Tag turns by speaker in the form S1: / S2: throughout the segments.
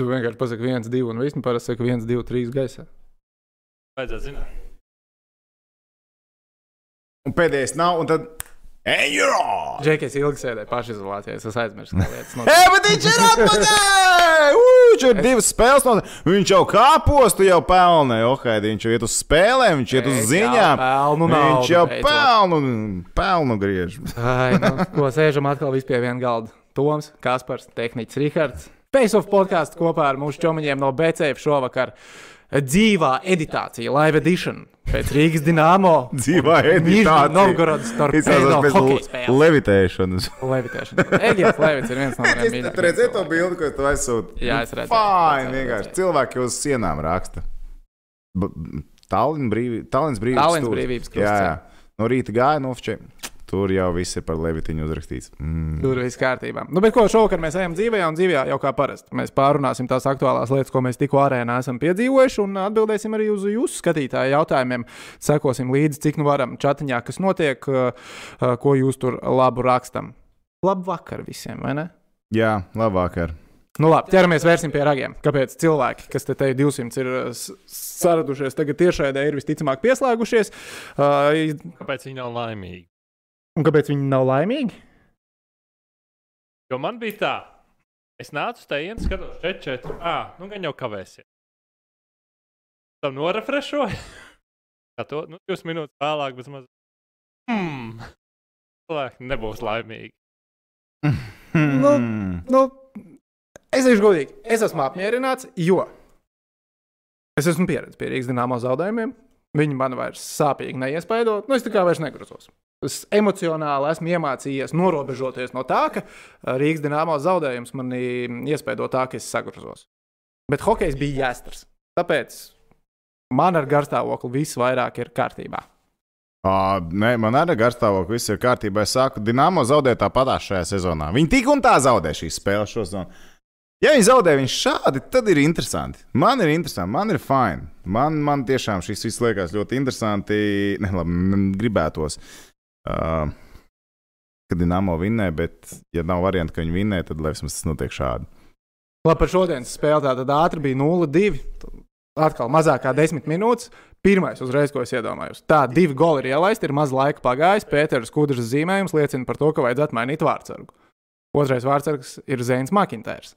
S1: Tu vienkārši pasaki, viens, divi, un viss nu, parasti saka, viens, divi, trīs gaisā.
S2: Vajadzētu zināt.
S3: Un pēdējais nav, un tad. Eiro!
S1: Džekijs ilgi sēdēja pašizolācijā, es aizmirsu, kā lietas
S3: Ej,
S1: notiek.
S3: bet viņš ir atpakaļ! Ui, Viņš ir divas spēles. No... Viņš jau kāpostu jau pelnīja. Ohaidi, viņš jau iet uz spēlēm, viņš iet uz
S1: Es jau
S3: ziņām.
S1: pelnu naudu
S3: viņš jau
S1: beidzot.
S3: pelnu, pelnu griež.
S1: Ai, nu, ko sēžam atkal visi pie viena galda? Toms, Kaspars, Tehnikas, Rihards. Face of podkāstu kopā ar mūsu čomiņiem no BCF šovakar. Dzīvā editācija, live edition pēc Rīgas Dienāmo.
S3: Dzīvā
S1: Nižni
S3: editācija.
S1: Novgorodas
S3: Tas
S1: torpēdo
S3: izskatās
S1: hokeja
S3: pēc le-
S1: spēles.
S3: levitēšanas.
S1: Levitēšana. Egejs Levits ir viens no
S3: Es
S1: maniem
S3: tur redzēju to bildi, ko tu aizsūti.
S1: Jā, es redzēju,
S3: Fine,
S1: redzēju,
S3: vienkārši
S1: redzēju.
S3: cilvēki uz sienām raksta. B- b- Tallinn brīvi- Tallinns brīvības.
S1: Tallinns
S3: stūris.
S1: brīvības
S3: Jā,
S1: krustceļā.
S3: jā. No rīta gāja nofčē. Tur jau viss ir par levitiņu uzrakstīts. Mm.
S1: Tur viss kārtībā. Nu, bet ko šovakar mēs ejam dzīvē, un dzīvē jau kā parasti. Mēs pārunāsim tās aktuālās lietas, ko mēs tikko arēnā esam piedzīvojuši, un atbildēsim arī uz jūsu skatītāju jautājumiem. Sekosim līdzi, cik nu varam chatiņā, kas notiek, uh, uh, ko jūs tur labu rakstam. Labu vakar visiem, vai ne?
S3: Jā, labāk ar.
S1: Nu, labi, ķeramies vērsim pie ragiem. Kāpēc cilvēki, kas te te 200 ir uh, s- saradušies, tagad tiešraidē ir visticamāk pieslēgušies, uh, iz-
S2: Kāpēc viņi nav laimīgi?
S1: un kāpēc viņi nav laimīgi?
S2: Jo man bija tā, es nācu uz tejienes, skatos, 4, 4. Ah, nu gan jau kavēsies. Tam norefrešoju. Tā to nu, divas minūtes vēlāk, bez maz. Mmm. Cilvēki nebūs laimīgi.
S3: Mm.
S1: Nu, Nu, es teikšu godīgi, es esmu apmierināts, jo es esmu pieredzējis pie Rīgas dīnāmo zaudējumiem. Viņi man vairs sāpīgi neiespaido. Nu, es tā kā vairs negrozos. Es emocionāli esmu iemācījies norobežoties no tā, ka ā, Rīgas dīnāmo zaudējums manī iespaido tā, ka es sagrozos. Bet hokejs bija jāstars. Tāpēc man ar garstāvokli viss vairāk ir kārtībā.
S3: Ā, Nē, man arī garš stāvoklis, viss ir kārtībā. Es saku, Dienāmo zaudē tāpat šajā sezonā. Viņi tik un tā zaudē šīs spēles šo sezonu. Ja viņi zaudē viņš šādi, tad ir interesanti. Man ir interesanti, man ir fini. Man, man tiešām šis viss liekas ļoti interesanti. Ne, labi, man gribētos, uh, ka Dienāmo vinnē, bet, ja nav variantu, ka viņi vinnē, tad lai vismaz tas notiek šādi.
S1: Labi, par šodienas spēli tā tad ātri bija 0-2. Atkal mazākā desmit minūtes. Pirmais, uzreiz, ko es iedomājos. Tā, divi goli ir ielaisti, ir maz laika pagājis. Pēters Kudras zīmējums liecina par to, ka vajadzētu mainīt vārdsargu. Otrais vārdsargs ir Zēns Makintērs.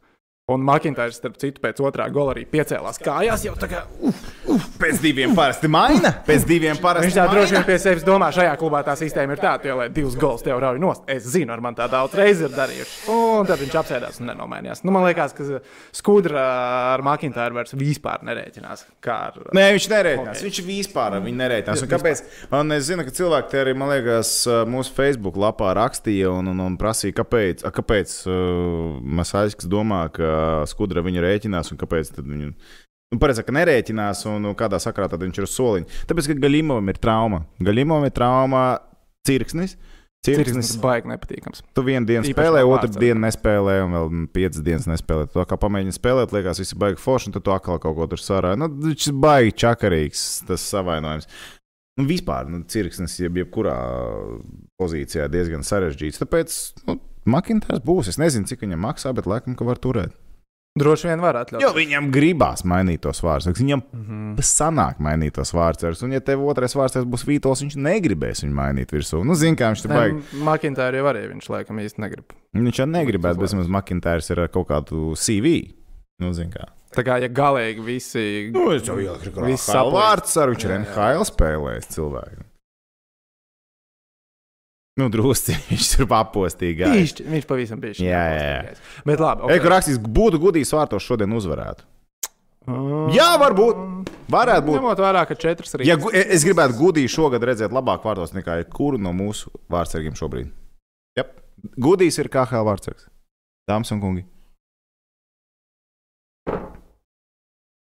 S1: Un Makintērs, starp citu, pēc otrā gola arī piecēlās kājās. Jau tā kā
S3: Pēc diviem parasti maina. Pēc diviem parasti
S1: Viņš tā droši
S3: maina.
S1: vien pie sevis domā, šajā klubā tā sistēma ir tāda, jo divas gulas tev rauj nost. Es zinu, ar man tā daudz reizes ir darījuši. Un tad viņš apsēdās un nenomainījās. Nu, man liekas, ka skudra ar Makintāru vairs vispār nerēķinās. Kā ar...
S3: Nē, viņš nereitinās. Viņš vispār ar viņu nereitinās. Un kāpēc? Un es zinu, ka cilvēki te arī, man liekas, mūsu Facebook lapā rakstīja un, un, un prasīja, kāpēc, a, kāpēc uh, Masāļskis domā, ka skudra viņu rēķinās un kāpēc tad viņu. Nu, Pareizāk, ka nerēķinās, un nu, kādā sakrā tad viņš ir uz soliņa. Tāpēc, ka Galimovam ir trauma. Galimovam ir trauma cirksnis.
S1: Cirksnis
S3: Cirksnis.
S1: ir uh, baigi nepatīkams.
S3: Tu vienu dienu
S1: Īpaši
S3: spēlē,
S1: no
S3: otru
S1: vārdsarga.
S3: dienu nespēlē, un vēl piecas dienas nespēlē. Tu kā pamēģini spēlēt, liekas, viss ir baigi forši, un tad tu atkal kaut ko tur sarāji. Nu, viņš ir baigi čakarīgs, tas savainojums. Un vispār, nu, cirksnis jeb, jebkurā pozīcijā diezgan sarežģīts. Tāpēc, nu, Makintārs būs. Es nezinu, cik viņam maksā, bet laikam, ka var turēt.
S1: Droši vien var
S3: Jo
S1: atļaut.
S3: viņam gribās mainīt tos vārdus. Viņam
S1: Mhm.
S3: sanāk mainīt tos vārdus. Un, ja tev otrais vārds būs Vītols, viņš negribēs viņu mainīt virsū. Nu, zini, kā viņš tur baigi.
S1: Makintāru jau arī viņš laikam īsti negrib.
S3: Nu, Viņš jau negribētu, bet vismaz Makintārs ir ar kaut kādu CV. Nu, zin kā.
S1: Tā kā ja galīgi visi.
S3: Nu, es jau ieliku
S1: kā Viss
S3: savu
S1: saplīst.
S3: vārdu saru, viņš ir
S1: Jā, jā.
S3: NHL spēlējis cilvēku. Nu, drusci viņš tur papostīgi. gāja.
S1: Bišķi, viņš pavisam bija.
S3: Jā, jā, jā.
S1: Bet labi.
S3: Ej, kur rakstīs, būtu gudīs vārtos šodien uzvarētu.
S1: Mm.
S3: Jā, varbūt. Varētu būt.
S1: Ņemot vērā, ka četras arī.
S3: Ja, gu- e- es gribētu gudīgi šogad redzēt labāk vārtos nekā jebkuru no mūsu vārdsargiem šobrīd. Jā, gudīs ir KHL vārdsargs. Dāmas un kungi.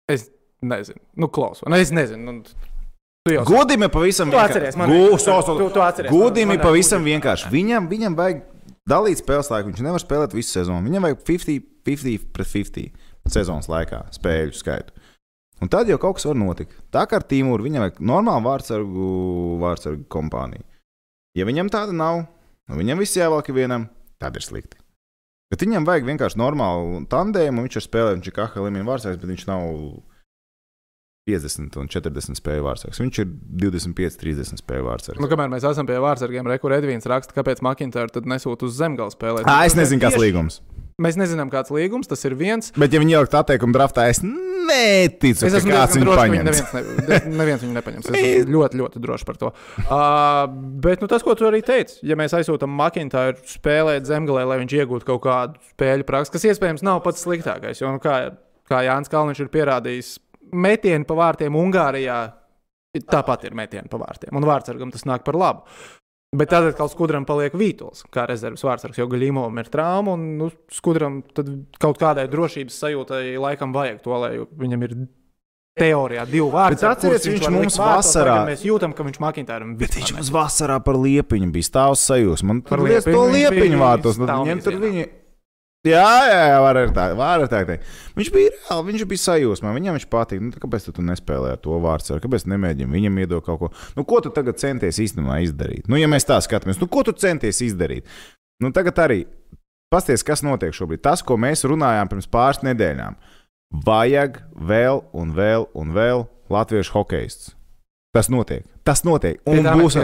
S1: Es nezinu, nu, klausu. Nu, es nezinu, nu, tu jau
S3: Gudīgi pavisam
S1: Tu atceries, man ir- Tu- tu atceries, man-
S3: Gudīgi
S1: man-
S3: pavisam vienkārši. Viņam, viņam vajag dalīt spēles laiku. Viņš nevar spēlēt visu sezonu. Viņam vajag 50, 50 pret 50 sezonas laikā spēļu skaitu. Un tad jau kaut kas var notikt. Tā kā ar Tīmūru viņam vajag normālu vārdsargu, vārdsargu kompāniju. Ja viņam tāda nav, un viņam viss jāvelk vienam, tad ir slikti. Bet viņam vajag vienkārši normālu tandēmu. Viņš ir spēlējis, viņš ir KHL līmenī vārsāks, bet viņš nav 50 un 40 spēju vārsāks. Viņš ir 25, 30 spēju vārsāks.
S1: Nu, kamēr mēs esam pie vārdsargiem, rekur Edvīns raksta, kāpēc Makintāra tad nesūta uz zemgala spēlēt.
S3: Ā, es nezinu, kāds līgums.
S1: Mēs nezinām, kāds līgums tas ir viens.
S3: Bet, ja viņi ielikt atteikumu draftā, es neticu,
S1: Es
S3: es
S1: esmu
S3: ka kāds
S1: diezgan
S3: viņu
S1: drošs, ka viņu
S3: paņems.
S1: neviens, ne, neviens viņu nepaņems. Es esmu ļoti, ļoti drošs par to. Uh, bet nu, tas, ko tu arī teici, ja mēs aizsūtām Makintāru spēlēt zemgālē, lai viņš iegūtu kaut kādu spēļu praksi, kas iespējams nav pats sliktākais. Jo, nu, kā, kā Jānis Kalniņš ir pierādījis, metieni pa vārtiem Ungārijā tāpat ir metieni pa vārtiem. Un vārtsargam tas nāk par labu. Bet tad atkal skudram paliek vītols, kā rezerves vārdsargs, jo Gaļīmovam ir trauma. Un, nu, skudram tad kaut kādai drošības sajūtai laikam vajag to, lai viņam ir teorijā divi vārdi.
S3: Bet atceries, viņš mums vasarā-
S1: Mēs jūtam, ka viņš makintāram
S3: Bet viņš mums vasarā par liepiņu bija stāvs sajūsmā. Man
S1: Par
S3: tur liekas, to
S1: liepiņu viņš
S3: liepiņu
S1: bija
S3: vārtos. nu, tad
S1: stāvmīzienā.
S3: Viņam tur viņi. Jā, jā, jā, var arī tā, var arī tā teikt. Viņš bija reāli, viņš bija sajūsmā. Viņam viņš patīk. Nu, tad kāpēc tu nespēlēji ar to vārdu? Kāpēc nemēģini viņam iedot kaut ko? Nu, ko tu tagad centies īstenībā izdarīt? Nu, ja mēs tā skatāmies, nu, ko tu centies izdarīt? Nu, tagad arī pasties, kas notiek šobrīd. Tas, ko mēs runājām pirms pāris nedēļām, vajag vēl un vēl un vēl latviešu hokeists. Tas notiek. Tas notiek. Un būs,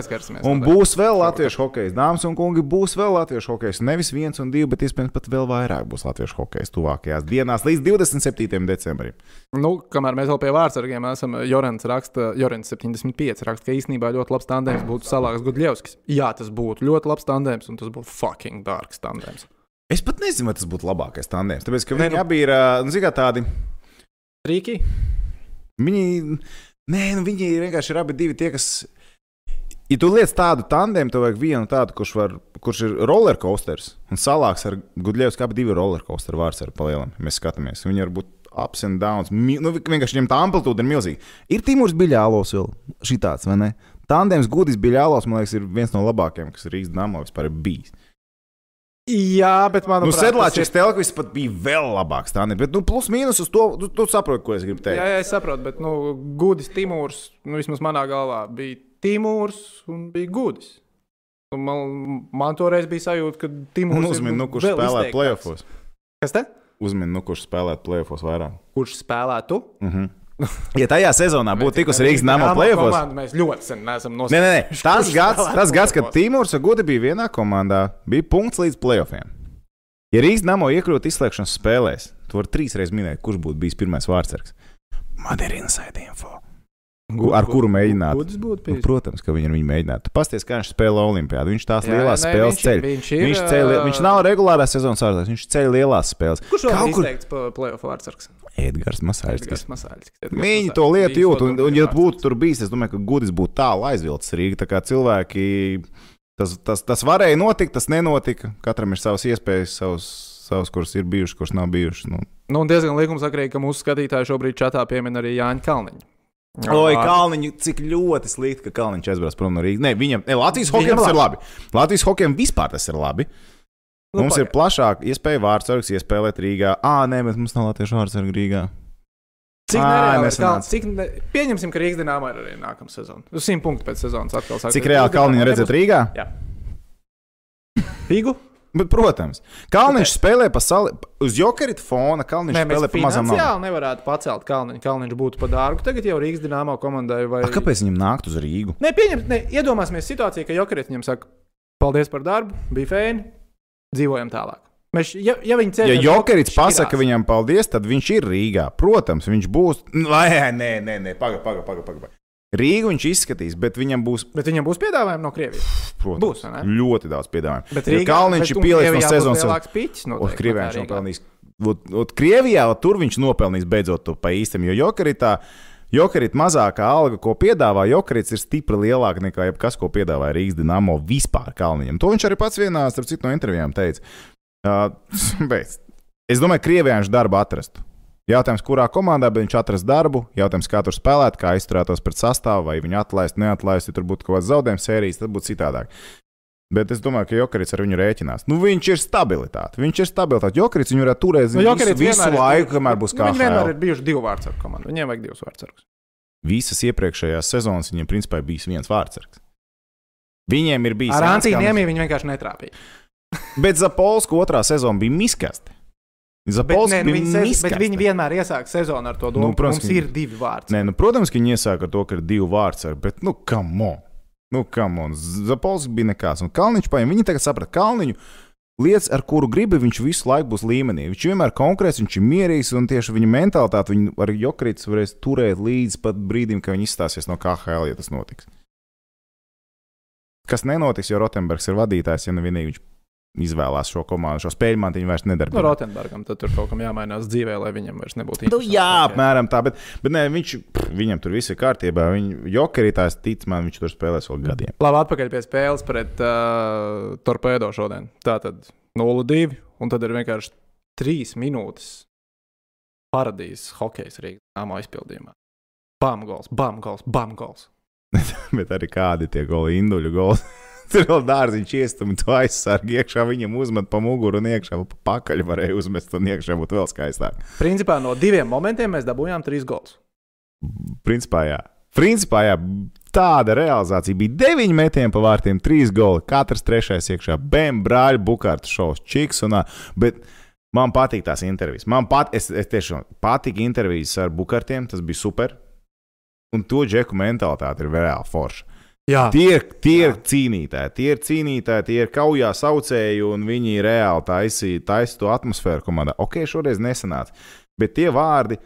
S3: un būs vēl latviešu hokejs. Dāmas un kungi, būs vēl latviešu hokejs. Nevis viens un divi, bet iespējams pat vēl vairāk būs latviešu hokejs tuvākajās dienās līdz 27. decembrim.
S1: Nu, kamēr mēs vēl pie vārdsargiem esam, Jorans raksta, Jorans 75 raksta, ka īstenībā ļoti labs tandēms būtu Salāks Gudļevskis. Jā, tas būtu ļoti labs tandēms, un tas būtu fucking dārgs tandēms.
S3: Es pat nezinu, vai tas būtu labākais tandēms. Tāpēc, ka
S1: Nē,
S3: viņi
S1: nu-
S3: abi ir ā, nu, zini, kā tādi.
S1: Rīki?
S3: Viņi, nē, nu, viņi vienkārši ir abi divi tie, kas. Ja tu lietas tādu tandēmu, tev vajag vienu tādu, kurš, var, kurš ir rollercoasters un salāks ar Gudļevs, kā abi divi rollercoasteru vārds ar palielam. ja Mēs skatāmies, viņi var būt ups and downs. mi- Nu, vi- vienkārši viņam tā amplitūda ir milzīga. Ir Timurs Biļālos vēl šitāds, vai ne? Tandēms Gudis Biļālos, man liekas, ir viens no labākajiem, kas Rīgas dāmā vispār ir bijis.
S1: Jā, bet man
S3: Nu, Sedlāčs Telkvis pat bija vēl labāks tandēms, bet nu, plus mīnus uz to, tu, tu saproti, ko es gribu teikt.
S1: Jā, jā, es saprotu, bet nu, gudis Timūrs, nu, vismaz manā galvā, bija Timūrs un bija gudis. Un Man, man toreiz bija sajūta, ka Timūrs
S3: Un uzmini, nu, kurš
S1: vēl
S3: spēlē
S1: izteiktāks.
S3: playoffs.
S1: Kas te?
S3: uzmini, nu, kurš spēlētu plēsoņos vairāk. Mhm.
S1: Kurš spēlētu?
S3: Ja tajā sezonā būtu Nu, tikus Rīgas nama plēsoņos,
S1: komandu mēs ļoti sen neesam
S3: nē,
S1: nosprieduši.
S3: nē, nē, tas
S1: Kurš
S3: gads,
S1: spēlētu
S3: tas gads, kad
S1: play-offos?
S3: Timurs un Gudi bija vienā komandā, bija punkts līdz plēsoņiem. Ja Rīgas nama iekļūtu izslēgšanas spēlēs, tu vari trīs reizes minēt, kurš būtu bijis pirmais vārdsargs. Man ir inside info. Gu- Ar kuru mēģināt?
S1: Gudis būtu
S3: Nu,
S1: bijis.
S3: protams, ka viņi ir viņu mēģinājuši. Pasties, kā viņš spēlē Olimpijādu. Viņš tās
S1: Jā,
S3: lielās
S1: nē,
S3: spēles
S1: viņš ir- uh,
S3: ceļ.
S1: viņš ir,
S3: Viņš, ceļ,
S1: ā,
S3: viņš nav regulārā sezonas sākotnēs, viņš ceļ lielās spēles.
S1: Kurš vēl
S3: Kaut
S1: kaut
S3: kur-
S1: kur teikts plēsoņu vārdsargs?
S3: Edgars Masāļskis.
S1: Masāļskis.
S3: Viņi to lietu jūt, un, un ja būtu tur bijis, es domāju, ka gudrs būtu tālu aizvilcis Rīgā. Tā kā cilvēki, tas, tas, tas varēja notikt, tas nenotika. Katram ir savas iespējas, savas, savas kuras ir bijušas, kuras nav bijušas. Nu.
S1: Nu, un diezgan likumsakrīgi, ka mūsu skatītāji šobrīd čatā piemin arī Jāņa Kalniņu.
S3: Oi,
S1: Vārds-
S3: Kalniņš, cik ļoti slikti, ka Kalniņš aizbrauc prom no Rīgas. Nē, viņam, ne, Latvijas
S1: Viņam
S3: hokejam tas ir labi. Latvijas hokejam vispār tas ir labi.
S1: Nu,
S3: Nu, mums
S1: pagaid.
S3: ir plašāka iespēja vārdsargs iespēlēt Rīgā. Ā, nē, bet mums nav latviešu vārdsargu Rīgā.
S1: Cik
S3: Ā,
S1: nereāli ir
S3: nesanāca.
S1: Kalniņš? Cik ne... Pieņemsim, ka Rīgas dīnāmā ir arī nākamā sezona. Uz 100 punktu pēc sezonas atkal sāksies.
S3: Cik reāli Kalniņš redzat Rīgā?
S1: Rīgu?
S3: Bet, protams, Kalniņš spēlē pa sali, uz jokerita fona. Kalniņš
S1: Nē, mēs
S3: spēlē pa mazam naudu.
S1: finansiāli nevarētu pacelt Kalniņu. Kalniņš būtu par dārgu. Tagad jau Rīgas dīnāmā komandai vai...
S3: A, kāpēc viņam nākt uz Rīgu?
S1: Nē, pieņem, ne, iedomāsimies situāciju, ka Jokarits viņam saka, paldies par darbu, bija fēni, dzīvojam tālāk. Mēs, ja, ja viņi ceļā,
S3: Ja Jokerits pasakā viņam paldies, tad viņš ir Rīgā. Protams, viņš būs. Nu, Nē, nē, nē, nē pagaidi, pagaidi. Paga, paga. Rīgu viņš izskatīs, bet viņam būs,
S1: Bet viņam būs piedāvājumi no Krievijas.
S3: protams,
S1: Būs, vai ne?
S3: ļoti daudz piedāvājumu.
S1: Bet
S3: Ja Kalniņš ir pielicis no sezonas.
S1: Lielāks piķis no
S3: Ot, Krievijā viņš nopelnīs. Ot, ot, Krievijā ot, tur viņš nopelnīs beidzot to pa īstam. Jo Jokeritā, Jokerit mazākā alga, ko piedāvā Jokerits, ir stipri lielāka nekā jebkas, ko piedāvāja Rīgas Dienāmo vispār Kalniņam. To viņš arī pats vienā, starp citu, no intervijām teica. Uh, beidz. es domāju, Krievijā viņš darbu atrastu. Jautājums, kurā komandā bet viņš atrastu darbu, jautājums, kā tur spēlētu, kā izturētos pret sastāvu, vai viņu atlaistu, neatlaistu, ja tur būtu kaut kāds zaudējums sērijas, tad būtu citādāk. Bet es domāju, ka Jokarits ar viņu rēķinās. Nu, viņš ir stabilitāte. Viņš ir stabilitāte. Jokarits viņu varētu
S1: Nu,
S3: turēt nu, visu,
S1: Jokerits
S3: visu
S1: vienmēr ir- nu,
S3: laiku, kamēr būs kā
S1: Viņi vienmēr
S3: HL.
S1: ir bijuši divu vārdu sargu komandu. Viņiem vajag divus vārdu sargus.
S3: Visas iepriekšējās sezonas viņiem principā ir bijis viens vārdsargs. Viņiem ir bijis
S1: Ar
S3: Jānis
S1: Antoni
S3: Kalniņš.
S1: Niemiju viņi vienkārši netrāpīja.
S3: Bet Zapolska otrā sezona bija miskasta.
S1: Bet,
S3: Zapolska
S1: nē, nu,
S3: bija
S1: viņi, sez...
S3: miskasta.
S1: bet viņi vienmēr iesāk sezonu ar to domu. Nu,
S3: Nu,
S1: protams,
S3: protams,
S1: Mums
S3: viņi-
S1: ir divi vārdi.
S3: Nē, nu, protams, ka viņi iesāk ar to, ka ir divi vārdi, bet, nu, kam on? Nu, kam on? Zapolska bija nekas. Un Kalniņš paņēma, viņi tagad saprata Kalniņu. Lietas, ar kuru gribi, viņš visu laiku būs līmenī. Viņš vienmēr ir konkrēts, viņš ir mierīgs, un tieši viņa mentalitāte viņu ar jokrītu varēs turēt līdz pat brīdim, kad viņi izstāsies no KHL, ja tas notiks. Kas nenotiks, jo Rotenbergs ir vadītājs, ja nu vienīgi viņš izvēlās šo komandu, šo spēļu mantiņu vairs
S1: No
S3: nedarbināt.
S1: Rotenbergam Nu, tad tur kaut kam jāmainās dzīvē, lai viņam vairs nebūtu
S3: Nu,
S1: interesanti.
S3: jā, apmēram tā, bet, bet nē, viņš, pff, viņam tur viss ir kārtībā. Viņa jokerītājs tic man, viņš tur spēlēs vēl gadiem.
S1: Labi, atpakaļ pie spēles pret uh, Torpedo šodien. Tā tad 0-2, un tad ir vienkārši 3 minūtes paradīzes hokeja Rīgas nama izpildījumā. Bam, gols, bam, gols, bam, gols.
S3: Bet arī kādi tie goli, induļu goli. Tur vēl dārziņš iestumj, to aizsargi iekšā, viņam uzmet pa muguru un iekšā, pa pakaļ varēja uzmest un iekšā būtu vēl skaistāk.
S1: Principā no diviem momentiem mēs dabūjām 3 gols.
S3: Principā, jā. Principā, jā. Tāda realizācija bija 9 metieni pa vārtiem, 3 goli. Katrs trešais iekšā, bam, brāļa, bukārta šovs, čiks un tā. Bet man patīk tās intervijas. Man pat, es, es tiešām patīk intervijas ar bukārtiem, tas bija super. Un to džeku mentalitāte ir reāli forša.
S1: Jā,
S3: Tie ir, tie ir
S1: Jā.
S3: cīnītāji, tie ir cīnītāji, tie ir kaujā saucēji, un viņi reāli taisīja taisīja to atmosfēru komandā. Ok, šoreiz nesanāca, bet tie vārdi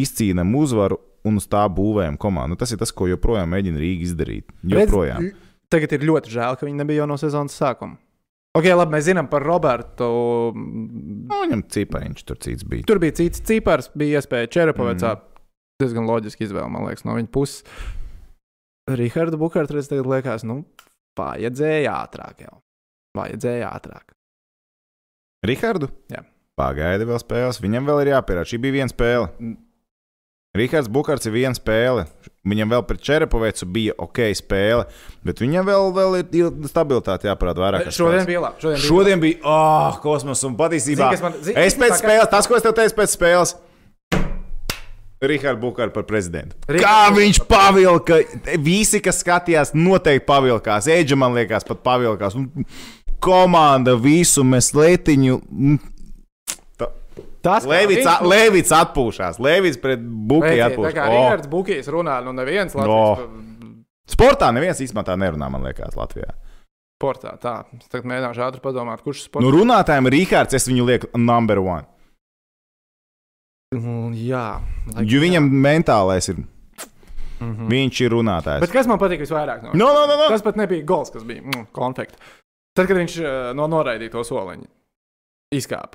S3: izcīnām uzvaru un uz tā būvējam komandu. Nu, Tas ir tas, ko joprojām mēģina Rīga izdarīt. Joprojām.
S1: Tagad ir ļoti žēl, ka viņi nebija jau no sezonas sākuma. Ok, labi, mēs zinām par Robertu.
S3: Nu, viņam cipariņš tur cits bija.
S1: Tur bija cits cipars, bija iespēja Čerapovicā. Mm.
S3: Mhm.
S1: Diezgan loģiski izvēle, man liekas, no viņa puses. Rihards Bukārts tagad liekas, nu, vajadzēja ātrāk jau. Vajadzēja ātrāk.
S3: Rihardu?
S1: Jā.
S3: Pagaida vēl spēles, viņam vēl ir jāpierāda. Šī bija viena spēle.
S1: Mm.
S3: Rihards Bukārs ir viena spēle. Viņam vēl pret Čerepoveicu bija ok spēle, bet viņam vēl, vēl ir il- stabilitāte jāparāda vairāk.
S1: Šodien bija labi. Šodien bija
S3: Šodien bija oh, kosmos un
S1: Zini,
S3: patiesībā.
S1: kas man- zini,
S3: Es pēc
S1: tā kā-
S3: spēles, tas, ko es tev teicu pēc spēles. Rihards Bukārs par prezidentu.
S1: Rihards
S3: Kā
S1: Bukārs
S3: viņš pavilka? Visi, kas skatījās, noteikti pavilkās. Eģe, man liekas, pat pavilkās. Un Komanda visu mēs letiņu. Mm,
S1: labi. Tas, kā
S3: Levits,
S1: viņš-
S3: a- Levits atpūšās. Levits pret Bukai
S1: Redziet, Tā kā
S3: atpūšās.
S1: Rihards Bukīs runā, nu, neviens
S3: Oh. No.
S1: Latvijas
S3: O, sportā neviens īstenībā tā nerunā, man liekas, Latvijā.
S1: sportā. Tā, es tagad mēģināšu ātri padomāt, kurš sports.
S3: Nu, runātājiem Rihards, es viņu lieku number one.
S1: Nu, jā, laikam
S3: Jo
S1: jā.
S3: viņam mentālais ir,
S1: Mhm.
S3: viņš ir runātājs.
S1: Bet kas man patīk visvairāk? No,
S3: No, no, no, no.
S1: Tas pat nebija gols, kas bija mm, konfekts. Tad, kad viņš eh, no noraidīja to soliņu, izkāpa.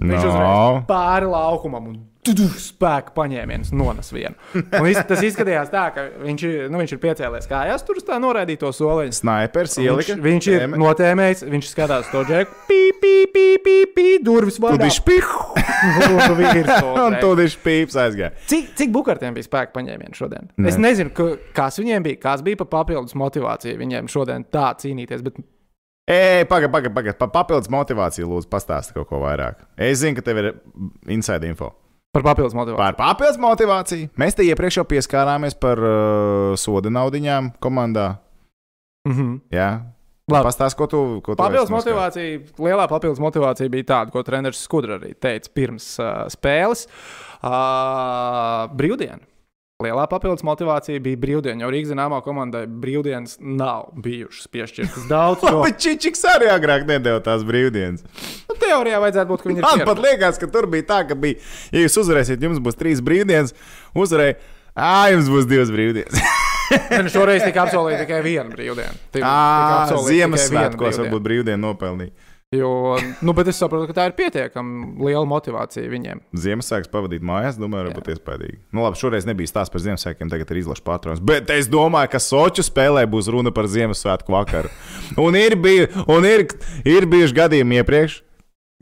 S1: Viņš uzreiz pāri laukumam un tudu, spēku paņēmienus nonas vienu. Un iz, tas izskatījās tā, ka viņš, ir- nu, viņš ir piecēlies kājās, tur uz tā noraidīja to soliņu.
S3: Snipers
S1: Viņš,
S3: ielika.
S1: viņš ir
S3: tēma.
S1: notēmējis, viņš skatās to džeku, pīpīpīpīpī, durvis
S3: Un
S1: vaļā.
S3: viņš pīpēja.
S1: Un virsū
S3: Un
S1: uzreiz.
S3: tur viņš pīpēja aizgāja.
S1: Cik, cik bukartiem bija spēka paņēmieni šodien?
S3: Nē.
S1: Ne. Es nezinu, ka, kas viņiem bija, kas bija pa papildus motivācija viņiem šodien tā cīnīties. Bet
S3: Ej, pagaidi, pagaidi, pagaidi. Pa papildus motivāciju, lūdzu, pastāsti kaut ko vairāk. Es zinu, ka tev ir inside info.
S1: par papildus motivāciju.
S3: Par papildus motivāciju. Mēs te iepriekš jau pieskārāmies par uh, soda naudiņām komandā.
S1: Mhm.
S3: Jā,
S1: Labi.
S3: pastāsti, ko tu. Ko tu
S1: Papildus
S3: esi noskaidrojis.
S1: motivācija, lielā papildus motivācija bija tāda, ko treneris Skudra arī teica pirms uh, spēles. Uh, brīvdiena. Lielā papildus motivācija bija brīvdiena, jo Rīgas zināmā komandai brīvdienas nav bijušas piešķirtas daudz.
S3: Labi,
S1: Jo,
S3: Bet Čičiks arī agrāk nedēļa tās brīvdienas.
S1: nu, teorijā vajadzētu būt, ka viņi ir
S3: Man pat
S1: pieraduši.
S3: liekas, ka tur bija tā, ka bija, ja jūs uzvarēsiet, jums būs trīs brīvdienas, uzvarēja, ā, jums būs divas brīvdienas.
S1: Nē, Šoreiz tika apsolīta tikai viena brīvdiena. Tika- tika
S3: Ā,
S1: apsolīta tikai viena
S3: Ah, Ziemassvētkos
S1: brīvdiena.
S3: varbūt brīvdienu nopelnīja.
S1: Jo, nu, bet es saprotu, ka tā ir pietiekami liela motivācija viņiem.
S3: Ziemassvētku pavadīt mājās, domāju, varbūt iespaidīgi. Nu, labi, šoreiz nebija stāsts par Ziemassvētkiem, tagad ir izlaša pārtraukums. Bet es domāju, ka Soču spēlē būs runa par Ziemassvētku vakaru. Un ir, bij, un ir, ir bijuši gadījumi iepriekš,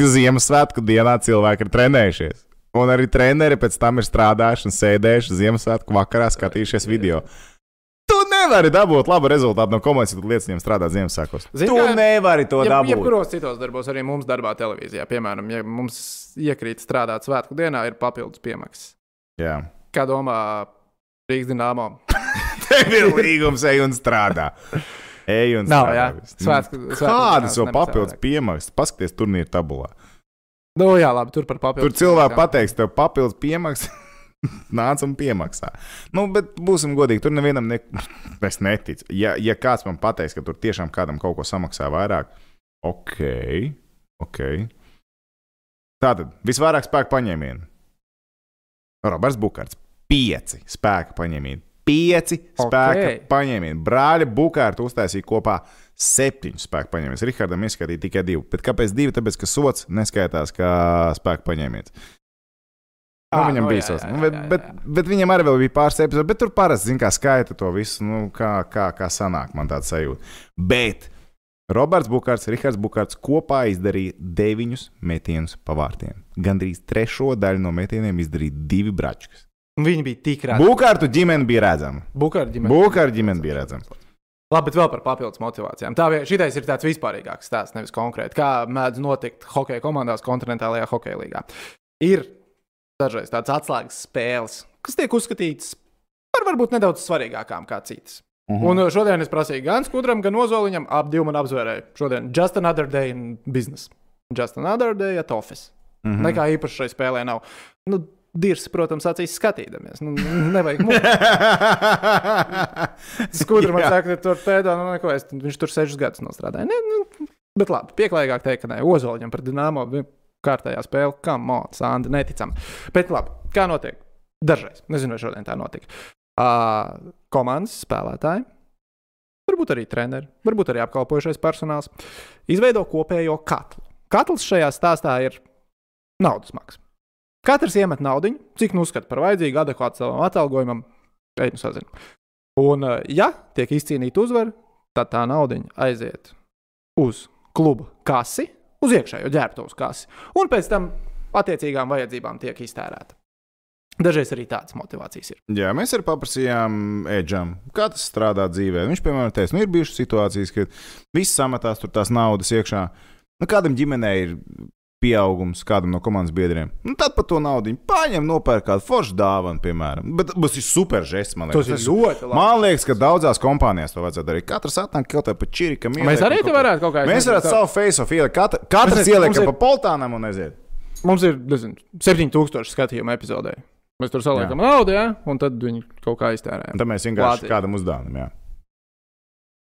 S3: ka Ziemassvētku dienā cilvēki ir trenējušies. Un arī treneri pēc tam ir strādājuši un sēdējuši Ziemassvētku vakarā, skatījušies video. Tu nevari dabūt labu rezultātu no komandas, ja tu liec viņiem strādāt Ziemassvētkos.
S1: Zini,
S3: Tu
S1: kā-
S3: nevari to
S1: Ja,
S3: dabūt.
S1: jebkuros citos darbos, arī mums darbā, televīzijā, piemēram, ja mums iekrīt strādāt svētku dienā, ir papildus piemaksas.
S3: Jā.
S1: Kā domā Rīgas dīnāmo?
S3: Tev ir līgums, ej un strādā. Ej un
S1: Nav, jā.
S3: strādā viss. Nu,
S1: Svētku- svētku dienās
S3: Kādas vēl
S1: nevis
S3: papildus
S1: savādāk.
S3: piemaksas? Paskaties, turnīra tabulā.
S1: Nu, jā, labi, tur par papildus.
S3: Tur cilvēki pateiks, tev papildus piemaksas. Nāc un piemaksā. Nu, bet būsim godīgi, tur nevienam ne... es neticu. Ja, ja kāds man pateiks, ka tur tiešām kādam kaut ko samaksā vairāk, ok. okay. Tātad visvairāk spēku paņēmienu. Roberts Bukārts. Pieci spēka paņēmieni. Pieci spēka
S1: Okei.
S3: paņēmieni. Brāļa Bukārta uztaisīja kopā septiņu spēku paņēmienus. Rihardam ieskatīja tikai divu. Bet kāpēc divi? Tāpēc, ka sots neskaitās kā spēka paņēmiens. Nu,
S1: Ā,
S3: viņam
S1: nu,
S3: bija
S1: jā,
S3: sots.
S1: jā,
S3: Nu,
S1: jā,
S3: bet,
S1: jā,
S3: bet,
S1: jā.
S3: bet viņam arī vēl bija pāris epizodes. Bet tur parasti, zināmā mērā, skaita to visu. Nu, kā, kā, kā sanāk, man tāds sajūta. Bet Roberts Bukārs, Rihards Bukārs kopā izdarīja deviņus metienus pa vārtiem. Gan drīz trešo daļu no metieniem izdarīja divi bračkas.
S1: Viņi bija tik rādi.
S3: Bukārtu ģimene bija redzama.
S1: Bukārdi ģimene.
S3: Bukārtu ģimene bija redzama.
S1: Labi, bet vēl par papildus motivācijām. Tā vien- šitais ir tāds vispārīgāks stāsts, nevis konkrēti. Kā mēdz notikt hokeja komandās, kontinentālajā hokeja līgā. Ir dažreiz tāds atslēgas spēles, kas tiek uzskatītas par varbūt nedaudz svarīgākām kā citas. Un uh, šodien es prasīju gan skudram, gan ozoliņam, ap diviem man apzvērēju. Šodien just another day in business. Just another day at office. Mm
S3: Mhm.
S1: -hmm. Nekā īpaši šai spēlē nav. Nu, Dirs, protams, acīs skatīdamies. Nu, nevajag mums. Skudra man
S3: Jā.
S1: saka, ka tur pēdējā, nu, neko, es, viņš tur sešus gadus nostrādāja. Ne, nu, bet labi, pieklājīgāk teikt, ka ne, Ozoliņam par Dienāmo bija kārtējā spēle, kā Mons, Andi, neticam. Bet labi, kā notiek? Dažreiz, nezinu, vai šodien tā notika. Uh, komandas spēlētāji, varbūt arī treneri, varbūt arī apkalpojušais personāls, izveido kopējo katlu. Katls šajā stāstā ir naudas maksa. Katrs iemet naudu, cik nu uzskata par vajadzīgu, adekvātu savam atalgojumam, pēkšņi sazina. Un, eh, ja tiek izcīnīta uzvara, tad tā nauda aiziet uz kluba kasi, uz iekšējo ģērbtuves kasi, un pēc tam attiecīgām vajadzībām tiek iztērēta. Dažreiz arī tādas motivācijas ir.
S3: Jā, mēs arī paprasījām Edžam, kā tas strādā dzīvē. Viņš, piemēram, teica, nu, ir bijušas situācijas, kad viss sametās tur tās naudas iekšā. Nu, kādam ģimenei ir pieaugums, kādam no komandas biedriem. Nu, tad par to naudu viņi paņem, nopērk kādu foršu dāvanu, piemēram. Bet tas ir super žests, man liekas. Tas-
S1: ļoti
S3: Man liekas, ka daudzās kompānijās to vajadzētu darīt. Katrs atnāk kaut kā pa čirikam.
S1: Mēs arī te varētu kaut kā
S3: Mēs varētu savu face-off ielikt. Katra-
S1: Tāpēc
S3: Katrs
S1: mums
S3: ieliek
S1: ir-
S3: pa poltānam un aiziet.
S1: Mums ir nezinu, 7000 skatījumu epizodē. Mēs tur saliekam naudu, ja? un tad viņi kaut kā
S3: Un
S1: iztērējam.
S3: Tad mēs vienkārši
S1: Latvija.
S3: kādam uzdāvinām. jā.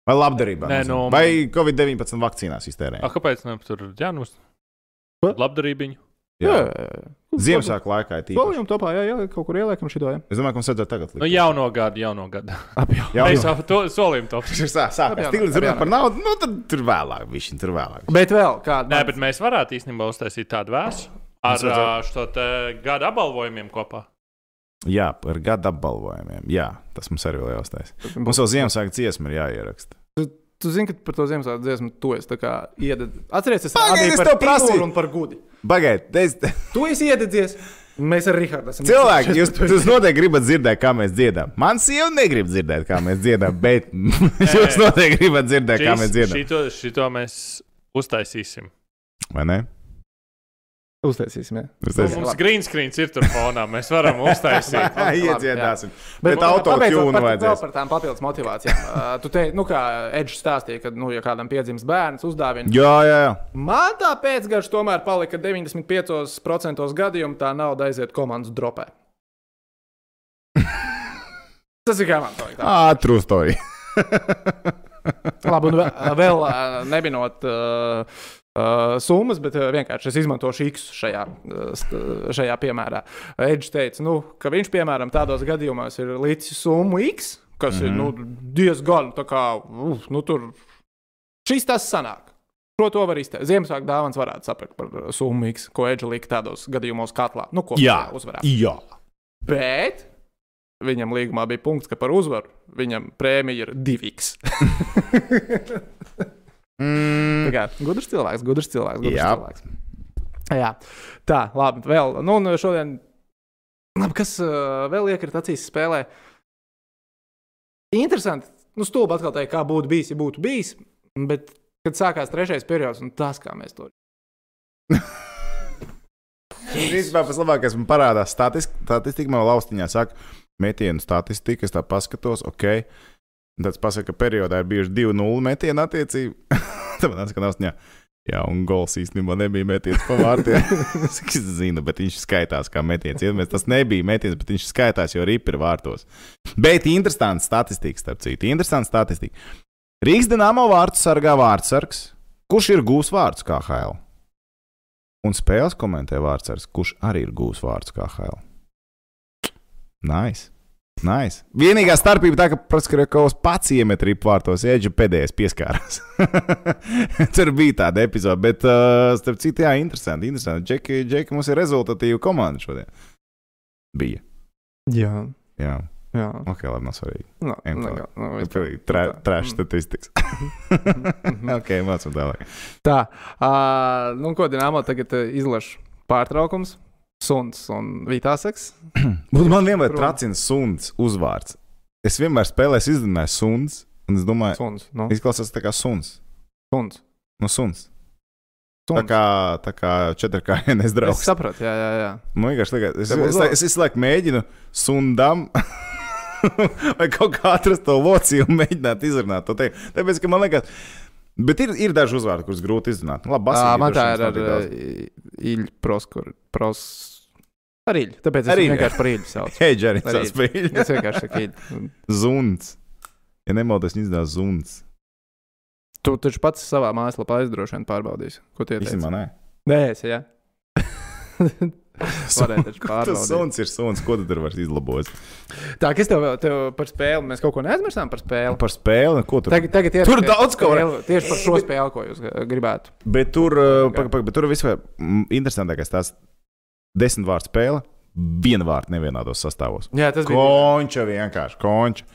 S3: Vai labdarībā?
S2: Nē,
S3: nezinu.
S2: nu,
S3: Vai Covid-19 vakcīnās
S2: A,
S3: iztērējām?
S2: kāpēc ne tur ģēnus?
S1: Ko?
S2: Labdarībiņu.
S3: Jā. Ziemassvētku laikā ir tīpaši.
S1: Solījuma topā, jā, jā, kaut kur ieliekam šo jau.
S3: Es domāju, ka mums vajadzētu tagad
S2: Nu, jauno gadu, jauno gadu.
S3: Jā,
S2: Mēs jau to solījām. to.
S3: Tas ir sā- sākās.
S1: Apjauno-
S3: Tik līdz runā
S1: apjauno.
S3: par naudu, nu tad tur vēlāk, višķiņ, tur vēlāk.
S1: Bet vēl kāda.
S2: Nē, bet mēs varētu īstenībā uztaisīt tādu vēsu
S3: Es
S2: ar
S3: redzu.
S2: ā, šo te gada apbalvojumiem kopā.
S3: Jā, par gada apbalvojumiem. Jā, tas mums arī vēl jāuztais.
S1: bet
S3: Mums jau Ziemassvētku dziesma ir jāieraksta.
S1: Tu zini, ka par to Ziemassvētku dziesmu tu esi iededzis. Atceries, es
S3: Pagaidi,
S1: arī
S3: es
S1: par
S3: tev
S1: Tigru
S3: prasīju.
S1: un par gudi.
S3: Bagaidiet, es...
S1: Tu esi iededzies. Mēs ar Rihārdu esam.
S3: Cilvēki, jūs, jūs noteikti gribat dzirdēt, kā mēs dziedam. Man sieva negrib dzirdēt, kā mēs dziedam, bet jūs noteikti gribat dzirdēt, kā mēs dziedam.
S2: šito, šito mēs uztaisīsim.
S3: Vai ne?
S1: Uztaisīsim. jā.
S3: Es
S2: Nu,
S3: teicu-
S2: Mums
S1: Labi.
S2: green screen ir tur fonā. Mēs varam uztaisīt.
S1: Labi, labi,
S3: Iedziedāsim.
S1: Bet,
S3: Bet autotune
S1: vēl
S3: vajadzēs.
S1: par tām papildus motivācijām. Uh, tu teici, nu, kā Edžs stāstīja, ka, nu, ja kādam piedzimst bērns, uzdāvina.
S3: Jā, jā, jā.
S1: Man tā pēcgarša tomēr palika 95% gadījumu, tā nauda aiziet komandas dropē. Tas ir kā man to jāsaka.
S3: Ātrus to ir.
S1: Labi, un vē- vēl ā, nebinot ā, ā, summas, bet ā, vienkārši es izmantošu X šajā, ā, st- šajā piemērā. Edžs teica, nu, ka viņš, piemēram, tādos gadījumos ir līdzi summu X, kas mm -hmm. ir nu, diezgan, tā kā, uf, nu, tur šis tas sanāk. Šo to var izteikt. Ziemassvētku dāvāns varētu saprast par ā, summu X, ko Edžs lika tādos gadījumos katlā. Nu, ko
S3: Jā,
S1: uzvarēt.
S3: jā.
S1: Bet viņam līgumā bija punkts, ka par uzvaru viņam prēmija ir 2x. Tā
S3: Mm.
S1: kā Gudrs cilvēks, gudrs cilvēks. Gudrs
S3: Jā.
S1: cilvēks. Jā. Tā, labi. Vēl, nu, un šodien, labi, kas uh, vēl iekrita acīs spēlē? Interesanti. Nu, stulbi atkal teikt, kā būtu bijis, ja būtu bijis. Bet, kad sākās trešais periods, un tas, kā mēs to
S3: Īstenībā pats labākais man parādās statistika. Statistika man laustiņā saka, metienu statistika, es tā paskatos, ok. Tad pasaka, ka periodā ir bijuši 2-0 metieni attiecīgi. Tad man atskan austiņā. Jā, un gols īstenībā nebija metiens pa vārtiem. es saku, "Es zinu, bet viņš skaitās kā metiens. Iedomājieties, tas nebija metiens, bet viņš skaitās, jo ripi ir vārtos. Bet interesants statistika, starp citu. Interesants statistika. Rīgas Dienāmo vārtu sargā vārtsargs, kurš ir gūs vārds kā HL. Un spēles komentē vārtsargs, kurš arī ir gūs vārds kā HL. Nice! Nice. Vienīgā starpība tā, ka Praskrēkovs pats iemet ripvārtos, Eģija pēdējais pieskārās. Tur bija tāda epizode, bet, uh, starp citu, jā, interesanti. interesanti. Džeki, Džeki, mums ir rezultatīva komanda šodien. Bija.
S1: Jā,
S3: Jā,
S1: jā. Nu,
S3: ok, labi, nav svarīgi.
S1: No,
S3: Em,
S1: nekā, no,
S3: Tas
S1: vispār.
S3: bija trešais
S1: Mm.
S3: statistikas.
S1: Mhm.
S3: ok, mācām tālāk.
S1: Tā, uh, nu ko Dienāmo tagad uh, izlaiž pārtraukums. Suns un Vitāseks.
S3: Bet man vienmēr
S1: Prom.
S3: tracina suns uzvārds. Es vienmēr spēlēju, izdomāju suns, un es domāju,
S1: Suns. Nu,
S3: izklausās tā kā suns.
S1: suns.
S3: Nu, suns. Tā
S1: suns.
S3: kā, tā kā četrkājienes
S1: Es
S3: draugs.
S1: sapratu, jā, jā, jā.
S3: Man vienkārši liekas, es,
S1: Tev
S3: es,
S1: uzvārds?
S3: es, es visu laiku mēģinu sundam. Vai kaut kā atrast to lociju un mēģināt izrunāt to teikt. Tāpēc, ka man liekas, bet ir, ir daži uzvārdi, kurus grūti izrunāt. Nu, Labi,
S1: Ā,
S3: basīgi,
S1: Man tā
S3: droši
S1: ir ar
S3: vien nav tik daudz.
S1: īļu proskur. Pros... Ar īļu. Tāpēc es
S3: Ar
S1: viņu
S3: īļu.
S1: vienkārši par īļu saucu.
S3: Hei, Džeri,
S1: Arī.
S3: tas bija
S1: Es vienkārši saku īļu.
S3: zuns. Ja nemaldos, viņš izdevās zuns.
S1: Tu taču pats savā mājaslapā aizdroši vien pārbaudīsi, ko tie teica.
S3: Īstenībā nē.
S1: Nē, es, jā. Varēja taču
S3: Tas
S1: pārbaudīt.
S3: suns ir suns, ko tu tur vairs izlabos.
S1: Tā, kas tev, vēl- tev par spēli? Mēs kaut ko neaizmirsām par spēli.
S3: Par spēli, ko tur.
S1: Tagad, tagad
S3: Tur
S1: ierakstiet
S3: daudz ko var-
S1: spēli Tieši par šo spēli, ko jūs eh, gribētu.
S3: Bet tur, uh,
S1: Jā.
S3: paga, paga, bet tur vispār mm, interesantākais tās desmit vārdu spēle, viena vārda nevienādos sastāvos.
S1: Jā, tas bija.
S3: Konča vienkārši, konča.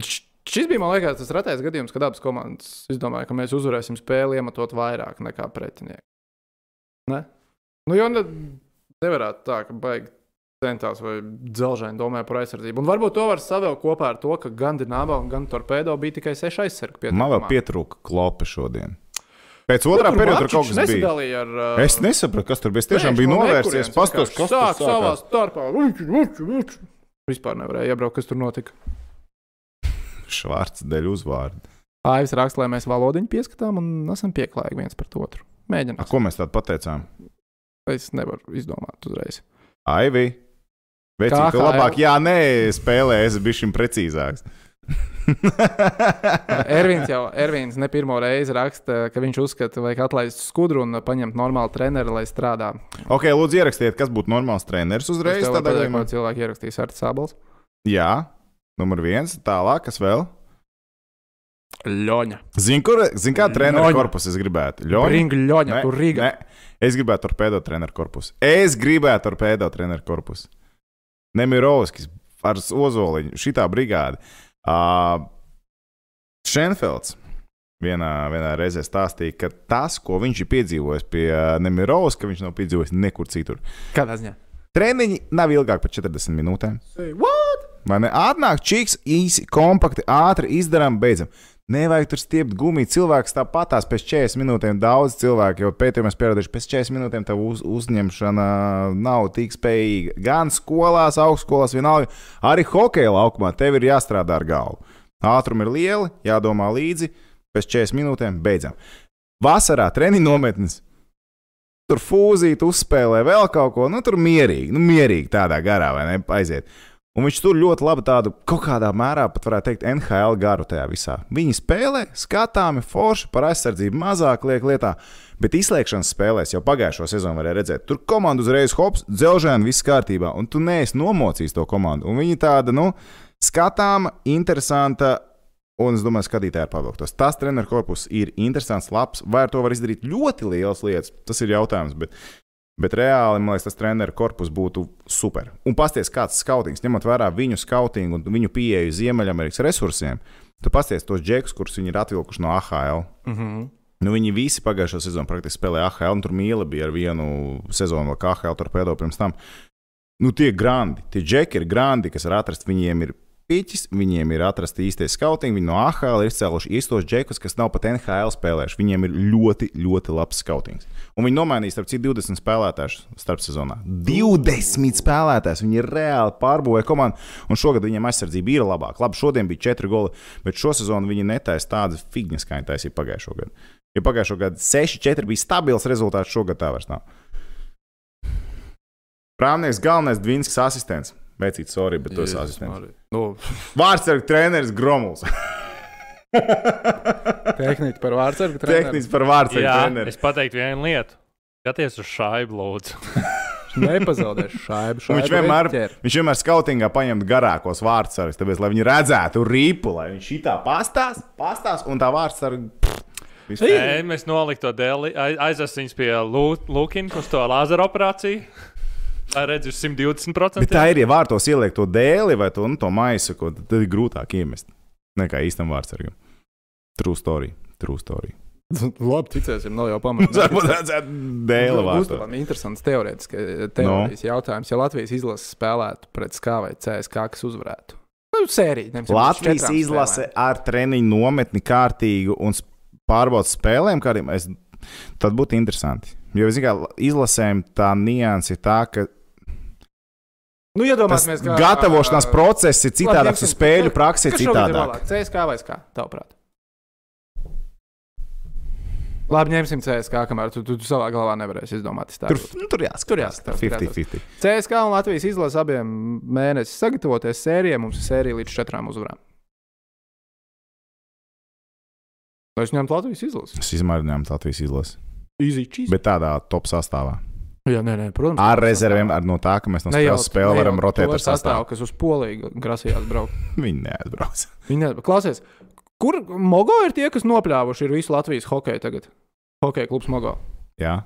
S1: Š- Šis bija, man liekas, tas retais gadījums, kad abas komandas izdomāja, ka mēs uzvarēsim spēli, iematot vairāk nekā pretinieki. Ne? Nu, jo ne, nevarētu tā, ka baigi centās vai dzelzceļā domāja par aizsardzību. Un varbūt to var savēl kopā ar to, ka gan Dienāba, gan Torpedo bija tikai seši aizsargi.
S3: Man vēl pietrūka klopa šodien. Pēc otrā perioda tur kaut kas bija.
S1: nesadalīja ar. eh,
S3: Es nesapratu, kas tur bija. Es tiešām
S1: Nē,
S3: biju
S1: no
S3: novērsies,
S1: nekurienes
S3: paskatījos,
S1: vienkārši
S3: kas tur
S1: sāk savā
S3: sākās.
S1: starpā. Uči, uči, uči. Vispār nevarēja iebraukt, kas tur notika.
S3: Švārds dēļ uzvārdu.
S1: Aivis raksta, lai mēs valodiņu pieskatām un esam pieklājīgi viens par otru.
S3: A,
S1: Mēģinām.
S3: ko mēs tādu pateicām?
S1: Es nevaru izdomāt uzreiz.
S3: Aivi. Vecīt,
S1: KHL.
S3: tu labāk, jā, nē, spēlē, es biju šim precīzāks.
S1: Ervīns jau Ervīns ne pirmo reizi raksta, ka viņš uzskata, ka vajag atlaist skudru un paņemt normālu treneru, lai strādā.
S3: Ok, lūdzu, ierakstiet, kas būtu normāls treneris uzreiz.
S1: Es tev varu
S3: tādā
S1: pateikt,
S3: gadījumā.
S1: ko cilvēki ierakstīs ar Sābals.
S3: Jā, numur viens, tālāk, kas vēl?
S1: Ļoņa.
S3: Zini, kur, zin, kā treniņa
S1: Ļoņa.
S3: korpusu es gribētu?
S1: Ringa Ļoņa, tur Rīgā.
S3: Es gribētu torpēdo treniņa korpusu. Es gribētu torpēdo treniņa korpusu. Nemirovskis ar Ozoliņu, šitā brigāde. Uh, Šenfelds vienā, vienā reizē stāstīja, ka tas, ko viņš ir piedzīvojis pie Nemirovska, viņš nav piedzīvojis nekur citur.
S1: Kādā ziņā?
S3: Treniņi nav ilgāk par 40 minūtēm.
S1: Say what?
S3: Vai ne? Atnāk čiks, īsi, kompakti, ātri izdarām, beidzam. Nevajag tur stiept gumiju. Cilvēks tāpatās pēc 40 minūtēm. Daudz cilvēku jau pētījumā ir pieraduši, pēc 40 minūtēm tā uz, uzņemšana nav tik spējīga. Gan skolās, augstskolās, vienalga. Arī hokeja laukumā tev ir jāstrādā ar galvu. Ātrumi ir lieli, jādomā līdzi. Pēc 40 minūtēm beidzam. Vasarā treniņu nometnes. Tur fūzīt, uzspēlē vēl kaut ko. Nu, tur mierīgi, nu, mierīgi tādā garā, vai ne? Aiziet. Un viņš tur ļoti labi tādu, kaut kādā mērā pat varētu teikt, NHL garu tajā visā. Viņi spēlē, skatāmi, forši par aizsardzību mazāk liek lietā, bet izslēgšanas spēlēs jau pagājušo sezonu varēja redzēt. Tur komanda uzreiz hops, dzelžēna, viss kārtībā, un tu neesi nomocījis to komandu. Un viņi tāda, nu, skatāma, interesanta. Un es domāju, ka skatītāji ir pavilktos. Tas treniņu korpus ir interesants, labs. Vai ar to var izdarīt ļoti lielas lietas? Tas ir jautājums. Bet Bet reāli, man liekas, tas treneru korpus būtu super. Un pasties, kāds skautings, ņemot vērā viņu skautingu un viņu pieeju Ziemeļamerikas resursiem, tu pasties tos džekus, kurus viņi ir atvilkuši no AHL.
S1: Mhm.
S3: Nu, viņi visi pagājušā sezonā praktiski spēlēja AHL, un tur mīla bija ar vienu sezonu, vēl kā AHL torpēdo pirms tam. Nu, tie grandi, tie džeki ir grandi, kas ir atrasti, viņiem ir piķis, viņiem ir atrasta īstais skauting, viņi no AHL ir izcēluši īstos džekus, kas nav pat NHL spēlējuši. Viņiem ir ļoti, ļoti labs skautings. Un viņi nomainīs starp citu 20 spēlētāju starp sezonā. 20 spēlētājs! Viņi reāli pārbūvēja komandu, un šogad viņiem aizsardzība ir labāka. Labi, šodien bija 4 goli, bet šo sezonu viņi netaisa tādas figņas, kā viņi taisīja pagājušo gadu. Jo pagājušo gadu 6-4 bija stabils rezultāts, šogad tā vairs nav. Prāvnieks galvenais Dvīnskas asistents. Veicīt, sorry, bet tu esi asistents.
S1: Nu,
S3: Vārtsargu treneris Gromuls.
S1: tehniski par vārdsargu treneru.
S3: Tehniski par vārtsargu
S2: Jā,
S3: treneru.
S2: es pateiktu vienu lietu. Skaties uz šādu lūdzu.
S1: Nepazaudēs šādu
S3: Un
S1: šādu.
S3: Viņš vienmēr, viņš vienmēr skautingā paņem garākos vārdsargus, tāpēc, lai viņi redzētu rīpu, lai viņš šitā pastās, pastās un tā vārdsargu.
S2: Nē, mēs noliktu to dēli, aizvesim viņus pie Lūkina uz to lāzera operāciju. Tā redz uz 120%.
S3: Bet tā ir, ja vārtos ieliek to dēli vai to, nu, to maisu, ko tad ir grūtāk iemest nekā īstam vārdsargam. True story. True story.
S1: Labi, ticēsim, nav jau pamata.
S3: Varbūt redzētu dēli
S1: Būs
S3: vārtos.
S1: tam Nu, interesants teorētisks
S3: Nu.
S1: teorijas jautājums, ja Latvijas izlase spēlētu pret SKA vai CSK, kas uzvarētu. Nu, sērija. nevis
S3: Latvijas
S1: četrām
S3: izlase ar treniņu nometni kārtīgu un s- pārbaudas spēlēm, kādiem es, tad būtu interesanti. Jo, zinām, izlasēm tā nianse ir tā, ka
S1: spēlēm. Nu,
S3: tas
S1: iedomāsimies, kā
S3: gatavošanās process ir citādāks un
S1: piemēram,
S3: spēļu praksa ir
S1: Kas šogad ir
S3: citādāka.
S1: labāk? CSK vai SK? Tavuprāt. Labi, ņemsim CSK, kamēr tu, tu, tu savā galvā nevarēsi izdomāt.
S3: Tur,
S1: iztēloties.
S3: nu, tur jāskatās.
S1: Tur jāskatās,
S3: 50-50.
S1: CSK un Latvijas izlase abiem mēnešiem sagatavoties sērijai. Mums ir sērija līdz četrām uzvarām. Lai es ņemtu Latvijas izlasi.
S3: Es izmēģināju Latvijas izlasi.
S1: Easy cheese.
S3: Bet tādā top sastāvā.
S1: Jā, nē, nē, protams.
S3: Ar rezervēm, ar no tā, ka mēs no spēles spēles varam rotēt ar sastāvu.
S1: sastāvu, kas uz Poliju grasījās braukt.
S3: Viņi neatbrauc.
S1: Viņi nezina, klausies, kur Mogo ir tie, kas nopļāvuši ir visu Latvijas hokeju tagad? Hokeja klubs Mogo.
S3: Jā.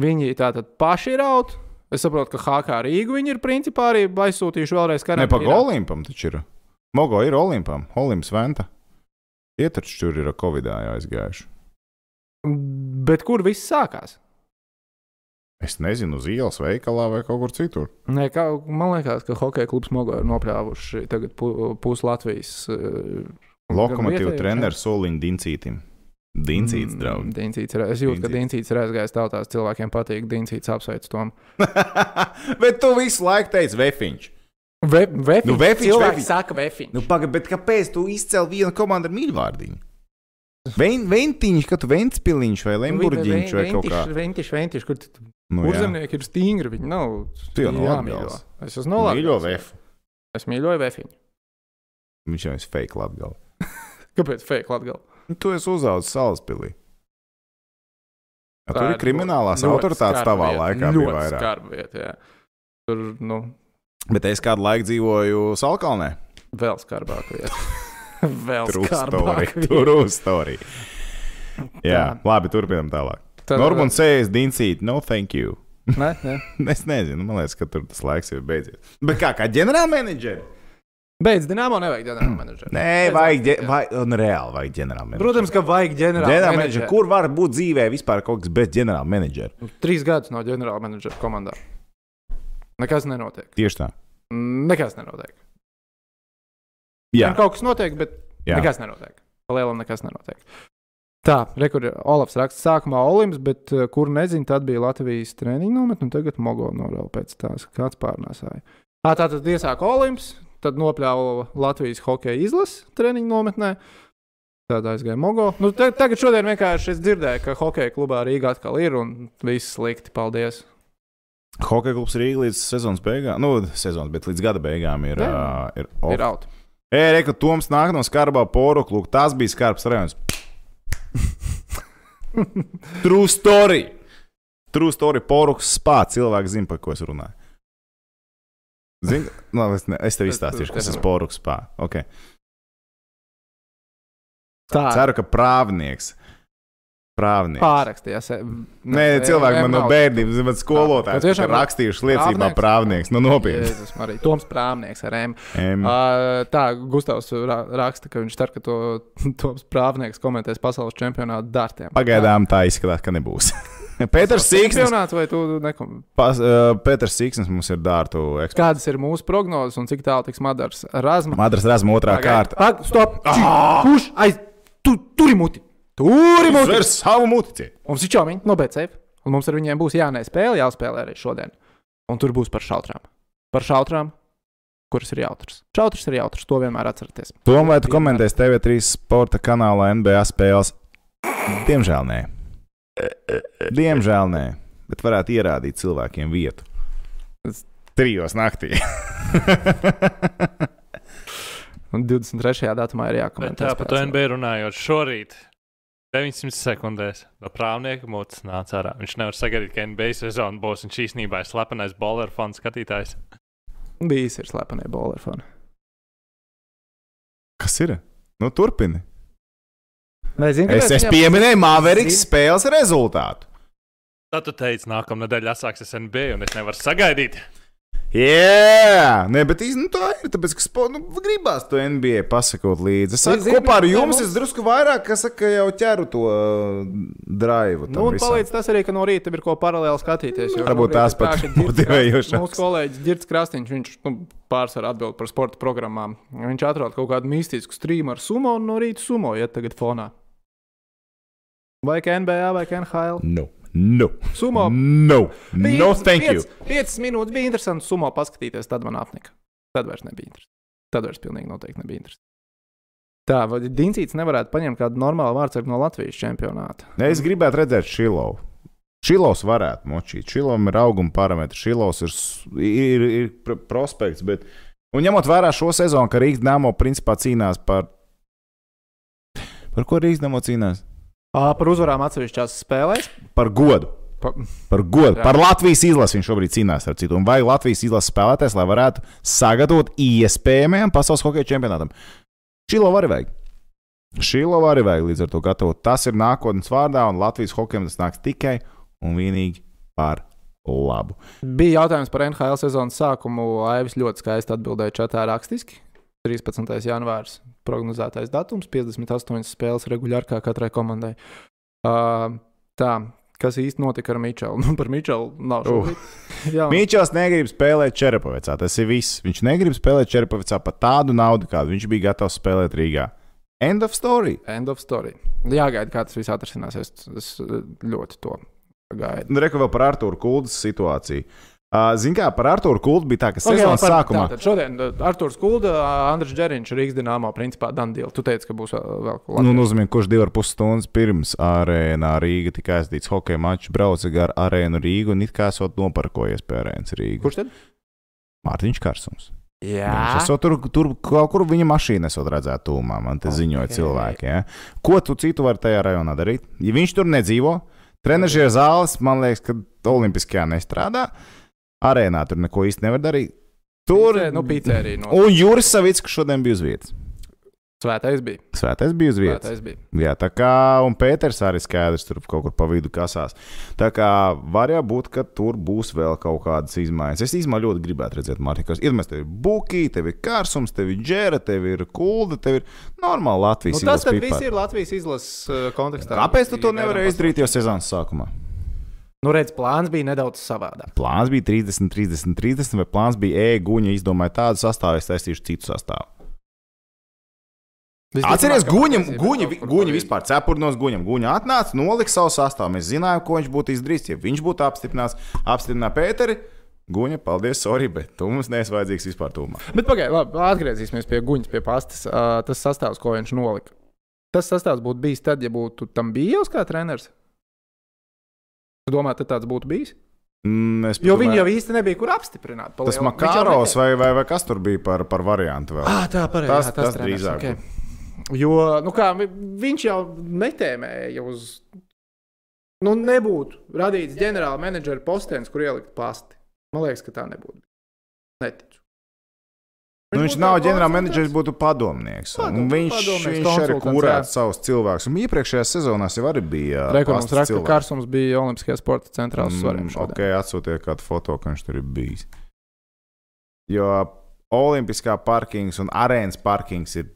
S1: Viņi tātad paši ir out. Es saprotu, ka HK Rīgu viņi ir principā arī aizsūtījuši vēlreiz
S3: Ne
S1: karantīnā.
S3: pa Olimpam taču ir. Mogo ir Olimpam, Olimps Venta. Tie taču tur ir ar Covid-19 aizgājuši.
S1: Bet kur viss sākās?
S3: Es nezinu, uz ielas, veikalā vai kaut kur citur.
S1: Nē, kā, man liekas, ka hokeja klubs Mogo ir nopļāvuši tagad pu- pusi Latvijas. eh,
S3: Lokomotīva
S1: vietējo,
S3: treneris Soliņš Dincītam. Dincīts,
S1: Mm,
S3: draugs.
S1: Dincīts ir. Es jūtu, ka
S3: Dincīts.
S1: Diencīts ir aizgājis tautās. Cilvēkiem patīk, Diencīts apsveic to.
S3: bet tu visu laiku teici, vefiņš.
S1: Ve, vefiņš,
S3: Nu, vefiņš,
S1: cilvēki
S3: vefiņš.
S1: saka, vefiņš.
S3: Nu, paga, bet kāpēc tu izcēli vienu komandu ar mīļvārdiņu? Vein, ventiņš, kā tu ventspiliņš vai lemburģiņš vai kaut kā.
S1: Ventiš, ventiš, kur tu-
S3: Nu, jā.
S1: kurzemnieki ir stingri, viņi nav.
S3: Tu jau no
S1: jāmīļo.
S3: Latgales.
S1: Es esmu no
S3: Mīļo
S1: Latvijas.
S3: vefu.
S1: Es mīļoju vefiņu.
S3: Viņš jau ir fake latgal.
S1: Kāpēc fake Latgal?
S3: Nu, tu esi uzaugusi Salaspilī. Ja tur
S1: Tā
S3: ir kriminālās autoritātes tavā laikā bija
S1: Ļoti
S3: vairāk.
S1: skarba vieta, jā. Tur, nu,
S3: Bet es kādu laiku dzīvoju Salkalnē.
S1: vēl skarbāk vieta. vēl
S3: True story.
S1: skarbāk vieta.
S3: True story. Jā, labi, turpinam tālāk.
S1: Tad- eh,
S3: Normons sēž dincīt, no thank you.
S1: Nē, nē.
S3: Es nezinu, man liekas, ka tur tas laiks ir beidzies. Bet kā, kā ģenerālmenedžeri?
S1: Beidz, Dienāmo nevajag ģenerāla menedžera.
S3: Mm. Nē, vajag, ģe- vai- un reāli vajag ģenerālmenedžeri.
S1: Protams, ka vajag ģenerāla
S3: Ģenerālmenedžeri,
S1: menedžera.
S3: kur var būt dzīvē vispār kaut kas bez ģenerālmenedžera?
S1: Trīs gadus nav ģenerāla menedžera komandā. Nekas nenotiek.
S3: Tieši tā.
S1: Nekas nenotiek.
S3: Jā,
S1: Jā. Kaut kas notiek, bet Jā.
S3: jā.
S1: nekas nenotiek. Lielam nekas nenotiek. Tā, rekurbi Olafs raksta, sākumā Olimps, bet eh, kur nezinu, tad bija Latvijas treniņu nometne, un tagad Mogolno vēl pēc tās kāds pārnēsāja. Tā, tā tad iesāka Olimps, tad nopļāva Latvijas hokeja izlases treniņu nometnē. Tad aizgāja Mogo. Nu, te, tagad šodien vienkārši es dzirdēju, ka hokeja klubā Rīgā atkal ir un viss slikti. Paldies.
S3: Hokeja klubs Rīgā līdz sezonas beigām, nu, sezonas, bet līdz gada beigām ir.
S1: Jā.
S3: Uh, ir
S1: Oh.
S3: off.
S1: Ir out.
S3: Ei, Reku, Toms nāk no skarbā poruka. Lūk, tas bija skarbs rajonus. True story! True story, poruks spā. Cilvēki zina, par ko es runāju. Zini, no, es, ne, es tev
S1: Es-
S3: izstāstīšu,
S1: es
S3: kas ir
S1: nezinu.
S3: poruks spā. Okay.
S1: Tā
S3: Ceru, ka prāvnieks. Prāvnieks.
S1: pārakstījās.
S3: Nē, cilvēki man no bērnības, man
S1: Bet
S3: skolotājs
S1: tiešām
S3: ir rakstījuši liecībā
S1: prāvnieks?
S3: prāvnieks. Nu, nopietni. Mm.
S1: Jēzus, arī Toms Prāvnieks ar M.
S3: Em,
S1: Uh, tā, Gustavs ra raksta, ka viņš cer, ka to, Toms Prāvnieks komentēs pasaules čempionātu dartiem.
S3: Pagaidām tā izskatās, ka nebūs. Pēters Sīksnis.
S1: Čempionāts vai tu nekom...
S3: Pas, uh, Pēters Sīksnis mums ir dārtu eksperts.
S1: Kādas ir mūsu prognozes un cik tālu tiks Madars Razma?
S3: Madras Rasmus otrā
S1: Pagaid.
S3: kārta. Ah!
S1: Pag, stop! Čī! Kurš aiz... Tu, turi muti! Turi muti!
S3: Uzver savu mutici.
S1: Mums ir čomiņi, no BCF, un mums ar viņiem būs jānē spēle, jāspēlē arī šodien. Un tur būs par šautrām. Par šautrām, kuras ir jautras. Šautras ir jautras, to vienmēr atcerieties.
S3: Tomēr tu komentēsi TV3 sporta kanālā NBA spēles. Diemžēl nē. Diemžēl nē. Bet varētu ierādīt cilvēkiem vietu.
S1: Es-
S3: Trijos naktī.
S1: Un 23. datumā ir
S2: Bet
S1: jākomentē.
S2: tā, par to NBA runājot, šorīt 900 sekundēs no prāvnieka mutes nāca ārā. Viņš nevar sagaidīt, ka NBA sezona būs un šīs nībā ir slepenais bowler fans skatītājs.
S1: Bijis ir slepenie bolerfoni.
S3: Kas ir? Nu, turpini.
S1: Nezinu,
S3: Es, es pieminēju Mavericks spēles rezultātu.
S2: Tad tu teici, nākamā nedēļa sāksies NBA, un es nevaru sagaidīt.
S3: Jā, nē, bet īstenībā nu, tā ir. Tāpēc, ka spo, nu, gribās to NBA pasakot līdzi. Es saku,
S1: Zini,
S3: kopā ar
S1: nē,
S3: jums
S1: mums-
S3: es drusku vairāk, kas saka, jau ķeru to uh, drāvu.
S1: Nu, un palīdz tas arī, ka no rīta ir ko paralēli skatīties. jo
S3: Varbūt
S1: šobrīd
S3: tās
S1: ir
S3: pat
S1: tā, ka Girts
S3: motivējošākas.
S1: Krasniņš- Mūsu kolēģis Girts Krasniņš, viņš nu, pārsvarā atbild par sporta programmām. Viņš atrod kaut kādu mistisku streamu ar sumo un no rīta sumo iet tagad fonā. Vai kā NBA vai kā NHL?
S3: No, no,
S1: Sumo.
S3: no, no, nu, thank you.
S1: 5 minūtes bija interesanti sumo paskatīties, tad man apnika. Tad vairs nebija interesanti. Tad vairs pilnīgi noteikti nebija interesanti. Tā, vai Diencīts nevarētu paņemt kādu normālu vārdsargu no Latvijas čempionāta?
S3: Nē, es gribētu redzēt šilovu. Šilovs varētu močīt. Šilovam ir auguma parametri. Šilovs ir, s- ir, ir pr- prospekts. Bet... Un ņemot vērā šo sezonu, ka Rīgas Dāmo principā cīnās par. Par ko Rīgas Dāmo cīnās?
S1: Ā, Par uzvarām atsevišķās spēlēs.
S3: Par godu.
S1: Pa-
S3: Par godu.
S1: Jā.
S3: Par Latvijas izlasi viņš šobrīd cīnās ar citu. Un vai Latvijas izlases spēlētājs, lai varētu sagatavot iespējamajam pasaules hokeja čempionātam? Šilo arī vajag. Šilo arī vajag līdz ar to gatavot. Tas ir nākotnes vārdā, un Latvijas hokejam tas nāks tikai un vienīgi par labu.
S1: Bija jautājums par NHL sezonas sākumu. Aivis ļoti skaisti atbildēja čatā rakstiski. 13. janvārs - prognozētais datums, 58 spēles regulāri kā katrai komandai. Uh, tā, kas īsti notika ar Mičelu? Nu, par Mičelu nav
S3: Uh.
S1: šobrīd. Jā,
S3: Mīčels negrib spēlēt Čerpovicā. Tas ir viss. Viņš negrib spēlēt Čerpovicā par tādu naudu, kādu viņš bija gatavs spēlēt Rīgā. End of story.
S1: End of story. Jāgaida, kā tas viss atrisināsies. Es eh, ļoti to gaidu.
S3: Nu, Reikot vēl par Arthuru Kuldas situāciju. Uh, Ziniet, kā par Arthuru Kuldu bija tā, ka sezonas okay, sākumā.
S1: Tātad šodien Arthurs Kulda, uh, Andris Džeriņš, Rīgas Dienāmo, principā Dandīla. Tu teici, ka būs vēl vēl kaut
S3: Nu,
S1: kas
S3: nozīmē, kurš divas ar pus stundas pirms arēnā Rīga tika aizdīts hokeja mačs, brauca gar arēnu Rīgu un it kā esot noparkojies pie arēnas Rīgas.
S1: Kurš tad?
S3: Mārtiņš Kārsums. Viņš
S1: Jā,
S3: esot tur, tur kaut kur viņa mašīna esot redzēt tūmā, man te
S1: Ok.
S3: ziņoja cilvēki. Ja? Ko tu citu vari tajā rajonā darīt? Ja viņš tur nedzīvo, trenižie zāles, man liekas, ka Olimpiskajā nestrādā, arēnā tur neko īsti nevar darīt. Tur,
S1: Pīcē- nu, pīcē arī notiek.
S3: Un Juris Savicks šodien bija uz vietas.
S1: svētais bija.
S3: Svētais bija uz vietas.
S1: Svētais bija.
S3: Jā, tā kā un Pēters arī skaidrs tur kaut kur pa vidu kasās. Tā kā var jau būt, ka tur būs vēl kaut kādas izmaiņas. Es īstenībā ļoti gribētu redzēt, Mārtiņkas, iedomājieties, tev ir buki, tev ir kārsums, tev ir džēra, tev ir kulda, tev ir normāli
S1: Nu,
S3: Latvijas
S1: tas
S3: izlases
S1: tad
S3: pipari.
S1: viss ir Latvijas izlases uh, kontekstā.
S3: Kāpēc tu to
S1: Gaidām
S3: nevarēji izdarīt jau sezonas sākumā?
S1: pas- Nu, redz, plāns bija nedaudz savādāk.
S3: Plāns bija 30, 30, 30, vai plāns bija e-guņa, izdomāja tādu sastāvu, es taisīšu citu sastāvu.
S1: Visticamāk,
S3: Atcerieties,
S1: ka
S3: guņam,
S1: patiesībā
S3: guņam,
S1: kaut kur
S3: guņam
S1: bija.
S3: vispār cepurnos guņam. Guņa atnāca, nolika savu sastāvu. Mēs zinājām, ko viņš būtu izdarījis. Ja viņš būtu apstiprināts, apstiprināja Pēteri, guņa, paldies, sorry, bet tu mums neesi vajadzīgs vispār tūmā.
S1: Bet pagaidiet, labi, atgriezīsimies pie guņas, pie pastas. Uh, tas sastāvs, ko viņš nolika. Tas sastāvs būtu bijis tad, ja būtu tam bijis kā treneris. Tu domā, tad tāds būtu bijis?
S3: Mm, es
S1: Jo
S3: pat
S1: viņi
S3: domāju,
S1: jau īsti nebija, kur apstiprināt. pa
S3: Tas
S1: lielu-
S3: Makāros
S1: Viņš jau
S3: vai, vai, vai kas tur bija par, par variantu vēl?
S1: Ah, tā pareizi.
S3: Tas-
S1: jā,
S3: tas
S1: treneris,
S3: drīzāk
S1: okei. Jo nu kā, vi- viņš jau netēmēja uz. Nu, nebūtu radīts ģenerāla menedžera postenis, kur ielikt pasti. Man liekas, ka tā nebūtu. Neticu.
S3: Nu, viņš
S1: būtu
S3: nav
S1: kā
S3: ģenerālmenedžers,
S1: konsultants.
S3: būtu padomnieks. Un
S1: Padom-
S3: viņš,
S1: padomnieks,
S3: viņš arī
S1: konsultants, jā.
S3: kurētu savus cilvēkus. Un Iepriekšējā sezonā jau arī bija. ā,
S1: Rekords mums
S3: pastas
S1: raksta,
S3: cilvēki.
S1: ka Kārsums bija Olimpiskajā sporta centrā uz svariem.
S3: Uh, Mm,
S1: šodien.
S3: Ok, atsūtiet kādu foto, ka viņš tur ir bijis. Jo Olimpiskā parkings un arēnas parkings ir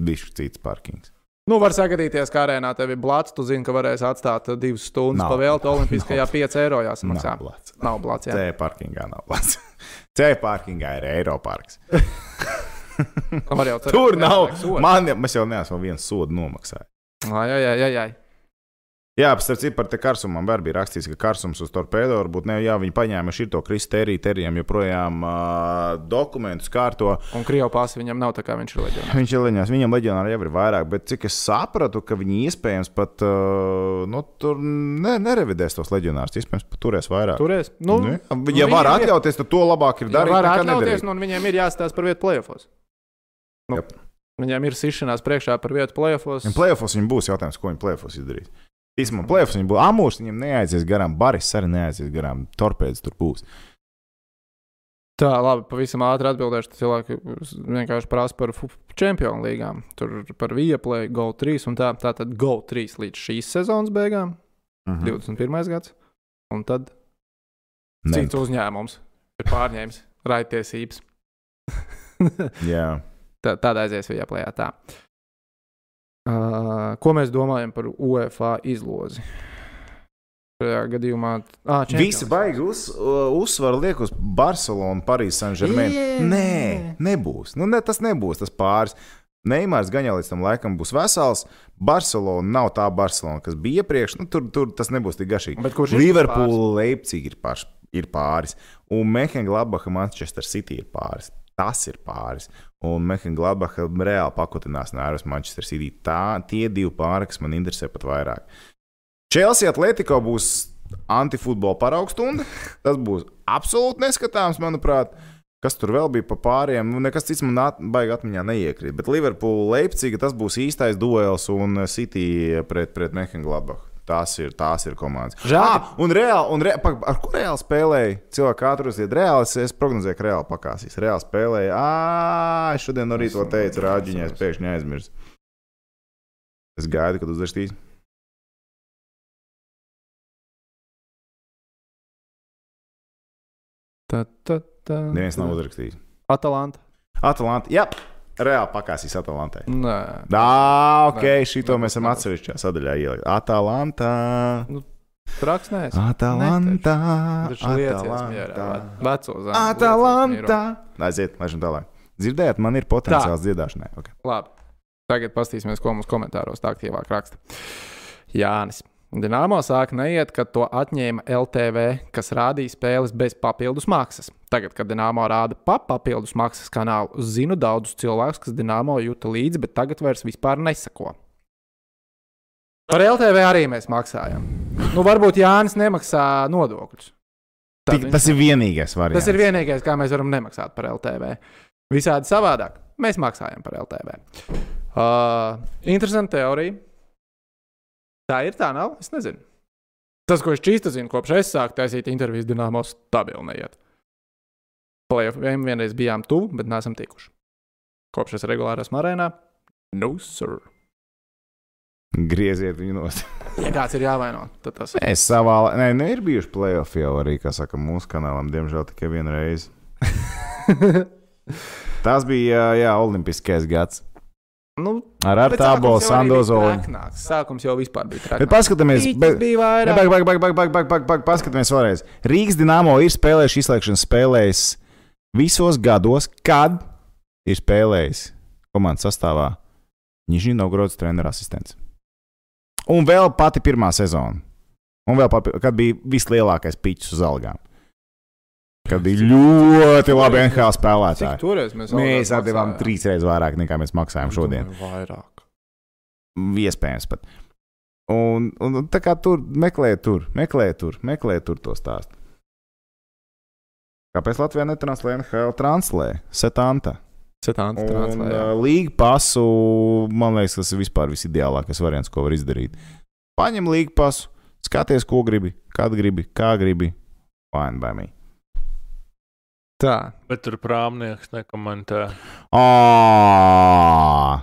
S3: bijis cits parkings.
S1: Nu, var sagadīties, kā arēnā tev ir blāts. Tu zini, ka varēs atstāt eh, divas stundas
S3: Nav.
S1: pavēlēt Olimpiskajā
S3: Nav.
S1: 5 eiro jāsamaksā.
S3: Nav blāts.
S1: Nav blāts. Jā.
S3: C parkingā nav blāts. C parkingā ir Eiroparks.
S1: Nu, var jau cerēt,
S3: Tur
S1: ka
S3: nav.
S1: jāsamaksā sodu.
S3: Man, mēs jau neesam vienu sodu nomaksājuši.
S1: Ai, ai, ai, ai, ai.
S3: Jā, starp citu, par te karsumu man arī bija rakstīts, ka karsums uz torpedo varbūt ne. Jā, viņi paņēma šito kristēri, terijam joprojām uh, dokumentus kārto.
S1: Un krievu pasi viņam nav, tā kā viņš ir leģionārs.
S3: Viņš ir leģionārs, viņam leģionāri jau ir vairāk, bet cik es sapratu, ka viņi iespējams pat uh, nu, tur ne, nerevidēs tos leģionārus. Iespējams, pat turēs vairāk.
S1: Turēs. Nu,
S3: Nu, ja ja
S1: viņiem
S3: var
S1: ir-
S3: atļauties, tad to labāk ir
S1: Darīt,
S3: darīt.
S1: var
S3: nekā
S1: atļauties,
S3: nedarīt.
S1: nu, un viņiem ir jāstāsta par vietu plēsofos. Nu,
S3: Jep.
S1: viņiem ir sišanās priekšā par vietu plēsofos.
S3: Viņam plēfos viņam būs jautājums, ko viņi plēfos izdarīs. Īsumā plēfos viņam būs. Amūrs viņam neaizies garām, baris arī neaizies garām, torpēdas tur būs.
S1: Tā, labi, pavisam ātri atbildēšu. Tad Cilvēki vienkārši prasa par fu- čempionu līgām. Tur par Vieplay, Go 3 un tā. Tā tad Go 3 līdz šīs sezonas beigām, Mhm.
S3: Mm.
S1: 21. gads. Un tad
S3: Nē,
S1: cits uzņēmums ir pārņēmis raidtiesības.
S3: jā.
S1: Tā- Tādā aizies Vieplay. Tā. Uh, ko mēs domājam par UEFA izlozi? Šajā gadījumā ah,
S3: Visi baigi uz, uh, uzsvaru liek uz Barcelonu, Parīzi, Saint-Germain.
S1: Jā.
S3: Nē, nebūs. Nu, ne, tas nebūs tas pāris. Neimārs gan jau līdz tam laikam būs vesels. Barcelona nav tā Barcelona, kas bija iepriekš. Nu, tur, tur tas nebūs tik garšīgi.
S1: Bet kurš ir
S3: Liverpoola, Leipzig ir, pārs, ir pāris. Un Mehenglābaha, Manchester City ir pāris. Tas ir pāris. Un Mehenglābaha reāli pakotinās no ārpus Manchester City. Tā, tie divi pāri, kas man interesē pat vairāk. Chelsea Atletico būs antifutbola paraugstunda. Tas būs absolūti neskatāms, manuprāt. Kas tur vēl bija pa pāriem? Nu, nekas cits man at, baigi atmiņā neiekrīt. Bet Liverpoola, Leipziga tas būs īstais duels un eh, City pret, pret Mehenglābahu. Tās ir, tās ir komandas.
S1: Žēl,
S3: Ah, un reāli, un re, pak, ar kur reāli spēlēja? Cilvēki atrasties reāli, es- es prognozēju, ka reāli pakāsīs. Reāli spēlēja. Ah, es šodien no rīta to teicu, rāģiņā, es pēkšņi aizmirsu. Es gaidu, kad uzrakstīs.
S1: Tā, tā, tā.
S3: Neviens nav uzrakstījis.
S1: Atalanta.
S3: Atlantija. Jā, reāli pakāsīs Atlantai.
S1: Nē.
S3: Jā, ok, šito
S1: Nē,
S3: mēs esam
S1: nē.
S3: atsevišķā sadaļā ielikt. Atlantā.
S1: Traksnēs.
S3: Atlantā.
S1: Viņš liecās mierā. Veco zemi.
S3: Atlantā. Aiziet, laižam tālāk. Dzirdējāt, man ir potenciāls dziedāšanai. Okay.
S1: Labi. Tagad paskatīsimies, ko mums komentāros tā aktīvāk raksta. Jānis. Dienāmo sāka neiet, kad to atņēma LTV, kas rādīja spēles bez papildus maksas. Tagad, kad Dienāmo rāda pa papildus maksas kanālu, zinu daudzus cilvēkus, kas Dienāmo jūta līdzi, bet tagad vairs vispār nesako. Par LTV arī mēs maksājam. Nu, varbūt Jānis nemaksā nodokļus. Tad
S3: Tik,
S1: viņš
S3: tas ir vienīgais variants.
S1: Tas ir vienīgais, kā mēs varam nemaksāt par LTV. Visādi savādāk. Mēs maksājam par LTV. Uh, interesanta teorija. Tā ir tā, nav? Es nezinu. Tas, ko es čīstu zinu, kopš es sāku taisīt intervijas dīnāmā, stabilu neiet. Plēsoņiem vienreiz bijām tuvu, bet neesam tikuši. Kopš es regulāri esmu arēnā, no sir.
S3: Grieziet viņu nost.
S1: Ja kāds ir jāvaino, tad tas ir.
S3: Es savā laikā, nē, nu, ir bijuši playoffs jau arī, kā saka, mūsu kanālam, diemžēl tikai vienu reizi. Tas bija, jā, olimpiskais gads.
S1: nu,
S3: Ar
S1: bet
S3: Artābolu,
S1: sākums jau arī bija
S3: Sandozolu.
S1: traknāks. Sākums jau vispār bija
S3: Bet
S1: traks.
S3: paskatāmies,
S1: Tas
S3: bet,
S1: bija
S3: Ne,
S1: vairāk.
S3: Baig, baig, baig, baig, baig, baig, baig, baig, paskatāmies vēlreiz. Rīgas Dienāmo ir spēlējuši izslēgšanas spēlēs visos gados, kad ir spēlējis komandas sastāvā Nižņina Novgorodas treneru asistents. Un vēl pati pirmā sezona. Un vēl, papi- kad bija vislielākais pičs uz algām. Kad bija ļoti labi NHL
S1: Cik
S3: spēlētāji.
S1: toreiz mēs
S3: Mēs
S1: algās
S3: atdevām
S1: maksājām?
S3: trīs reizes vairāk nekā mēs maksājām šodien.
S1: Domāju, Vairāk.
S3: iespējams pat. Un, un, un tā kā tur meklēja, tur meklēja, tur meklēja tur to stāstu. Kāpēc Latvijā netranslē NHL translē? Setanta. Un,
S1: Citāns
S3: uh,
S1: translējums.
S3: Līga pasu, man liekas, tas ir vispār visideālākais variants, ko var izdarīt. Paņem līga pasu, skaties, ko gribi, kad gribi, kā gribi. Fine by me.
S1: Tā.
S2: Bet tur prāmnieks nekomentē.
S3: Ā!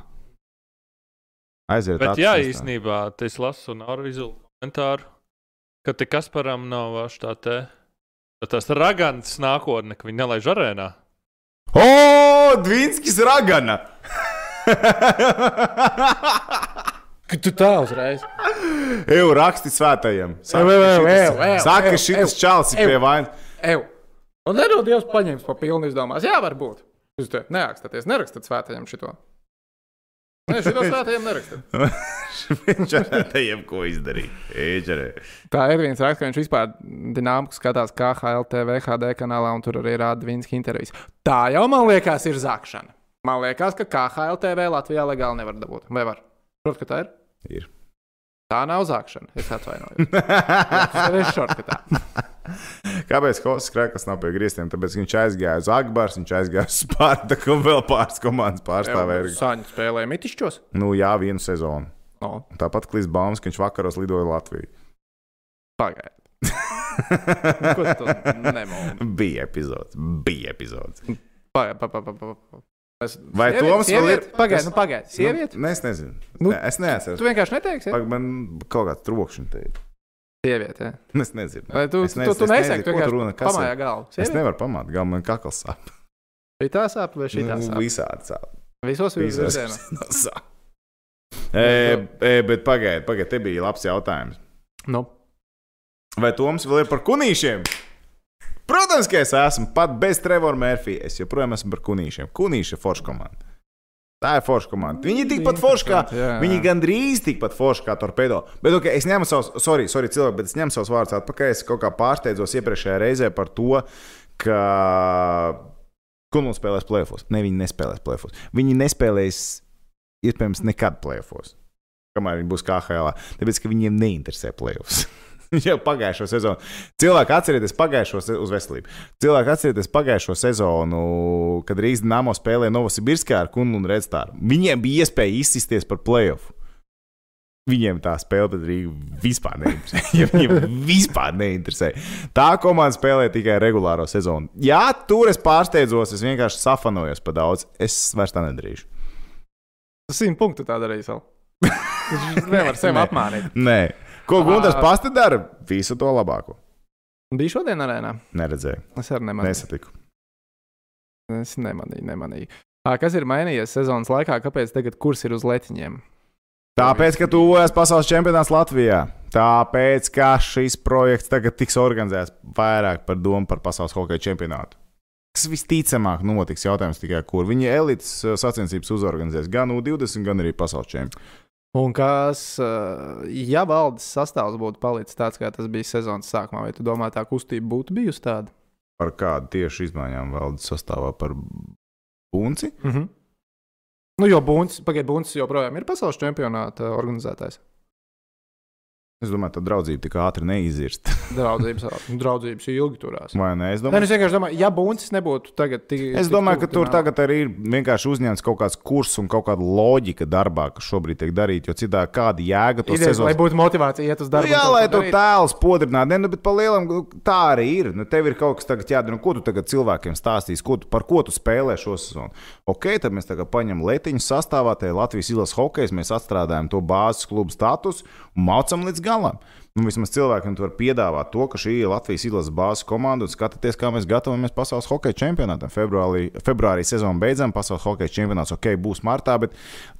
S3: Aiziet,
S2: Bet jā,
S3: atrast, tā.
S2: īstenībā, tas lasu un ar vizuālu komentāru, ka te Kasparam nav vairs tā te. tā Tas ragants nākotne, ka viņi nelaiž arēnā.
S3: O, Dvīnskis Ragana!
S1: Kad tu tā uzreiz.
S3: Eju raksti svētajiem. Saka,
S1: Ev, ev, ev,
S3: šitas-
S1: ev, ev,
S3: Saka,
S1: ev,
S3: šis
S1: ev,
S3: čels ir
S1: ev.
S3: pie vainas.
S1: Eju. Un nedod Dievs paņems pa pilnu izdomās. Jā, varbūt. Jūs te neakstāties, nerakstat svētajiem šito. Nē, šito svētajiem nerakstat.
S3: Viņš ar tejiem ko E, izdarīja. Ēģerē.
S1: Tā ir viens raksts, ka viņš vispār dināmiski skatās KHLTV, HD kanālā, un tur arī rāda Vinska intervijas. Tā jau man liekas, ir zākšana. Man liekas, ka KHLTV Latvijā legāli nevar dabūt. Vai var? Protams, ka tā ir.
S3: Ir.
S1: Tā nav zākšana. Es atvainojos. Tas ir šortkatā.
S3: Kāpēc Hosas Krekls nav pie griestiem? Tāpēc, ka viņš aizgāja uz Agbaru, viņš aizgāja uz Spārtaku un vēl pāris komandas pārstāvēja.
S1: Sāņu spēlēja mitišķos.
S3: Nu, jā, vienu sezonu.
S1: No,
S3: Un Tāpat Klīs Bauns, ka viņš vakaros lidoja Latviju.
S1: pagaidiet. Ko tu nemūli?
S3: Bija epizodes. Bija epizodes.
S1: Pagaidiet, pagaidiet. Pa, pa, pa. Es-
S3: Vai
S1: Sieviete,
S3: Toms vēl ir?
S1: sieviete? Pagaidiet,
S3: Tas-
S1: nu, pagaidiet. Sieviete?
S3: Nu, ne, es nezinu.
S1: Nu,
S3: Nu, ne, es
S1: Tu
S3: neesmu.
S1: vienkārši neteiksi? Ja?
S3: Pag, man kaut kāds trokšņi te ir.
S1: Sieviete. ja?
S3: Es nezinu.
S1: Vai tu,
S3: Es
S1: tu,
S3: nezinu,
S1: tu
S3: es nezinu,
S1: nesaki,
S3: ko
S1: ka
S3: tu runā, kas
S1: pamājā
S3: ir.
S1: galvu?
S3: Es
S1: Sieviete?
S3: nevaru pamanīt, gan man kakls sāp.
S1: Šī tā sāp vai šī tā
S3: Nu,
S1: sāp?
S3: Visādi sāp.
S1: Visos
S3: Visās
S1: virzienos.
S3: virzienos sāp. E, e, bet pagaidiet, pagaid, te bija labs jautājums.
S1: Nu,
S3: Vai Toms vēl ir par kunīšiem? Protams, ka es esmu pat bez Trevora Mērfija. Es joprojām esmu par kunīšiem. Kunīša forša komanda. Tā ir forša komanda. Viņi ir tikpat forši kā.
S1: Interesanti, jā.
S3: Viņi gandrīz tikpat forši kā torpedo. Bet, ok, es ņemu savus, sorry, sorry cilvēki, bet es ņemu savus vārdus atpakaļ. Es kaut kā pārsteidzos iepriekšējā reizē par to, ka Kunūna spēlēs plēfos. Ne, viņi nespēlēs plēfos. Viņi nespēlēs iespējams nekad plēfos. Kamēr viņi būs KHL, tāpēc ka viņiem neinteresē plēfos. Jau pagājušo sezonu. Cilvēki atcerieties pagājušo sezonu, uz veselību. Cilvēki atcerieties pagājušo sezonu, kad Rīgas Dienāmo spēlēja Novosibirskā ar Kunu un Redstāru. Viņiem bija iespēja izsisties par plēsofu. Viņiem tā spēle pret Rīgu vispār neinteresē. Ja Viņiem vispār neinteresē. Tā komanda spēlē tikai regulāro sezonu. Jā, tur es pārsteidzos, es vienkārši safanojos par daudz. Es vairs tā nedarīšu.
S1: simt punktu tā darīja savu. Viņš nevar sevi
S3: Nē.
S1: apmānīt.
S3: Nē, ko Gunārs
S1: Ā.
S3: Pasta dara? Visu to labāko.
S1: Bija šodien arēnā.
S3: Neredzēju,
S1: Es arī nemanīju.
S3: nesatiku.
S1: Es nemanīju, nemanīju. Ā, Kas ir mainījies sezonas laikā? Kāpēc tagad kurs ir uz letiņiem?
S3: Tāpēc, ka tuvojas pasaules čempionāts Latvijā. Tāpēc, ka šis projekts tagad tiks organizēts vairāk par domu par pasaules hokeja čempionātu. Kas visticamāk notiks, jautājums tikai kur. Viņi elites eh, sacensības uzorganizēs gan U20, gan arī pasaules čempionātu.
S1: Un kas, ā, ja valdes sastāvs būtu palicis tāds, kā tas bija sezonas sākumā, vai tu domā, tā kustība būtu bijusi tāda?
S3: par kādu tieši izmaiņām valdes sastāvā par bunci.
S1: Mm -hmm. Nu, jo Bunčs, pagaidiet, Bunčs joprojām ir pasaules čempionāta organizētājs.
S3: Es domāju, tā draudzība tik ātri neizirst.
S1: Draudzības, draudzības ilgi turās.
S3: Vai ne?
S1: Nē,
S3: Es
S1: nu,
S3: domāju,
S1: es vienkārši domāju, ja Bunčs nebūtu tagad tik.
S3: es
S1: tik
S3: domāju ka
S1: tuvu
S3: tur
S1: finālam.
S3: tagad arī ir vienkārši uzņemts kaut kāds kurs un kaut kāda loģika darbā, kas šobrīd tiek darīta. Jo citādi kāda jēga to
S1: Idejas, lai
S3: sezonā.
S1: būtu motivācija iet uz
S3: Nu,
S1: darbu.
S3: jā,
S1: un
S3: lai
S1: kaut
S3: to
S1: ko darīt.
S3: tēlu podrinātu. Nē, nu, bet par lielam nu, tā arī ir. Nu, tev ir kaut kas tagad jādara. Nu, ko tu tagad cilvēkiem stāstīsi? Ko tu, par ko tu spēlē šo sezonu? Ok, tad mēs tagad paņemam letiņu sastāvā, te Latvijas ilas hokeja, mēs atstrādājam to bāzes klubu status un mācam līdz galam. Nu, vismaz cilvēkiem tu vari piedāvāt to, ka šī ir Latvijas ilas bāzes komanda un skatieties, kā mēs gatavojamies pasaules hokeja čempionātam. Februārī, februārī sezonu beidzam, pasaules hokeja čempionāts ok, būs martā, bet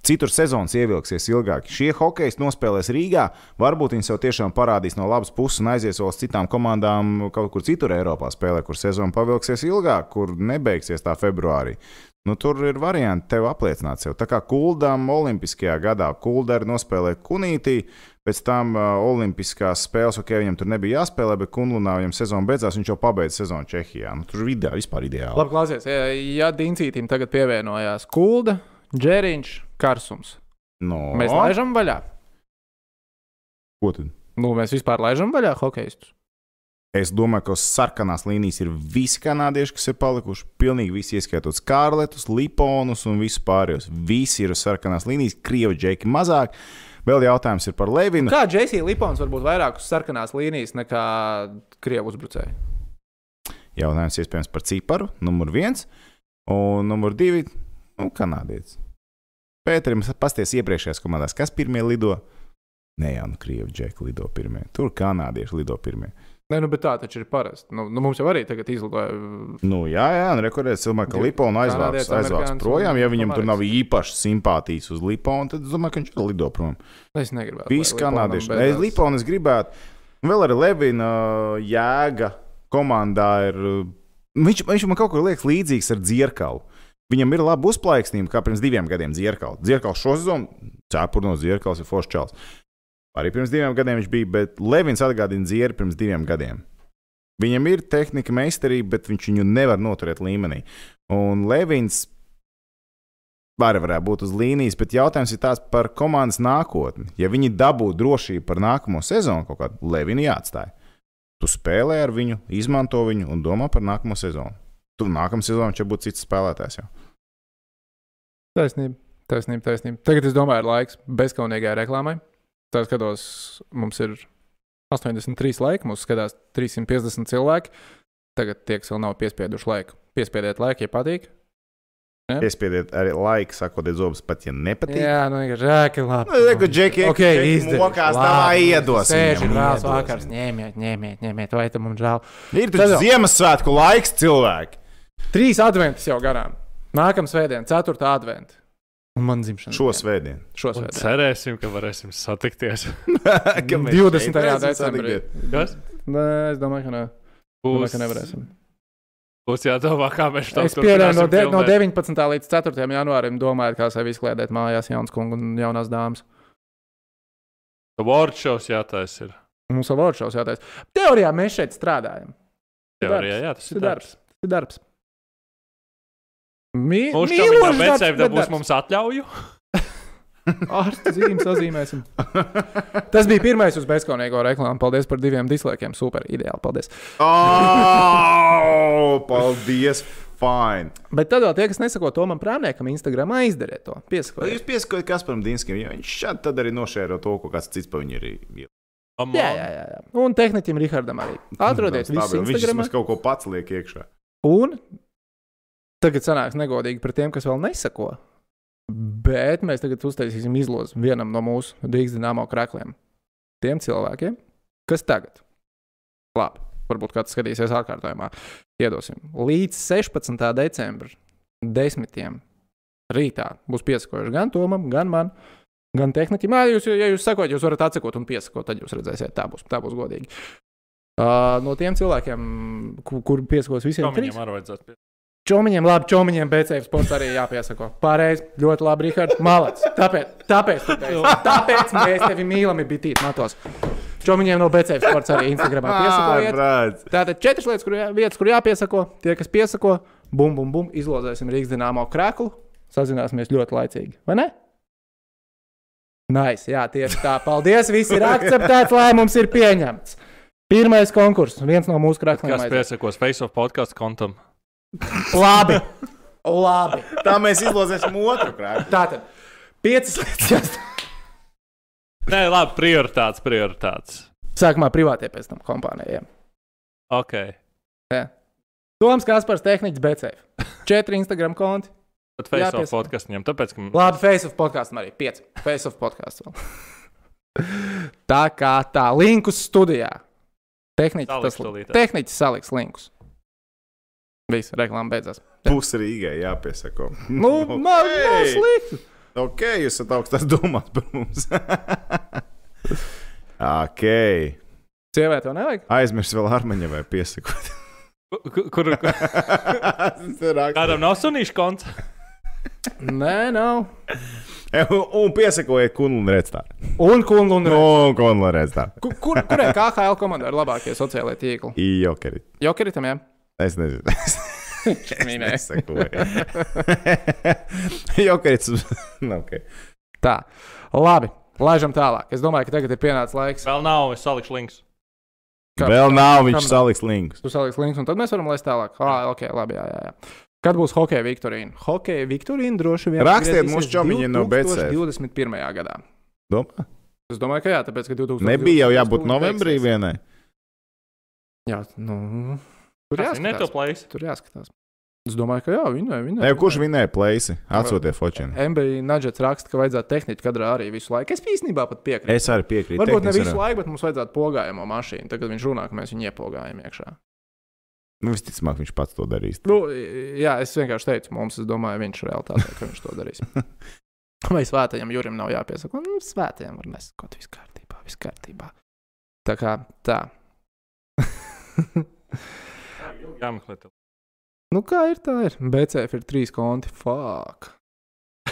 S3: citur sezonas ievilksies ilgāk. Šie hokeji nospēlēs Rīgā, varbūt viņi sev tiešām parādīs no labas puses un aizies vēl uz citām komandām kaut kur citur Eiropā spēlē, kur sezona pavilksies ilgāk, kur nebeigsies tā februārī. Nu, tur ir varianti tev apliecināt sev. Tā kā Kuldam Olimpiskajā gadā Kuldari nospēlēja Kunītī, pēc tam uh, Olimpiskās spēles, ok, viņam tur nebija jāspēlē, bet Kunlunā viņam sezona beidzās, viņš jau pabeidza sezonu Čehijā. Nu, tur ir ideāli, vispār ideāli.
S1: Labi, klausies, ja, ja Diencītam tagad pievienojās Kulda, Džeriņš, Karsums.
S3: No,
S1: Mēs oh. laižam vaļā.
S3: ko tad?
S1: Nu, mēs vispār laižam vaļā hokeistus.
S3: Es domāju, ka uz sarkanās līnijas ir visi kanādieši, kas ir palikuši. Pilnīgi visi, ieskaitot skārletus, liponus un visus pārējos. Visi ir uz sarkanās līnijas, krievi džeki mazāk. Vēl jautājums ir par Levinu.
S1: Kā Džeksija Lipons var būt vairāk uz sarkanās līnijas nekā krievu uzbrucēji?
S3: Jautājums iespējams par ciparu, numur viens. Un numur divi - nu, kanādietis. Pēterim, pasties iepriekšējās komandās, kas pirmie lido? Nē, jau nu krievi džeki lido pirmie. Tur kanādieši lido pirmie.
S1: Nē, nu, bet tā taču ir parasti. Nu, nu, mums jau arī tagad izlidoja. mm,
S3: Nu, jā, jā, un rekurēt cilvēku Liponu aizvāks,
S1: Kanādietis,
S3: aizvāks
S1: amerikānis
S3: projām.
S1: un
S3: Ja viņam tur
S1: amerikānis.
S3: nav īpaši simpātijas uz Liponu, tad es domāju, ka viņš arī lido prom.
S1: Es negribu.
S3: Visi kanādieši. Es Liponu es gribētu. Un vēl arī Levina uh, jēga komandā ir. uh, Viņš, viņš man kaut kur liekas līdzīgs ar dzirkalu. Viņam ir laba uzplaiksnība, kā pirms diviem gadiem dzirkalu. Dzirkalu šo sezonu, cepurnos dzirkals ir foršs čels. Arī pirms diviem gadiem viņš bija, bet Levins atgādina dzirkalu pirms diviem gadiem. Viņam ir tehnika, meistarība, bet viņš viņu nevar noturēt līmenī. Un Levins var, varētu būt uz līnijas, bet jautājums ir tāds par komandas nākotni. Ja viņi dabū drošību par nākamo sezonu, kaut kādu Levinu jāatstāj. Tu spēlē ar viņu, izmanto viņu un domā par nākamo sezonu. Tur nākamā sezonā jau būs cits spēlētājs. Jau.
S1: Taisnība, taisnība, taisnība. Tagad es domāju, ir laiks bezkaunīgai reklāmai. Tā skatos, mums ir 83 laika, mums skatās 350 cilvēki. Tagad tie, kas vēl nav piespieduši laiku, piespiediet laiku, ja patīk.
S3: Piespiediet arī laiku, sakot, zobus pat, ja nepatīk.
S1: Jā, nu vienkārši rēķi labi.
S3: Nu, Reku, Džeki,
S1: Ok, izdarīts.
S3: Mokās tā
S1: Labi,
S3: iedos.
S1: Sēž
S3: viņam,
S1: ir vēls
S3: iedos
S1: vakars.
S3: viņam.
S1: Ņemiet, ņemiet, ņemiet, vai tam mums žēl.
S3: Ir
S1: Tad
S3: taču
S1: jau.
S3: Ziemassvētku laiks, cilvēki.
S1: Trīs adventus jau garām. Nākamā svētdiena, ceturtā adventa. Un man dzimšanas.
S3: Šo svētdienu.
S1: Šo
S2: Un
S1: svētdienu.
S2: cerēsim, ka varēsim satikties.
S3: Ka mēs
S1: 20.
S3: šeit esam
S1: decembrī.
S3: satikti.
S2: Kas?
S1: Nē, es domāju, ka nē. Mhm. Domāju, ka nevarēsim.
S2: Būs jādomā, kā mēs tam
S1: Es pieņēmu no, de, no 19. līdz 4. janvārim, domājot, kā sevi izkliedēt mājās, jauns kungs un jaunās dāmas.
S2: Workshops jātaisa. ir.
S1: Mums vēl vārds šaus jātais. Teorijā mēs šeit strādājam.
S2: Teorijā, jā, tas
S1: Tas
S2: ir
S1: ir
S2: darbs.
S1: Tas ir darbs. Mī,
S2: Mums jau ir
S1: mīlošs darbs,
S2: jāatcerās,
S1: bet
S2: ka būs
S1: darbs.
S2: mums atļauju.
S1: Ārsta zīmes sazīmēsim. Tas bija pirmais uz bezkaunīgo reklāmu. Paldies par diviem dislaikiem. Super, ideāli. Paldies.
S3: Au, Oh, Paldies! Fine!
S1: Bet tad vēl tie, kas nesako to man prāmniekam, Instagram aizdariet to. Piesakot.
S3: Jūs pieskatāt Kasparam Dīnskam, ja viņš šādi tad arī nošēro to, ko kāds cits pa viņu ir. ielicis.
S1: Jā, jā, jā. jā. Un tehnikam Rihardam arī. Atrodiet
S3: Tāds
S1: visu
S3: stabilu. Nu, Viņš
S1: Instagram.
S3: vismaz kaut ko pats liek iekšā.
S1: Un tagad sanāks negodīgi pret tiem, kas vēl nesako. Bet mēs tagad uztaisīsim izlozi vienam no mūsu Rīgas dīnāmo krākliem. Tiem cilvēkiem, kas tagad, labi, varbūt kāds skatīsies ārkārtojumā, iedosim līdz 16. decembrim, 10. rītā būs piesakojuši gan Tomam, gan man. Gan tehnikam, ja jūs, ja jūs sakot, jūs varat atsakot un piesakot, tad jūs redzēsiet, tā būs, tā būs godīgi. Uh, no tiem cilvēkiem, kur, kur piesakos visiem,
S2: Kam
S1: trīs,
S2: viņam arī vajadzētu? pie-
S1: Čomiņiem, labi, čomiņiem BCF sports arī jāpiesako. Pareizi, ļoti labi, Rihards. Malacis. Tāpēc, tāpēc, tu teici. tāpēc mēs tevi mīlam, ir bitīt, matos. Čomiņiem no BCF sports arī Instagramā piesakojiet.
S3: prāts!
S1: Tātad četras lietas, kur, jā, vietas, kur jāpiesako. Tie, kas piesako, bum, bum, bum, izlozēsim Rīgas dīnāmo krēklu. Sazināsimies ļoti laicīgi, vai ne? Nice, jā, tieši tā. Paldies, viss ir akceptēts, lēmums ir pieņemts. Pirmais konkurss, viens no mūsu krākliem.
S2: Kas
S1: aiziet.
S2: piesakos Face of podkāstu kontam?
S1: Labi, labi.
S3: Tā mēs izlozēsim otru krājumu.
S1: Tātad, piecas lietas. jāsaka.
S2: Nē, labi, prioritātes, prioritātes.
S1: Sākumā privātie, pēc tam kompānijiem.
S2: Ok.
S1: Toms Kaspars, tehniķis BCF. Četri Instagram konti.
S2: Tad Face of
S1: Jāpiesaka.
S2: podkāstu ņem, tāpēc, ka
S1: Labi, Face of podkāstam arī. Pieci. Face of podkāstam. tā kā tā. Linkus studijā. Tehniķis
S2: Saliks
S1: tas
S2: tūlītās.
S1: Tehniķis saliks linkus. Viss, reklāma beidzās.
S3: Pus Rīgai jāpiesako.
S1: Nu, man nav slikti.
S3: Ok, jūs esat augstās domās par mums. ok.
S1: Sieviete, tev nevajag?
S3: Aizmirst vēl armaņa vai piesakot.
S2: Kur- kur
S3: Tas ir rāk-
S2: kādam nav sunīšu konts?
S1: Nē, nav.
S3: un piesakot Kunlun Redstar.
S1: Un kungu
S3: Nu.
S1: un no.
S3: Un Kunlun Redstar.
S1: kur, kur, kurai KHL komandai ir labākie sociālie tīkli?
S3: Jokeri.
S1: Jokeritam, jā.
S3: Es nezinu.
S1: Mīnē.
S3: Es nesaku. Jokerits. nu, okay.
S1: Tā, labi, laižam tālāk. Es domāju, ka tagad ir pienācis laiks.
S2: Vēl nav, es salikšu links.
S1: Kā-
S3: Vēl nav, viņš
S1: Kam-
S3: saliks linkus.
S1: Tu saliks links, un tad mēs varam laist tālāk. Ah, ok, labi, jā, jā. jā. Kad būs hokeja Viktorīna? Hokeja Viktorīna droši vien.
S3: Rakstiet
S1: atgriezīsies
S3: mums, čomiņi, no BC.
S1: 2021. gadā.
S3: Domā?
S1: Es domāju, ka jā, tāpēc, ka 2020.
S3: Nebija jau jābūt novembrī vienai.
S1: Jā, nu. Tur
S2: Tas ir
S1: jāskatās.
S2: netoplējis.
S1: Tur jāskatās. Es domāju, ka jā, viņa ir.
S3: Ne, kurš vinēja plēsi? Atsūtie fociņi.
S1: MBI Nudžets raksta, ka vajadzētu tehniku kadrā arī visu laiku. Es īstenībā pat piekrītu.
S3: Es arī piekrītu.
S1: Varbūt ne
S3: tehniski
S1: visu
S3: varam.
S1: laiku, bet mums vajadzētu pogājamo mašīnu. Tagad viņš runā, ka mēs viņu iepogājam iekšā.
S3: Nu, visticamāk, viņš pats to darīs.
S1: Nu, jā, es vienkārši teicu, mums, es domāju, viņš realitātē, ka viņš to darīs. Vai svētajam Jurim nav jāpiesaka? Nu, svētajam var nesakot, viss kārtībā, viss kārtībā. Tā kā tā.
S2: Jāmeklē tev.
S1: nu, kā ir, tā ir. BCF ir trīs konti. Fāk.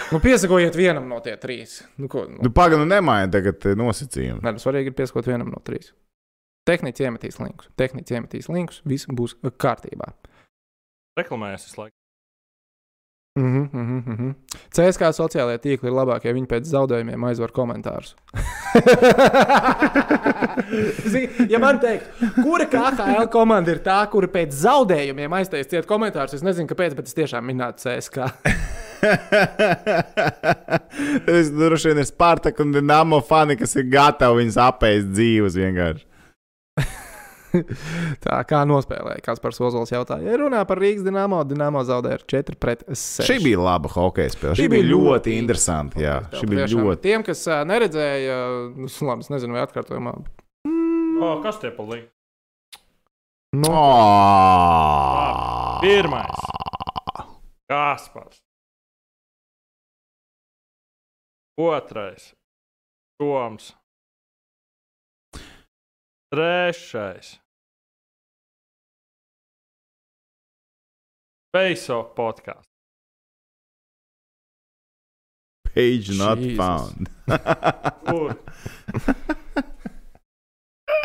S1: Nu, piesakojiet vienam no tie trīs. Nu, ko, nu,
S3: Nu, Pagaidu, nemaini tagad eh, nosacījumu.
S1: Nē, nu, svarīgi ir pieskot vienam no trīs. Tehnici iemetīs linkus, tehnici iemetīs linkus, viss būs kārtībā.
S2: Reklamējas visu laiku.
S1: Mhm, mhm, mhm. CSK sociālajā tīklā ir labāk, ja viņi pēc zaudējumiem aizver komentārus. Zini, ja man teikt, kura KL komanda ir tā, kura pēc zaudējumiem aiztaisa ciet komentārus, es nezinu, kāpēc, bet es tiešām minētu CSK.
S3: Tas droši vien ir Spartak un Dienāmo fani, kas ir gatavi viņus apēst dzīves vienkārši.
S1: Tā kā nospēlēja, kas par Sozols jautāja. Ja runā par Rīgas dīnāmo, dīnāmo zaudēja ar 4 pret 6.
S3: Šī bija laba hokeja spēle. Šī
S1: Šī
S3: bija
S1: bija
S3: ļoti
S1: ļoti
S3: interesanti. Jā,
S1: Tev
S3: šī bija
S1: tiešām.
S3: ļoti.
S1: Tiem, kas ā, neredzēja, nu, s- labi, es nezinu, vai atkārtojumā.
S2: O, kas tie palīdz?
S1: No,
S3: Ā!
S2: Pirmais. Kaspars. Otrais. Toms. Trešais. Peiso podkāsts.
S3: Page not
S1: Jesus.
S3: found.
S2: Kur?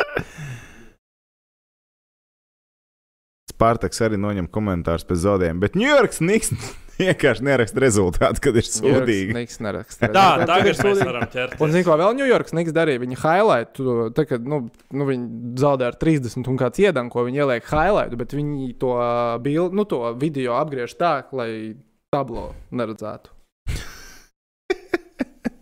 S3: Spartaks arī noņem komentārus pēc zaudējumiem, bet New York Snigs vienkārši neraksta rezultātu, kad ir sūdīgi.
S1: Niks neraksta.
S2: Tā, tagad mēs varam ķerties.
S1: Un, zinu, ko vēl Ņujorkas Niks darīja? Viņa highlightu, tā kā nu, nu, viņi zaudēja ar 30 un kāds iedanko, viņi ieliek highlightu, bet viņi to, bil, nu, to video apgriež tā, lai tablo neredzētu.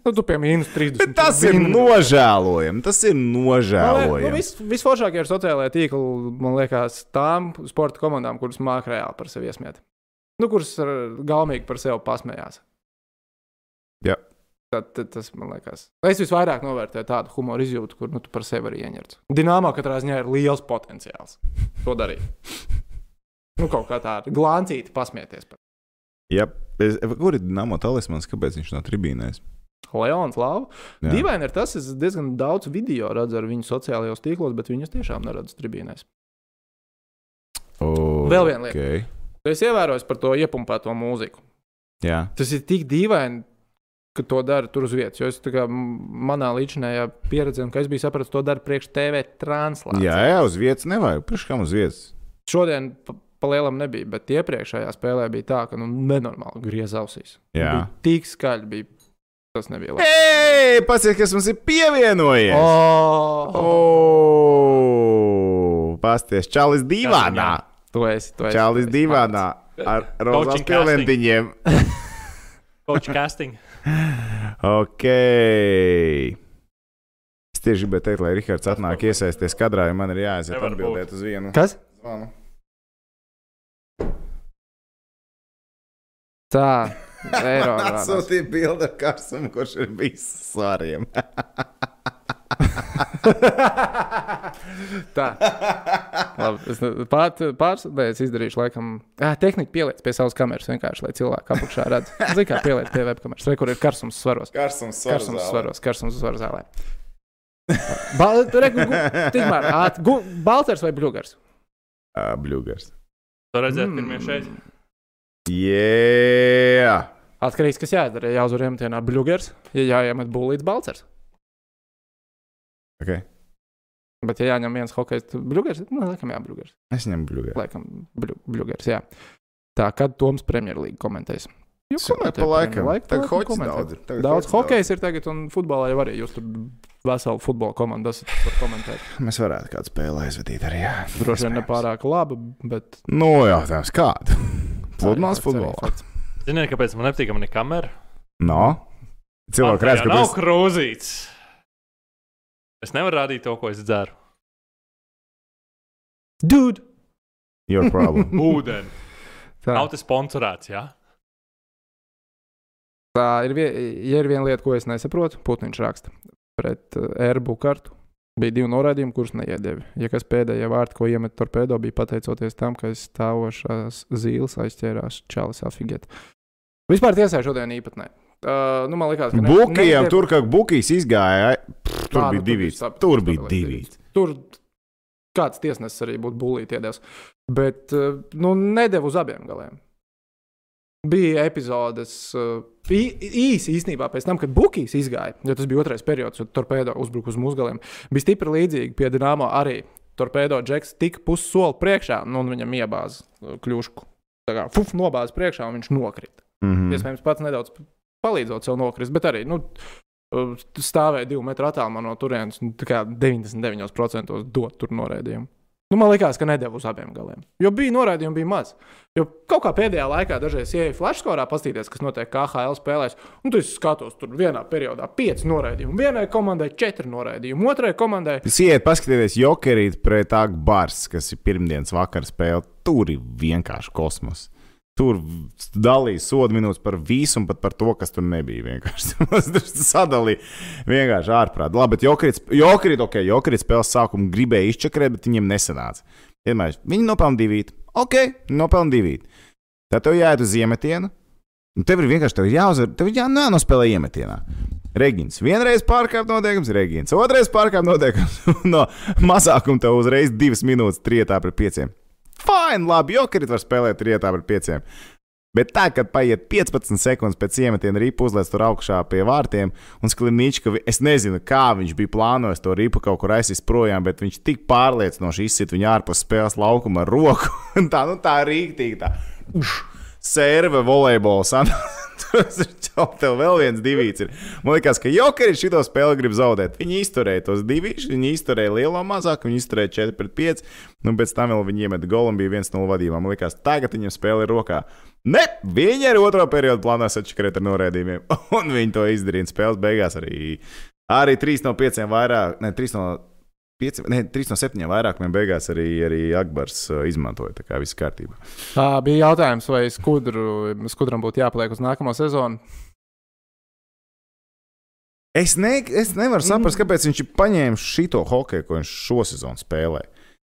S1: Nu, tu pie mīnus 30.
S3: Bet tas ir
S1: Vin-
S3: nožēlojami. Tas ir
S1: Man liek- Nu,
S3: nožēlojami.
S1: vis, visforšākie ir sociālajā tīklā, man liekas, tām sporta komandām, kuras māca reāli par sevi iesmiet. Nu, kuras ar- gaumīgi par sevi pasmējās.
S3: Jā.
S1: Tad, tad, tas man liekas. Es visvairāk novērtēju tādu humoru izjūtu, kur nu, tu par sevi arī ieņemts. Dināmā katrā ziņā ir liels potenciāls to darīt. Nu, kaut kā tā, glāncīti pasmieties. par-
S3: Jā, es- kur ir Namo talismans? Kāpēc viņš nav tribīnēs?
S1: Leons Lava.
S3: Jā.
S1: Dīvaini ir tas, es diezgan daudz video redzu ar viņu sociālajos tīklos, bet viņus tiešām neredzu tribīnēs.
S3: O,
S1: Vēl viena lieta.
S3: Okay.
S1: Tu esi ievērojis par to iepumpēto mūziku.
S3: Jā,
S1: Tas ir tik dīvaini, ka to dara tur uz vietas. Jo es tā kā m- manā līdzinājā pieredzē, un, ka es biju sapratis, to dara priekš TV translācijā.
S3: jā, jā, uz vietas nevajag. Pirms kam uz vietas?
S1: Šodien pa, pa lielam nebija, bet iepriekšējā spēlē bija tā, ka nu, nenormāli griez ausīs.
S3: Jā.
S1: Bija Tik skaļi bija. Tas nebija labi.
S3: Ei, paciet, kas mums ir pievienojies!
S1: Oh,
S3: O, Pasties, Čalis divānā!
S1: tu esi, tu esi.
S3: Čalis
S1: tu esi
S3: divānā! Ar rozām
S2: Coaching
S3: pilventiņiem.
S2: Coach casting.
S3: Ok. Es tieši gribēju teikt, lai Rihards atnāk iesaisties kadrā, jo man ir jāaiziet
S2: Nevar
S3: atbildēt uz vienu.
S1: pārsteigts. Kas?
S3: zvanu.
S1: Tā, eiro. rādās.
S3: Atsūtīja bildi ar Karsumu, kurš ir bijis svariem.
S1: Tā. Labi, es ne- pār, pārs, nē, es izdarīšu, laikam, ah, tehniku pieliec pie savas kameras vienkārši, lai cilvēki apakšā redz. Zini, kā pieliec pie webkameras, vai kur ir karsums svaros.
S3: Karsums
S1: Karsums svaros, karsums svaros zālē. Ba- tu re, gu- gu- tikmēr, āt- gu- Balters vai Bļūgars?
S3: Bļūgars.
S2: To
S1: Mm.
S2: redzēt pirmie šeit.
S3: Jē!
S1: Atkarīgs, kas jādara. Ja jāuzvar iemetienā Bļūgars, ja jāiemet būlīts Balters.
S3: Ok.
S1: Bet, ja jāņem viens hokejs, tad Bļūgars, nu, laikam jā, Bļūgars.
S3: Es ņemu bļūgā.
S1: laikam, Bluegers. Jā. Tā kad Toms Premjerlīgu komentēs? Jo komentē
S3: Pa laikam.
S1: Premjerlīgu,
S3: Tagad
S1: laikam
S3: hoķis
S1: komentē.
S3: daudz ir. Tagad
S1: Daudz
S3: hoķis
S1: hokejs ir tagad, un futbolā jau arī jūs tur veselu futbola komandu esat par komentēt.
S3: Mēs varētu kādu spēli aizvadīt arī. Jā.
S1: Droši vien ne pārāk laba, bet.
S3: Nu, jautājums kādu?
S1: Arī fakts, arī
S3: Pludmales futbolā.
S1: fakts.
S2: Ziniet, kāpēc man nepatīk mana kamera?
S3: No. Cilvēki redz,
S2: ka
S3: ka
S2: nav
S3: tas
S2: krūzīts. Es nevaru rādīt to, ko es dzeru.
S1: Dude!
S3: ir your problem.
S2: Ūdeni.
S1: Tā,
S2: Nav tas sponsorēts, jā.
S1: tā ir, vie, ja ir viena lieta, ko es nesaprotu. Putniņš raksta pret uh, Airbu kartu. Bija divi norādījumi, kurus neiedēvi. Ja kas pēdējā vārta, ko iemet torpēdo, bija pateicoties tam, ka aiz stāvošās zīles aizķērās Čāles Afigetas. Vispār tiesā šodien īpatnē. Uh, nu, man liekas, ka ne-
S3: Bukiem
S1: nedēv-
S3: tur, kad Bukijs izgāja, ai, pff, tur
S1: Ā, nu,
S3: bija divi.
S1: sap-
S3: Tur bija
S1: sapratu,
S3: divi.
S1: Tur kāds tiesnesis arī būtu bullīt iedevis. Bet eh, nu, nedēļu uz abiem galiem. Bija epizodes eh, ī- īsi īsnībā pēc tam, kad Bukijs izgāja, jo tas bija otrais periods, kad torpēdo uzbruka uz mūsu galiem. Bija stipri līdzīgi pie Dienāmo arī. Torpēdo džeks tika pussoli priekšā, nu, un viņam iebāza eh, kļušku. Tā kā fuf, nobāza priekšā, un viņš nokrita
S3: Mhm.
S1: iespējams, pats nedaudz palīdzot sev nokrist, bet arī nu, uh, stāvēja divu metru attālumā no turienes. Nu, tā kā 99% dot tur norādījumu. Nu, man liekas, ka nedēļa uz abiem galiem. Jo bija norādījumi, bija maz. Jo kaut kā pēdējā laikā dažreiz ienāca flashkorā, paskatīties, kas notiek KHL spēlēs. Un tu skatos, tur vienā periodā pieci norādījumi. Vienai komandai četri norādījumi, otrai komandai
S3: Iet, paskatieties, jokerīt pret tādu bars, kas ir pirmdienas vakara spēle. Tur ir vienkārši kosmos. Tur dalīja sodu minūtes par visu, un pat par to, kas tur nebija. Vienkārši Tur sadalīja vienkārši ārprāt. Labi, bet jokerīt, sp- jokerīt, ok, jokerīt spēles sākumu gribēja izčakarēt, bet viņiem nesanāca. Vienmēr viņi nopelna divīt. Ok, nopelna divīt. Tad tev jāiet uz iemetienu. Un Nu, tev ir vienkārši tev ir jāuzvar, tev ir jā, jānospēlē iemetienā. Regins vienreiz pārkāpj noteikumus, Regins otrais pārkāpj noteikumus. no mazākuma tev uzreiz divas minūtes trietā par pieciem. Fine, labi, jokerit var spēlēt trietā par pieciem. Bet tā, kad paiet 15 sekundes pēc iemetiena, ripu uzlēs tur augšā pie vārtiem, un Sklimnička, vi- es nezinu, kā viņš bija plānojis to ripu kaut kur aizsist projām, bet viņš tik pārliecinoši izsit viņu ārpus spēles laukuma ar roku. Un tā, nu tā rīktīgi tā. Uš! serve volejbols. Ana. Tas ir čau, tev vēl viens divīts. Ir. Man liekas, ka Jokeris šito spēli grib zaudēt. Viņi izturēja tos divus, viņi izturēja lielo mazāk, viņi izturēja 4 pret 5, un pēc tam vēl viņi iemeta golu un bija 1-0 vadībā. Man liekas, tagad viņam spēle ir rokā. Ne, viņi ar otro periodu plāno sačakarēt ar norādījumiem, un viņi to izdarīja. Un Spēles beigās arī, arī 3 no 5 vairāk, ne 3 no 5, ne 3 no 7 vairāk, man beigās arī, arī Akbars uh, izmantoja. Tā kā viss kārtībā.
S1: Tā bija jautājums, vai skudru, skudram būtu jāpaliek uz nākamo sezonu.
S3: Es, ne, es
S1: Mm.
S3: nevaru saprast, kāpēc viņš ir paņēmis šo hokeju, ko viņš šosezon spēlē.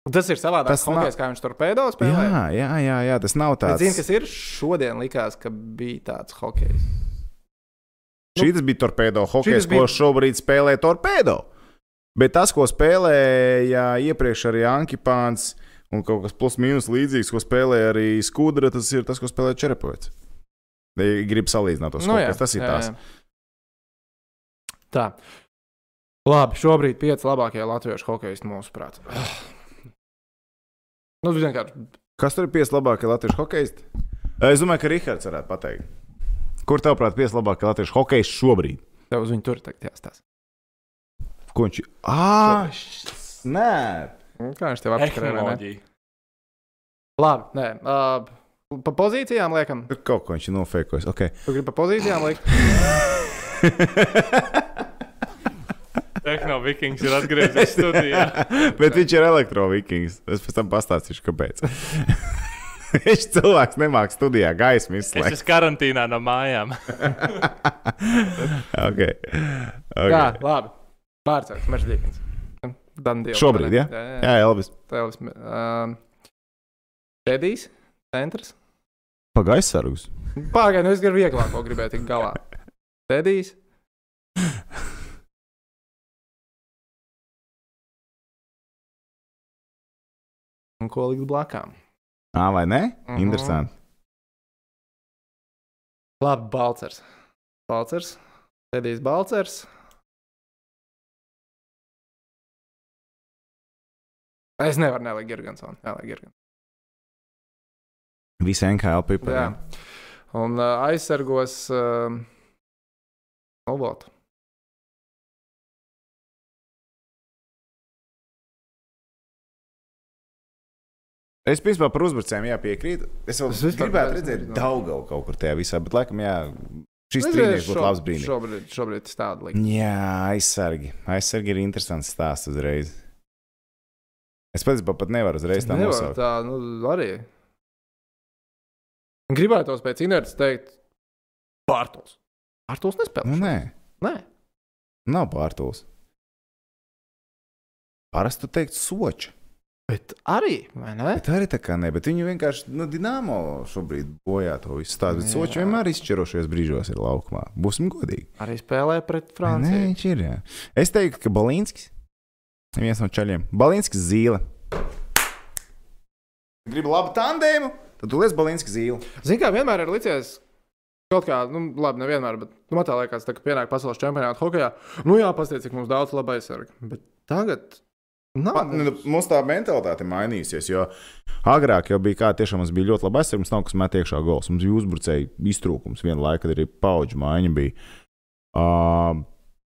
S1: Tas ir savādāk.
S3: Tas
S1: Tas nav... kā viņš torpēdo spēlē.
S3: Jā, jā, jā, jā tas nav
S1: Bet
S3: tāds.
S1: Zini, kas ir? Šodien likās, ka bija tāds hokejs.
S3: Šī tas bija torpedo hokejs,
S1: Šitas
S3: bija...
S1: bija-
S3: ko šobrīd spēlē torpedo. Bet tas, ko spēlēja iepriekš arī Ankipāns un kaut kas plus-minus līdzīgs, ko spēlēja arī Skudra, tas ir tas, ko spēlēja Čerepovits. Gribu salīdzināt
S1: Nu
S3: tos no, hokejas. Tas ir tās.
S1: jā. Tā. Labi, šobrīd pieci labākie latviešu hokejisti mūsu prātā. Nu, vienkārši.
S3: Kas tur ir pieci labākie latviešu hokejisti? Es domāju, ka Rihards varētu pateikt. Kur tavuprāt, pieci labākie latviešu hokejisti šobrīd?
S1: Tev uz viņu tur tagad jāstāsta.
S3: Ko viņš ir? Ah, nē!
S1: Nu, Kā viņš tev apskrēja? vai ne?
S2: Tehnoloģija.
S1: Labi, nē. Uh, pa pozīcijām liekam.
S3: Tur kaut ko viņš ir nofēkojis. Okay.
S1: Tu gribi pa pozīcijām likt?
S2: Tehnoloģija ir atgriezies studijā.
S3: Bet viņš ir elektrovikings. Es pēc tam pastāstīšu, kāpēc. Viņš cilvēks nemāks studijā, gaismu
S2: Es
S3: izslēgt.
S2: esmu karantīnā no mājām.
S3: okay.
S1: Okay. Jā,
S3: Okay.
S1: labi. Bārcēns, Meržģīkins. Dandīls.
S3: Šobrīd, jā?
S1: jā, jā.
S3: Jā, Elvis.
S1: Tēlis. Uh, Pēdīs, centrs.
S3: Pagaisa sargs.
S1: Pagaidām, nu es gribu vieglāk, ko gribēju tikt galā. Pēdīs. Un ko likt blakām?
S3: Ā, vai ne?
S1: Mhm.
S3: Interesanti.
S1: Labi, Balcers. Balcers. Pēdīs Balcers. Es nevaru nelikt Gergansonu. Nelikt Gergansonu.
S3: Visi NKL pipari.
S1: Jā. Un uh, aizsargos uh, Obotu.
S3: Es principā par uzbrucējiem jā, piekrītu. Es,
S1: Es
S3: es
S1: vispār
S3: gribētu
S1: neesmu
S3: redzēt
S1: izdomājis.
S3: Daugavu kaut kur tajā visā, bet laikam, jā, šis trīnieks būtu labs brīnums.
S1: Šobrīd, šobrīd tas tādu likteņu.
S3: Jā, aizsargi. Aizsargi ir interesants stāsts uzreiz.
S1: Mm,
S3: Es patiesībā pat nevaru uzreiz tā
S1: Nevar
S3: nosaukt.
S1: tā, nu, arī. Gribētos pēc inerces teikt, Bārtos. Bārtos nespēlē.
S3: Nu, nē,
S1: Nē,
S3: nav pārtūlis. Parasti tu teiktu soču.
S1: bet arī, vai ne?
S3: Bet arī tā kā ne, bet viņi vienkārši, nu, dīnāmo šobrīd bojā to visu stāstu. Bet
S1: Jā.
S3: soči vienmēr izšķirošies brīžos ir laukumā. Būsim godīgi.
S1: Arī spēlē pret
S3: Nē,
S1: Franciju.
S3: viņš ir. Jā. Es teiktu, ka Balinskis ir viens no ceļiem. Balinskis zīle. Gribu labu tandēmu, tad tu liec Balinskis zīli.
S1: Zini, kā vienmēr ir licies. Kaut kā, nu, labi, nevienmēr, bet nu, man tā liekas, tā, ka pienāk pasaules čempionāta hokeja. Nu, jā, paskatieties, cik mums daudz laba aizsarga. Bet tagad. Nav,
S3: Pa- nu, Mums tā mentalitāte ir mainījusies. Jo agrāk jau bija kā tiešām mums bija ļoti labi aizsargs, mums nav kas met iekšā gols. Mums bija uzbrucēji iztrūkums vienlaikus, kad arī paudžu maiņa bija. Uh,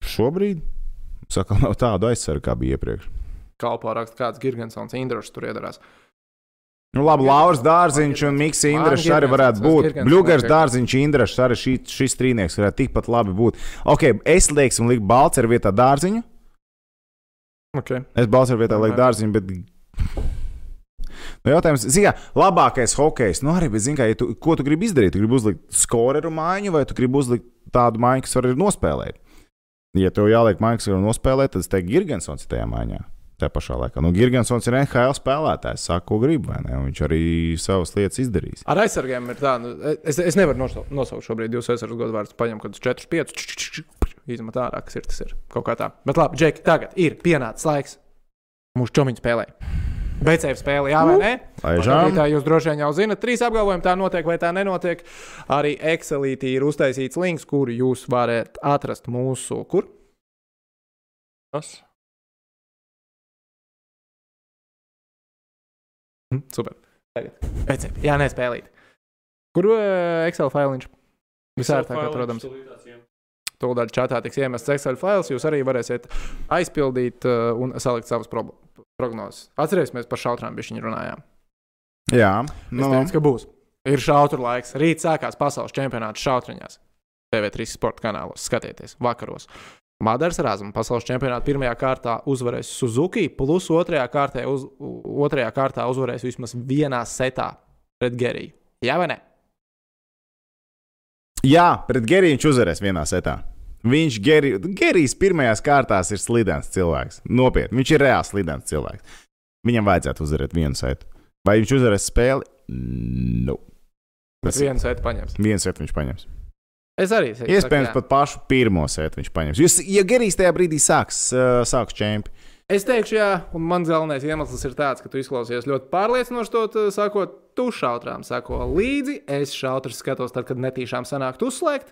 S3: šobrīd mums atkal nav tādu aizsargu, kā bija iepriekš.
S1: kalpā raksta kāds Girgensons, Indrošs tur iedarās.
S3: Nu, labi, Lauris Dārziņš un Mikls Indrašs arī varētu būt. Bluegers Dārziņš, Indrašs arī šī, šis trīnieks varētu tikpat labi būt. Ok, es lieku, un lieku Balceru vietā Dārziņu.
S1: Okay.
S3: Es balsoju vietā, lai
S1: Nē.
S3: dārziņš, bet. Nu, jautājums, zini, kā, labākais hokejs, nu arī, bet, zini, kā, ja tu, ko tu gribi izdarīt? Tu gribi uzlikt skoreru mājiņu, vai tu gribi uzlikt tādu mājiņu, kas var arī nospēlēt? Ja tev jāliek mājiņa, kas var nospēlēt, tad es teiktu, Girgensons ir tajā mājiņā. Tā pašā laikā. Nu, Girgensons ir NHL spēlētājs, saka, ko grib, vai ne? Un Viņš arī savas lietas izdarīs.
S1: Ar aizsargiem ir tā, nu, es, es nevaru nosau- nosaukt šobrīd jūsu aizsargu godu vārdus. Paņem kaut kādus 4, 5, izmet ārā, kas ir tas ir. Kaut kā tā. Bet labi, Džeki, tagad ir pienācis laiks. Mūsu čomiņu spēlē. Beidzēju spēli, jā,
S3: Nu.
S1: vai ne?
S3: Aizžām.
S1: Tā jūs droši vien jau zinat, trīs apgalvojumi tā notiek vai tā nenotiek. Arī Excelītī ir uztaisīts links, kur jūs varat atrast mūsu, kur?
S2: Tas
S1: Hm, Super. Tagad. Recepti. Jā, nē, spēlīt. Kur uh, Excel failiņš? Visērtāk atrodams. Tūlīt čatā tiks iemests Excel fails, jūs arī varēsiet aizpildīt uh, un salikt savas prob- prognozes. Atcerēsimies par šautrām, bija viņa runājām.
S3: Jā,
S1: Es
S3: nu,
S1: teicu, ka būs. Ir šautru laiks. Rīt sākās pasaules čempionāts šautriņās. TV3 sporta kanālos skatieties vakaros. Madars Rāzma pasaules čempionātā pirmajā kārtā uzvarēs Suzuki, plus otrajā kārtā, uz, u- otrajā kārtā uzvarēs vismaz vienā setā pret Geriju. Jā, vai ne?
S3: jā, pret Geriju viņš uzvarēs vienā setā. Viņš Geri, Gerijs pirmajās kārtās ir slidens cilvēks. Nopietni, viņš ir reāls slidens cilvēks. Viņam vajadzētu uzvarēt vienu sētu. Vai viņš uzvarēs spēli? Nu.
S1: Bet vienu sētu paņems.
S3: Vienu sētu viņš paņems.
S1: Es arī esmu.
S3: Iespējams, pat pašu pirmo sētu viņš paņems. Jūs, ja Gerijs tajā brīdī sāks, uh, sāks čempi,
S1: Es teikšu, jā, un mans galvenais iemesls ir tāds, ka tu izklausies ļoti pārliecinoši, to t- sakot, tu šautrām sako līdzi. Es šautru skatos, tad, kad netīšām sanāk uzslēgt.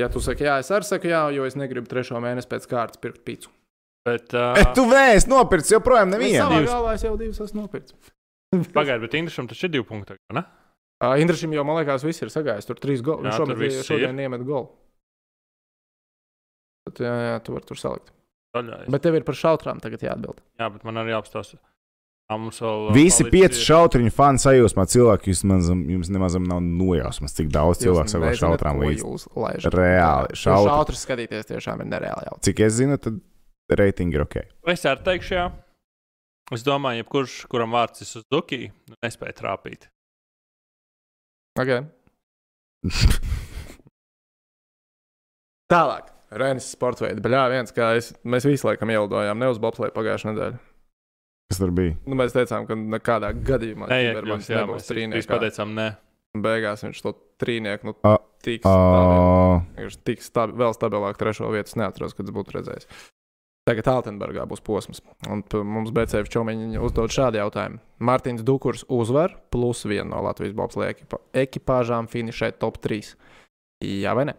S1: Ja tu saki, jā, es arī saku, jā, jo es negribu trešo mēnesi pēc kārtas pirkt pīci.
S2: Bet,
S3: bet
S2: uh,
S3: Eh, tu vēsti nopircis joprojām nevienu.
S1: Savā
S2: Divas.
S1: galvā es jau divas esmu nopircis.
S2: pagaidi, bet Indrišam taču ir divi punkti. tagad, vai Ne?
S1: Uh, Indrišam jau, man liekas, viss ir sagājis. Tur trīs goli. Viņš
S2: Jā, tur
S1: šobrīd
S2: viss
S1: šodien iemet golu. Tad, jā, jā, tu vari tur salikt.
S2: Daļai.
S1: Bet tev ir par šautrām tagad jāatbild.
S2: Jā, bet man arī jāapstāsta. Ā, Mums vēl, uh,
S3: Visi
S2: palicis-
S3: pieci šautriņu fani sajūsmā cilvēki, jūs mazam, jums nemaz nav nojausmas, cik daudz cilvēku sako šautrām līdzi.
S1: līdzi.
S3: Reāli, šautru.
S1: Šautras skatīties tiešām ir nereāli. jautri.
S3: Cik es zinu, tad reitingi ir ok.
S2: Es arī teikšu, jā. Es domāju, jebkurš, kuram vārds ir uz Dukiju, nespēja trāpīt.
S1: Okay. Tālāk. Renis sports veids. Jā, viens, kā es, mēs visu laiku ielidojām, ne uz Bobslēju pagājušā nedēļā.
S3: Kas tur bija?
S1: Nu, mēs teicām, ka nekādā gadījumā
S2: Neiekļūst, jā, mēs visi
S1: trīnieks.
S2: pateicām, nē.
S1: Beigās viņš to trīnieku nu,
S3: A-
S1: tik stabi,
S3: Uh,
S1: vienkārši tik stabi, vēl stabilāk trešo vietu. Es neatceros, kad es būtu redzējis. Tagad Altenburgā būs posms. Un p- mums BCF čomiņi uzdod šādu jautājumu. Mārtiņš Dukurs uzvar plus vienu no Latvijas Bobslēju ekipa, ekipāžām finišē top 3. Jā vai ne?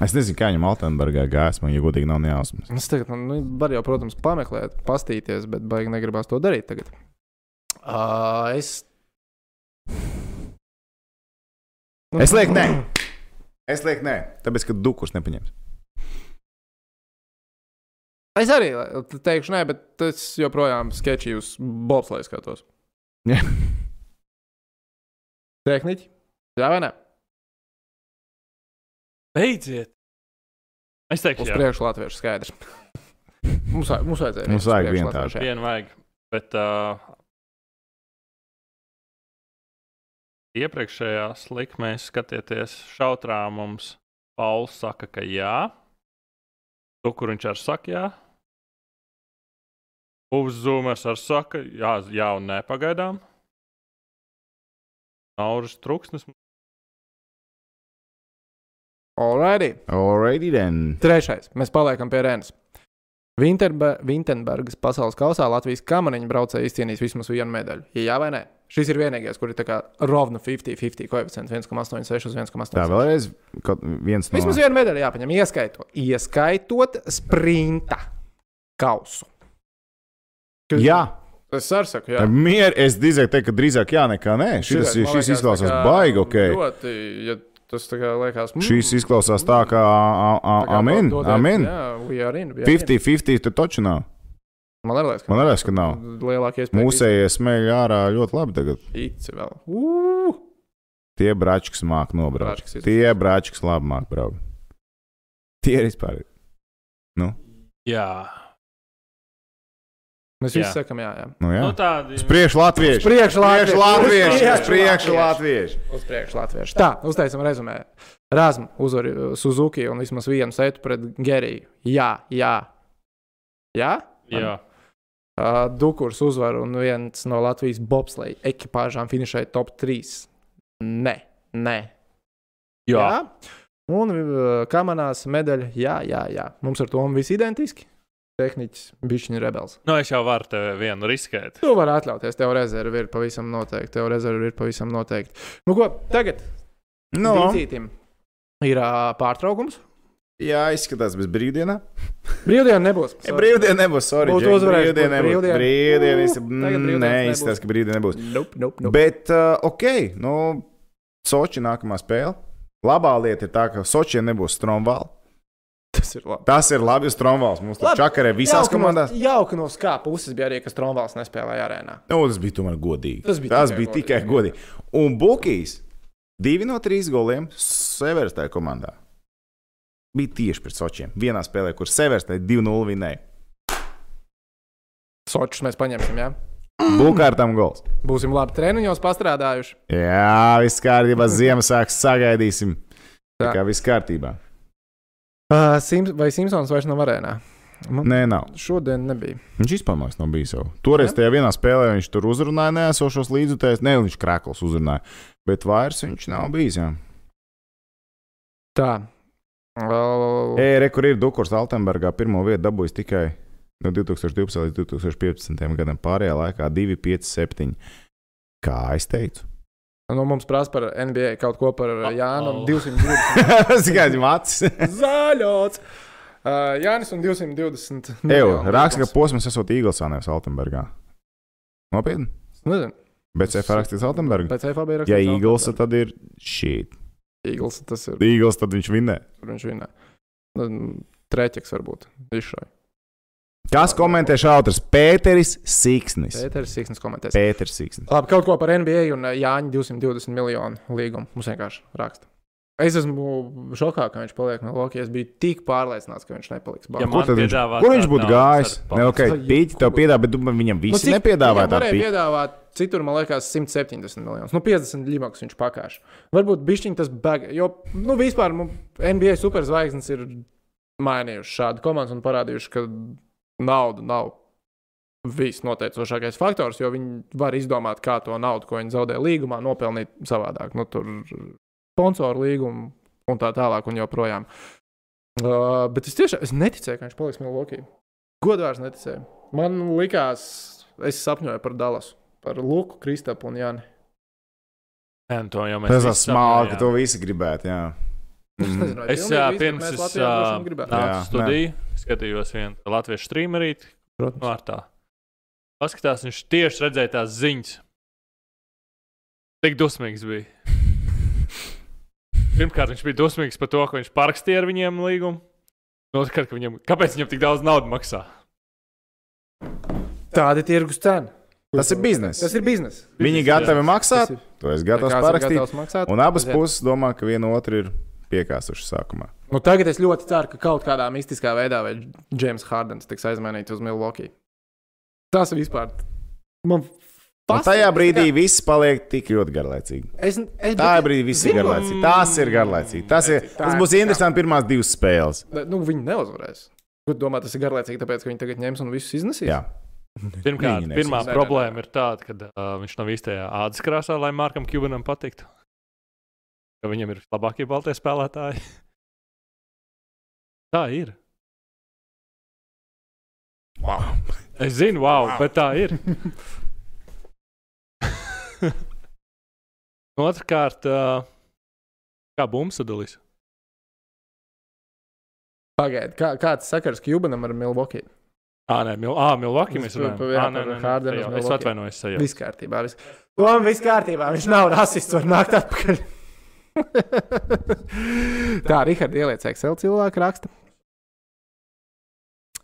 S3: es nezinu, kā viņam Altenburgā gājās. Man, ja godīgi, nav nejausmas.
S1: Es tagad, nu, var jau, protams, pameklēt, pastīties, bet baigi negribās to darīt tagad. Uh, es. Nu,
S3: Es lieku, nē. Es lieku, nē, tāpēc, ka dukus nepaņems.
S1: Es arī te- teikšu, nē, bet es joprojām sketčiju uz Bobs, lai skatos.
S3: Jā.
S1: Tehniķi? Jā, vai ne?
S2: Beidziet! Es teikšu,
S1: Uz
S2: jā,
S1: priekšu latviešu skaidrs. Mums, vajag- mums vajadzēja.
S3: Mums vajag vienu tādu.
S1: vienkārši.
S2: vienu vajag. Bet uh, iepriekšējās likmēs skatieties, šautrāmums Pauls saka, ka jā. To, kur viņš ar saka, jā. Uzzīmēs ar saka, jā, jā un nē, pagaidām. Nauris trūksnis.
S1: Alrighty.
S3: Already then.
S1: Trešais. Mēs paliekam pie Rēnas. Vinterbe, Vinterbergas pasaules kausā Latvijas kamaniņu braucēji izcīnīs vismaz vienu medaļu. Ja jā vai nē? Šis ir vienīgais, kur ir tā kā rovna 50-50 koeficients 1,86 uz 1,8.
S3: Tā vēlreiz kaut viens no
S1: Vismaz viena medaļa jāpaņem, ieskaitot, ieskaitot sprinta kausu.
S3: Jā,
S1: tas ir sarsaku. Jā.
S3: mieru. Es drīzāk teiktu, ka drīzāk jā nekā nē. Šis,
S1: Šitais, man
S3: šis
S1: liekas,
S3: izklausās
S1: tā kā
S3: baigi, ok.
S1: Ļoti, ja tas tā kā liekas, mm,
S3: Šis izklausās tā, kā a- a-
S1: tā kā
S3: amen.
S1: dodēt,
S3: amen.
S1: Jā, we are in. we are in.
S3: 50-50 tur taču nav.
S1: Man liekas, ka
S3: Man liekas, ka nav.
S1: lielākie
S3: Mūsējie smēļ ārā ļoti labi tagad.
S1: Īci vēl. Uu!
S3: Tie brački smāk nobraukt.
S1: Bračkas ir-
S3: Tie brački labi māk braukt. Tie ir vispār.
S2: Jā,
S1: Mēs
S2: Jā.
S1: visi sakam, jā, jā.
S3: Nu, jā.
S2: nu, tādi
S3: Uz priekšu latviešu!
S1: Priekšā
S3: Priekšu latviešu! Uz priekšu
S1: Latviešu!
S3: latviešu!
S1: Uz priekšu latviešu. Tā, uztaisam rezumē. Rāzmu uzvarēja Suzuki un vismaz vienu sētu pret Geriju. Jā, jā. Jā?
S2: jā.
S1: Uh, Dukurs uzvar un viens no Latvijas bobsleja ekipāžām finišēja top 3. Nē, nē.
S2: jā.
S1: Un uh, kamanās medaļa. Jā, jā, jā. Mums ar to viss identiski. Tehniķis, bišķiņa rebels.
S2: Nu, es jau varu te vienu riskēt.
S1: Tu vari atļauties, tev rezerve ir pavisam noteikti. Tev rezerve ir pavisam noteikti. Nu, ko tagad?
S3: Nu,
S1: Dīcītim ir uh, pārtraukums.
S3: jā, izskatās bez brīvdienā.
S1: Brīvdiena nebūs.
S3: Ja brīvdiena nebūs, sorry.
S1: Būtu
S3: Džek,
S1: uzvarējis, būtu
S3: Brīvdiena nebūs.
S1: brīvdiena.
S3: Brīvdiena. es-
S1: Ū,
S3: mm,
S1: tagad brīvdienas
S3: Nē,
S1: nebūs. Nu.
S3: izskatās, ka brīvdiena nebūs.
S1: Nope, nope, nope.
S3: Bet, uh, ok, nu, Soči nākamā spēle. Labā lieta ir tā, ka Sočiem nebūs stromvāla.
S1: Tas ir labi.
S3: Tas ir labi, jo stromvāls mums tur
S1: Labi.
S3: čakarē visās komandās.
S1: Jauka no skā puses bija arī, ka Stromvāls nespēlēja arēnā.
S3: Nu, tas bija tomēr godīgi.
S1: Tas bija
S3: tas
S1: tikai
S3: bija
S1: godīgi,
S3: tikai
S1: jā.
S3: godīgi. Un Bukijs divi no trīs goliem Severstē komandā. Bija tieši pret Sočiem. Vienā spēlē, kur Severstē 2-0 vinēja.
S1: Sočus mēs paņemsim, jā.
S3: Bukārtam gols.
S1: Būsim labi treniņos pastrādājuši.
S3: Jā, viss kārtībā. Ziemassvētku sagaidīsim. Tā
S1: Tā.
S3: kā viss kārtībā.
S1: Uh, Sims, vai Simpsons vairs nav arēnā?
S3: Nē, nav.
S1: Šodien nebija.
S3: Viņš vispār man liekas nav bijis jau. Toreiz tajā vienā spēlē viņš tur uzrunāja neesošos līdzutējus. Nē, viņš krāklis uzrunāja. Bet vairs viņš nav bijis. Jā.
S1: Tā. Uh,
S3: Ei, re, kur ir Dukurs Altenburgā, pirmo vietu dabūjis tikai no 2012. līdz 2015. gadam. Pārējā laikā 2, 5, 7. Kā es teicu?
S1: nu, mums prasa par NBA kaut ko par uh, Jānu un
S2: Au.
S1: 220.
S3: Tas ir kāds mācis.
S1: Zaļots! Uh, Jānis un 220.
S3: Eju,
S1: miljonu.
S3: raksta, ka posms esot Īglesā, nevis Altenburgā. Nopietni.
S1: Nezinu,
S3: Bet CF rakstīts Altenburgā.
S1: pēc FAB ir
S3: Ja Īglesa, tad ir šī.
S1: Eagles, tas ir.
S3: Īgles, tad viņš vinnē.
S1: Tur viņš vienā. Trēķis varbūt. Išai.
S3: Kas komentē šautas? Pēteris Siksnis.
S1: Pēters Sīksnis komentēs.
S3: Pēteris Siksnis.
S1: Labi, kaut ko par NBA un ā, Jāņa 220 miljonu līgumu. Mums vienkārši raksta. Es esmu šokā, ka viņš paliek Milvokijā. Es biju tik pārliecināts, ka viņš nepaliks.
S2: Ja
S1: Bucks.
S2: man
S3: Kur, tad viņš,
S2: piedāvā
S3: kur
S2: tādu
S3: viņš būtu gājis?
S2: naudas ar
S3: Nē, ok,
S1: Vai
S3: pīķi tev
S1: jebkuru.
S3: piedāvā, bet domā, viņam
S1: Nu,
S3: visi
S1: cik-
S3: nepiedāvāja
S1: viņam
S3: tādu
S1: varēja
S3: pīķi.
S1: piedāvāt, citur man liekas, 170 miljonus. Nu, 50 limakus viņš pakāpš. Varbūt bišķiņš tas beigas. Jo, nu, vispār mu- NBA superzvaigznes ir mainījušas šādu komandu un parādījuši, ka nauda nav viss noteicošākais faktors, jo viņi var izdomāt, kā to naudu, ko viņi zaudē līgumā, nopelnīt savādāk. Nu, tur sponsoru līgumu un tā tālāk un joprojām. Uh, bet es tiešām es neticēju, ka viņš paliks Milvokijā. Godvārds neticēja. Man likās, es sapņoju par Dallasu, par Luku, Kristapu un Jāni.
S2: Nē, nu, to jau mēs
S3: Tas ir
S2: visi
S3: smalki,
S2: sapņojām.
S3: to visi gribētu. Jā.
S1: Es nezinu,
S3: Mhm.
S1: vai
S2: Es
S1: pilnīgi
S2: jā,
S1: visu, bet
S2: pirms
S1: mēs
S2: es
S1: Latvijā droši vien
S2: ā,
S1: gribētu.
S3: nā-
S2: nācu
S3: Jā,
S2: studijā, skatījos vienu latviešu streamerīti
S1: Protams.
S2: vārtā. Paskatās, viņš tieši redzēja tās ziņas. Tik dusmīgs bija. Pirmkārt, viņš bija dusmīgs par to, ka viņš parakstīja ar viņiem līgumu. No, kad, viņam, kāpēc viņam tik daudz naudas maksā?
S1: Tāda ir tirgus cena.
S3: Tas ir bizness.
S1: Tas ir biznesa.
S3: Viņi gatavi maksāt,
S1: Tas ir-
S3: to es gatavs
S1: Kāds ir
S3: parakstīt.
S1: gatavs maksāt?
S3: Un abas
S1: Aiziet.
S3: puses domā, ka viena otru ir piekāsuši sākumā.
S1: Nu, tagad es ļoti ceru, ka kaut kādā mistiskā veidā vai Džeims Hārdens tiks aizmainīts uz Milvokiju. Tas vispār man
S3: Un tajā brīdī viss paliek tik ļoti garlaicīgi.
S1: Es, es,
S3: Tā brīdī viss ir garlaicīgi. Tās ir garlaicīgi. Tas, ir, tas būs interesanti pirmās divas spēles.
S1: Nu, viņi neuzvarēs. Kur domā, tas ir garlaicīgi, tāpēc, ka viņi tagad ņems un visus iznesīs?
S3: Jā.
S2: Pirmkārt,
S3: Viņi
S2: pirmā
S1: nesīs. Nē, nē,
S2: problēma ir tāda, ka uh, viņš nav īstajā ādas krāsā, lai Markam Kubanam patiktu. Ka viņam ir labākie baltie spēlētāji. Tā ir.
S3: Wow.
S2: Es zinu, wow, wow. bet tā ir. Otrakārt, uh, kā bumba sadalīs?
S1: Pagaidiet, kā, kāds sakars Kubanam ar Milwaukee?
S2: Ā, nē, Mil ā, Milwaukee mēs
S1: Mēs par-
S2: runājam.
S1: par-
S2: Ā,
S1: jā,
S2: nē,
S1: par
S2: nē, nē,
S1: Hardenu uz
S2: sajau- Es
S1: Milwaukee.
S2: atvainojos, sajau.
S1: Viss kārtībā. Viss. Tom viss kārtībā. Viņš nav rasists. Var nākt atpakaļ. Tā, Rihards, ieliec Excel cilvēku raksta.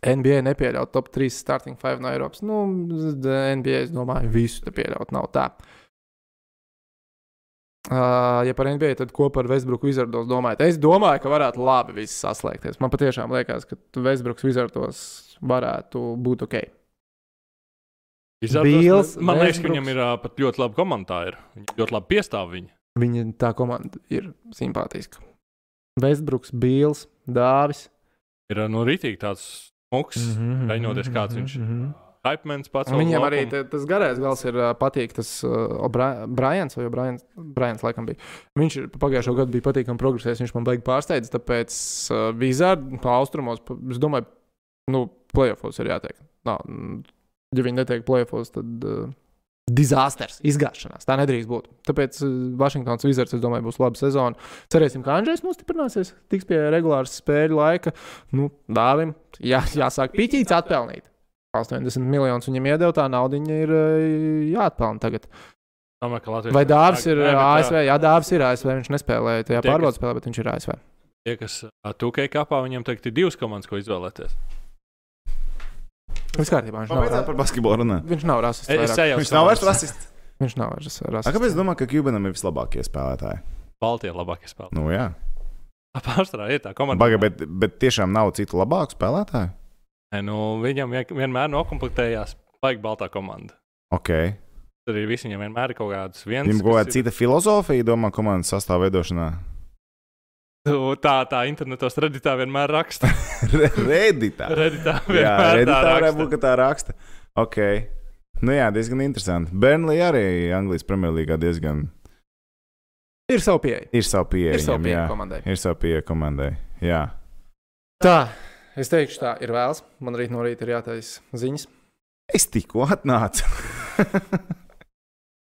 S1: NBA nepieļaut top 3 starting 5 no Eiropas. Nu, z- NBA, es domāju, visu te pieļaut nav tā. Uh, ja par NBA, tad kopā ar Vēsbruku Wizardos domājat. Es domāju, ka varētu labi viss saslēgties. Man patiešām liekas, ka Vēsbruks Wizardos varētu būt ok.
S2: Izrādās,
S1: Bīls,
S2: man liekas, ka
S1: Westbrooks.
S2: viņam ir ā, pat ļoti laba komanda. tā ir. Viņam ļoti labi piestāv viņa.
S1: Viņa tā komanda ir simpātiska. Vēsbruks, Bīls, Dāvis.
S2: Ir ā, nu, rītīgi tāds smūgs,
S1: Mhm.
S2: mm -hmm, raiņoties kāds viņš ir. Hypemans pats. savu
S1: Viņam arī
S2: laukumu.
S1: te, tas garais gals ir ā, patīk. Tas uh, Brians, vai Brians, Brians laikam bija. Viņš ir pagājušo gadu bija patīkami progresējis. Viņš man baigi pārsteidz, tāpēc uh, Vizards no austrumos, pa- es domāju, nu, playoffs ir jātiek. Nā, mm, ja viņi netiek playoffs, tad uh, disasters, izgāšanās. Tā nedrīkst būt. Tāpēc uh, Vašingtons Vizards, es domāju, būs laba sezona. Cerēsim, ka Andrzejs nostiprināsies, tiks pie regulāras spēļu laika. Nu, dāvim, jā, jāsāk piķīts atpelnīt. 80 miljonus viņam iedeva, tā nauda ir eh, jāatpelna tagad.
S2: Domāju, ka Latvijas
S1: Vai dāvis
S2: Nē,
S1: ir
S2: bet,
S1: eh,
S2: ā,
S1: ASV? Jā, dāvis ir ASV. Viņš nespēlēja tajā
S2: Tie, kas-
S1: pārbaudas spēlē, bet viņš ir ASV.
S2: Tie, kas tūkei kapā, viņiem teikt, ir divas komandas, ko izvēlēties.
S1: Viss kārtībā. Viņš nav,
S3: Pabeidzām
S1: ra-
S3: par basketbolu runāt.
S1: viņš nav rasists.
S2: Es
S1: vairāk.
S2: seju,
S3: Viņš nav vairs rasists.
S1: Viņš nav vairs
S3: A,
S1: rasists.
S3: Kāpēc es domāju, ka Kubanam ir vislabākie spēlētāji?
S2: Baltie labākie spēlētāji.
S3: Nu, jā.
S2: Pārsvarā ir tā komanda.
S3: Baga, bet, bet tiešām nav citu labāku spēlētāju?
S2: Nē, Nu, viņam vien- vienmēr nokomplektējās baigi baltā komanda.
S3: Ok.
S2: Tur ir visi, viņam vienmēr ir kaut kāds viens.
S3: Viņam kaut kāda
S2: kas ir-
S3: cita filozofija, domā, komandas sastāvveidošanā.
S2: Nu, Tā, tā internetos redītā vienmēr raksta.
S3: Reditā.
S2: Redītā
S3: Jā,
S2: vienmēr
S3: Redditā
S2: tā
S3: varētu būt,
S2: raksta.
S3: ka tā raksta. Ok. Nu jā, diezgan interesanti. Bernlī arī Anglijas Premjerlīgā diezgan
S1: Ir savu pieeja.
S3: ir savu pieeja.
S1: Ir savu
S3: viņam,
S1: pieeja
S3: jā.
S1: komandai.
S3: Ir savu pieeja komandai. Jā.
S1: Tā, es teikšu, tā ir vēls. Man rīt no rīta ir jātaisa ziņas.
S3: Es tikko atnācu.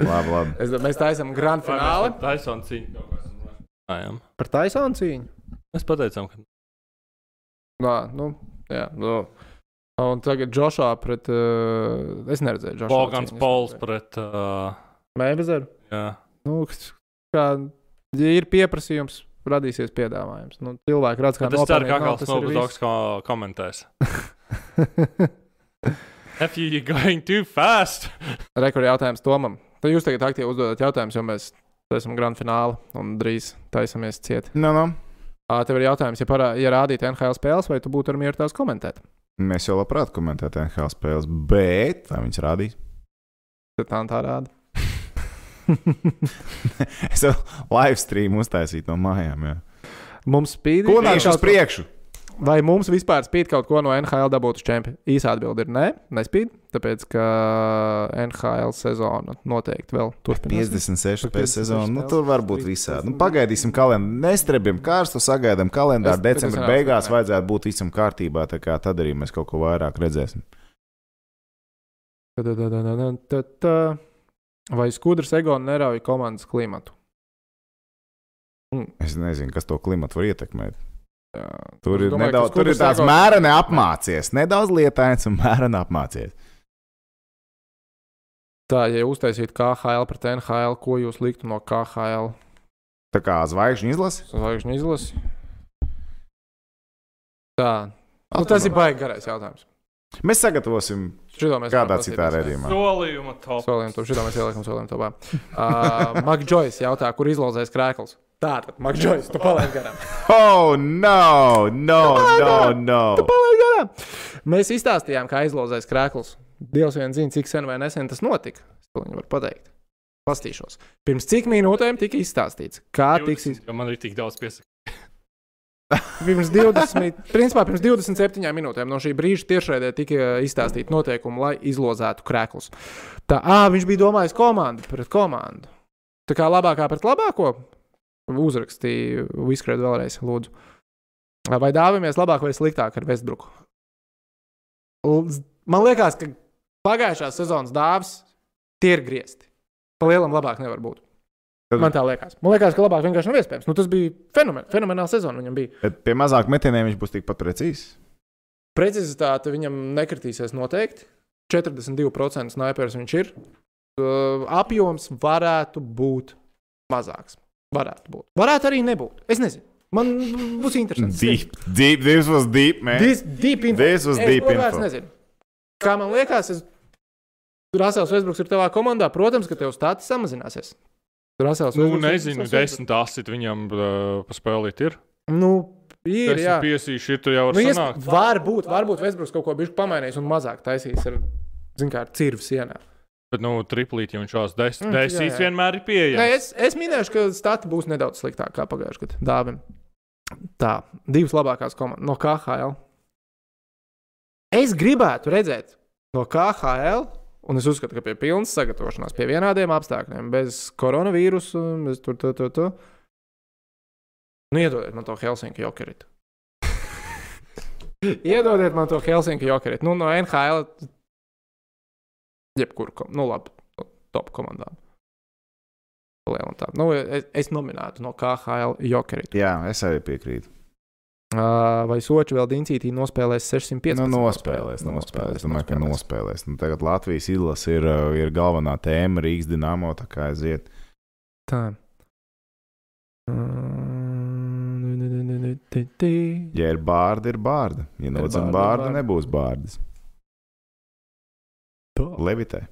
S3: labi, labi.
S1: Es, mēs taisām grand fināli
S2: Tā ir Taisons cīņa. Jā, jā.
S1: par Taisānu cīņu.
S2: Mēs pateicām, ka
S1: Nā, nu, jā, nu. Un tagad Džošā pret. Uh, es neredzēju, Džošā.
S2: Bogans Pols pret. Uh,
S1: Mēbezeru.
S2: jā.
S1: Nu, kā, ja ir pieprasījums, radīsies piedāvājums. Nu, cilvēki redz, kā
S2: Bet es ceru, ka
S1: nav,
S2: Akāls
S1: tas ir
S2: Nobudoks ko- komentēs.
S1: viss.
S2: If you're going too fast!
S1: Rekords jautājums Tomam. Tad jūs tagad aktīvi uzdodat jautājumus, jo mēs esam grand fināli un drīz taisamies ciet.
S3: No, no.
S1: Ā, Tev ir jautājums, ja, parā, ja rādītu NHL spēles, vai tu būtu ar mieru tās komentēt?
S3: Mēs jau labprāt komentētu NHL spēles, bet vai viņš rādīs?
S1: Tad tā un tā rāda.
S3: Es jau live streamu uztaisīju no mājām. Jā.
S1: Mums spīd.
S3: Ko nāks uz priekšu?
S1: Vai mums vispār spīd kaut ko no NHL dabūtas čempiona? Īsa atbilde ir nē, nespīd, tāpēc ka NHL sezona noteikti vēl turpinās.
S3: 56
S1: Par
S3: pēc
S1: 56
S3: sezonas. Nu,
S1: spēles.
S3: tur var būt visādi. Nu, pagaidīsim, kalendāru. Nestrebjam karstu, sagaidām kalendāru.
S1: Es-
S3: Decembra
S1: es-
S3: beigās
S1: es-
S3: vajadzētu būt visam kārtībā. tā kā Tad arī mēs kaut ko vairāk redzēsim.
S1: Ta-ta-ta-ta-ta-ta. Vai skudras ego nerauj komandas klimatu?
S3: Es nezinu, kas to klimatu var ietekmēt.
S1: Jā.
S3: Tur
S1: Es
S3: ir,
S1: domāju, ka
S3: nedaudz, tur ir
S1: skudras
S3: tāds
S1: ego-
S3: mērene apmācies. Nedaudz lietains un mērene apmācies.
S1: Tā, ja uztaisītu KHL pret NHL, ko jūs liktu no KHL
S3: Tā kā zvaigžņu izlase.
S1: zvaigžņu izlasi? Tā, nu, tas ir baigi garais jautājums.
S3: Mēs sagatavosim
S1: Šito mēs
S3: kādā
S1: varam
S3: citā
S1: prasīt.
S3: redzējumā.
S2: Solījuma top.
S1: Solījām, to šitā mēs ieliekam, solījām to bāru. Uh, Makdžojs jautā, kur izlozēs krēkls. Tātad, Makdžojs, tu palaidi garām.
S3: Oh, no, no, no, no.
S1: Tu palaidi garām. Mēs izstāstījām, kā izlozēs krēkls. Dievs vien zina, cik sen vai nesen tas notika. Es to viņu varu pateikt. Pastīšos. Pirms cik minūtēm tika izstāstīts, kā tiks izdarīts.
S2: Jo Man ir tik daudz piesakām.
S1: Pirms 20, principā pirms 27 minūtēm no šī brīža tiešraidē tika izstāstīta noteikuma, lai izlozētu krēklus. Tā, ā, viņš bija domājis komandu pret komandu. Tā kā labākā pret labāko uzrakstīja Viskrēt vēlreiz, lūdzu. Vai dāvamies labāk vai sliktāk ar Vestbruku? L- z- Man liekas, ka pagājušās sezonas dāvas tie ir griezti. Pa lielam labāk nevar būt.
S3: Tad-
S1: Man tā liekas. Man liekas, ka labāk vienkārši nav iespējams. Nu, tas bija fenomen, fenomenāls sezona viņam bija.
S3: Bet pie mazāk metieniem viņš būs tikpat precīzs.
S1: Precizitāte viņam nekritīsies noteikti. 42% snipers viņš ir. Uh, apjoms varētu būt mazāks. Varētu būt. Varētu arī nebūt. Es nezinu. Man būs interesanti.
S3: Deep, deep, this was deep, man.
S1: This deep info.
S3: This was
S1: Es
S3: deep
S1: to vairs
S3: info.
S1: nezinu. Kā man liekas, es... Rasels Vēsbruks ir tavā komandā. Protams, ka tev stāsts samazināsies. Rasels
S2: Nu,
S1: Westbrooks ir
S2: nezinu,
S1: Rasels Westbrooks.
S2: desmit asit viņam uh, paspēlīt ir.
S1: Nu, ir, jā.
S2: Desmit piesīši ir, tu jau
S1: Nu,
S2: vari
S1: iesp...
S2: sanākt.
S1: Varbūt, varbūt Vēsbruks kaut ko bišķi pamainīs un mazāk taisīs ar, zin kā, ar cirvu sienā.
S2: Bet, nu, triplīti jau šās
S1: Mm,
S2: desmit
S1: jā,
S2: desmit
S1: jā.
S2: vienmēr ir
S1: Nē,
S2: pieejami.
S1: es, es minēšu, ka stati būs nedaudz sliktāka nekā pagājušajā gadā. Dāvim. Tā, divas labākās komandas no KHL. Es gribētu redzēt no KHL, un es uzskatu, ka pie pilnas sagatavošanās, pie vienādiem apstākļiem, bez koronavīrusa, bez tur, tur, tur, tur. Nu, iedodiet man to Helsinku jokeritu. iedodiet man to Helsinku jokeritu. Nu, no NHL, jebkuru, kom- nu, labi, no top komandām. Lielu un tā. Nu, es, es nominētu no KHL Jokerit.
S3: Jā, es arī piekrītu. Nu,
S1: Uh, vai Soči vēl Diencītī nospēlēs 605?
S3: Nu, nospēlēs, nospēlēs. Domāju, ka nospēlēs. Nu, tagad Latvijas izlase ir, uh, ir galvenā tēma Rīgas dīnāmo, tā kā aiziet.
S1: Tā. Mm, nu, nu, nu, nu, ti, ti.
S3: Ja ir bārda, ir bārda. Ja nodzim
S1: bārda,
S3: bārda,
S1: bārda.
S3: nebūs bārdas.
S1: Tā.
S3: Levitē.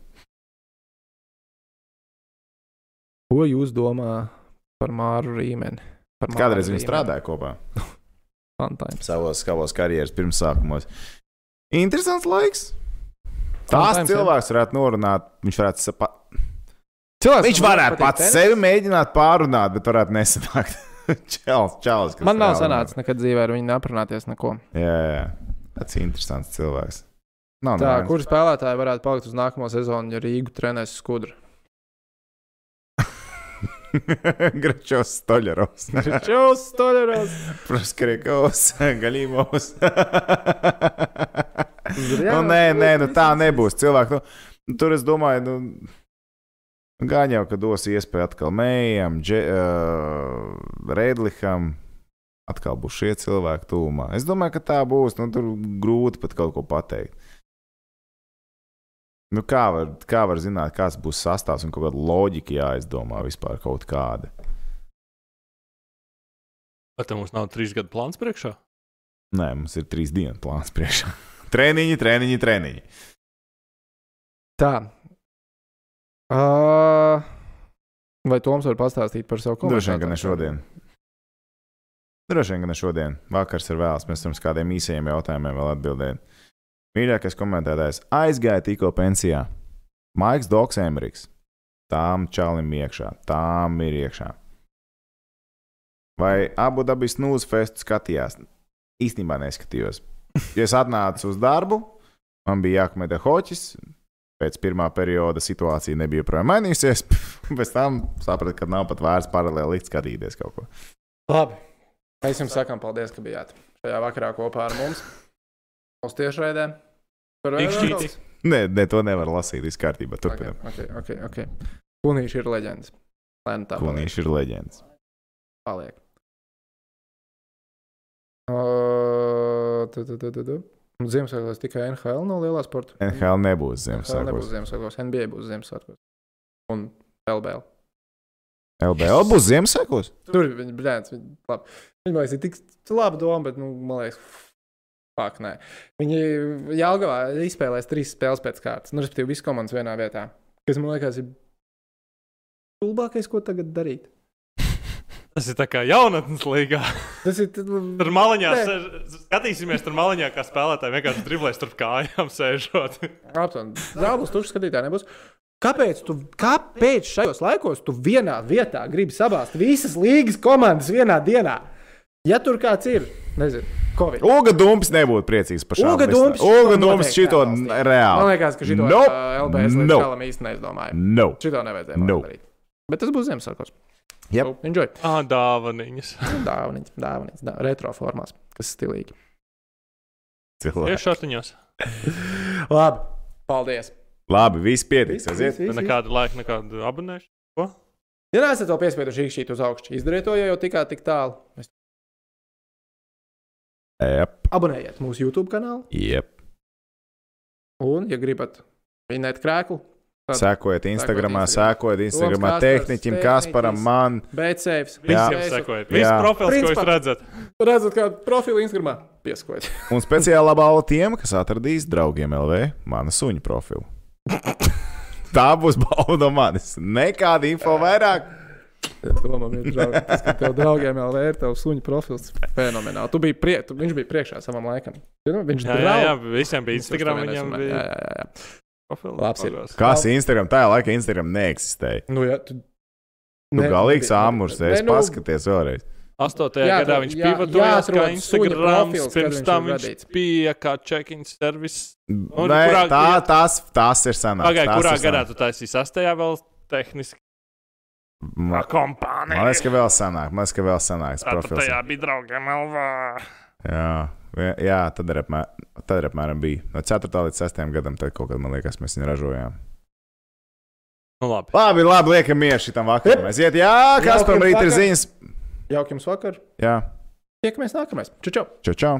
S1: Ko jūs domā par Māru Rīmeni? Par Māru
S3: Kādreiz viņi
S1: Rīmeni?
S3: strādāja kopā
S1: Sometimes.
S3: savos, savos karjeras pirmsākumos. Interesants laiks.
S1: Sometimes,
S3: Tās
S1: jā.
S3: cilvēks varētu norunāt, viņš varētu sapa...
S1: Cilvēks,
S3: Viņš
S1: kam
S3: varētu
S1: patīk
S3: pats
S1: tenis,
S3: sevi mēģināt pārunāt, bet varētu nesanākt. Čels, čels. kas
S1: Man nav
S3: reāli
S1: sanācis nekad dzīvē ar viņu aprunāties neko.
S3: runā. Jā, jā. Tāds interesants cilvēks. Nav
S1: Tā,
S3: nevienas.
S1: kur spēlētāji varētu palikt uz nākamo sezonu, ja Rīgu trenēs skudru?
S3: Gračos Stoļerovs.
S1: Čaus, Stoļeros!
S3: Praskriekovs, Galīmovs. nu,
S1: Zrjāns,
S3: nē, nē, nu, tā
S1: Lūdzu,
S3: nebūs. Cilvēki, nu, tur es domāju, nu, gan jau, ka dos iespēju atkal Mējam, Dže, uh, Redliham. Atkal būs šie cilvēki tūmā. Es domāju, ka tā būs. Nu, tur grūti pat kaut ko pateikt. Nu, kā, var, kā var zināt, kāds būs sastāvs un kāda loģika jāizdomā vispār kaut kāda?
S2: Bet tam mums nav trīs gadu plāns priekšā.
S3: Nē, mums ir trīs dienas plāns priekšā. Treniņi, treniņi, treniņi.
S1: Tā. Uh, vai Toms var pastāstīt par savu komandu?
S3: Droši vien, ka ne šodien. Droši vien, ka ne šodien. Vakars ir vēls. Mēs tam uz kādiem īsajiem jautājumiem vēl atbildējām. Mīļākais komentētājs aizgāja tikko pensijā. Maiks Doks Emeriks. Tām čalim iekšā, tām ir iekšā. Vai abu dabīs snooze festu skatījās? Īstenībā neskatījos. Ja es atnācu uz darbu, man bija jākmeta hoķis. Pēc pirmā perioda situācija nebija joprojām mainījusies. Pēc tam sapratu, ka nav pat vērts paralēli likt skatīties kaut ko.
S1: Labi. Mēs jums sakām paldies, ka bijāt šajā vakarā kopā ar mums. Mums tiešraidē. Par vēl
S2: Tikšķīti.
S1: kaut kas?
S3: Nē, ne, to nevar lasīt. Viss kārtībā. Turpinam.
S1: Ok, ok, ok. okay. Kunīši ir leģenda. Lai nu tā paliek.
S3: Kunīši ir leģends.
S1: paliek. Uh, tu, tu, tu, tu, tu. Un Ziemassvētkos tikai NHL no lielā sporta.
S3: NHL nebūs
S1: NHL nebūs
S3: Ziemassvētkos.
S1: Ziemassvētkos, NBA būs Ziemassvētkos. Un LBL.
S3: LBL būs Ziemassvētkos.
S1: Tur viņi blēņas, viņi labi. Viņi man liekas, ir tik laba doma, bet, nu, man liekas, fuck, nē. Viņi Jālgavā izspēlēs trīs spēles pēc kārtas, nu, respektīvi, visas komandas vienā vietā. Kas man liekas, ir stulbākais, ko tagad darīt.
S2: Tas ir tā kā jaunatnes līgā.
S1: Tas ir. tad-
S2: Tur malā
S1: Nē.
S2: skatīsimies, tur malā kā spēlētāji vienkārši driblēs starp kājām sēžot.
S1: Aptuveni. Zāles tur skatītāji nebūs. Kāpēc, tu, kāpēc šajos laikos tu vienā vietā gribi sabāzt visas līgas komandas vienā dienā? Ja tur kāds ir, nezinu, Covid.
S3: Uga Dumps nebūtu priecīgs par šo.
S1: Uga Dumps šito
S3: Uga Dumps
S1: noteikti
S3: šito
S1: neatbalstītu.
S3: n- reāli.
S1: Man liekas, ka šī no
S3: Nope.
S1: LBS līdz
S3: Nope.
S1: galam īsti neizdomāja.
S3: No.
S1: Šito nevajadzēja man
S3: No.
S1: darīt. Bet tas būs Ziemassvētkos.
S3: Yep.
S1: So, Enjoy.
S2: Ah, dāvaniņas.
S1: Dāvaniņas, dāvaniņas, dā, retro formās, kas stilīgi.
S2: Ir
S3: Cilvēki.
S2: šortiņos.
S1: Labi, paldies.
S3: Labi, viss pietiks. aiziet.
S1: Nu,
S2: Tur Nekādu laiku, nekādu abonēšanu.
S1: Ja neesat vēl piespieduši īkšķīt uz augšu, izdariet to, ja jau tikā tik tālu. Mēs-
S3: Jep,
S1: Abonējiet mūsu YouTube kanālu,
S3: jep.
S1: un, ja gribat minēt krēklu, Tad-
S3: Sekojiet Instagramā,
S1: Instagram.
S3: sekojiet Instagramā
S1: Toms Kaspars,
S3: tehniķim,
S1: tehniķis.
S3: Kasparam, man.
S1: bet safe.
S3: Jā.
S2: Visiem sekojiet.
S3: Jā.
S2: Viss profils, ko
S1: Principā-
S2: jūs redzat.
S1: Redzat, kādu profilu Instagramā pieskojiet.
S3: Un speciāli labā tiem, kas atradīs draugiem LV mana suņu profilu. Tā būs bauda no manis. Nekāda info vairāk.
S1: Domam, ir draugi, tas, ka tev draugiem jau ir tavs suņu profils. Fenomenāli. Tu biji prie, tu, viņš bija priekšā savam laikam. Zinu, viņš
S2: Jā, jā, jā, visiem bija Instagram, viņiem
S1: Viņam
S2: bija
S1: Jā, jā, jā.
S2: profils.
S1: Labs ir.
S3: Kas Instagram? Tajā laikā Instagram neeksistēja.
S1: Nu, jā, tu...
S3: Nu, galīgs āmurs. Es
S1: Ne, nu,
S3: paskaties vēlreiz.
S2: 8.
S1: Jā,
S2: gadā
S1: tā-
S2: viņš
S1: jā,
S2: pivotojās kā
S1: jāatrod suņa
S2: Instagram,
S1: profils, kad
S2: pirms
S1: viņš
S2: tam
S1: ir
S2: viņš
S1: radīts.
S2: bija kā check-in servis.
S1: Nu,
S2: Un
S3: Nē,
S2: kurā-
S3: tā, tas, tas ir senāk.
S2: Pagājušajā kurā
S3: tas ir
S2: gadā
S3: senāk.
S2: tu taisīji 6. vēl tehniski
S3: Ma- Man
S2: kompānija.
S3: liekas, ka vēl senāk. Man liekas, ka vēl senāks
S2: Tātad
S3: profils.
S2: tajā bija draugiem Alvā.
S3: Jā, vie- jā tad, ir apmēr, tad ir apmēram bija. No 4. līdz 6. gadam, tad kaut kad, man liekas, mēs viņu ražojām.
S2: Nu labi.
S3: Labi, labi, liekam mieru šitam vakaram. Aiziet, jā, kas
S1: Jauki
S3: par rītu ir
S1: vakar.
S3: ziņas.
S1: Jauki jums vakar.
S3: Jā,
S1: Tiekamies nākamais. Čau, čau!
S3: čau, čau.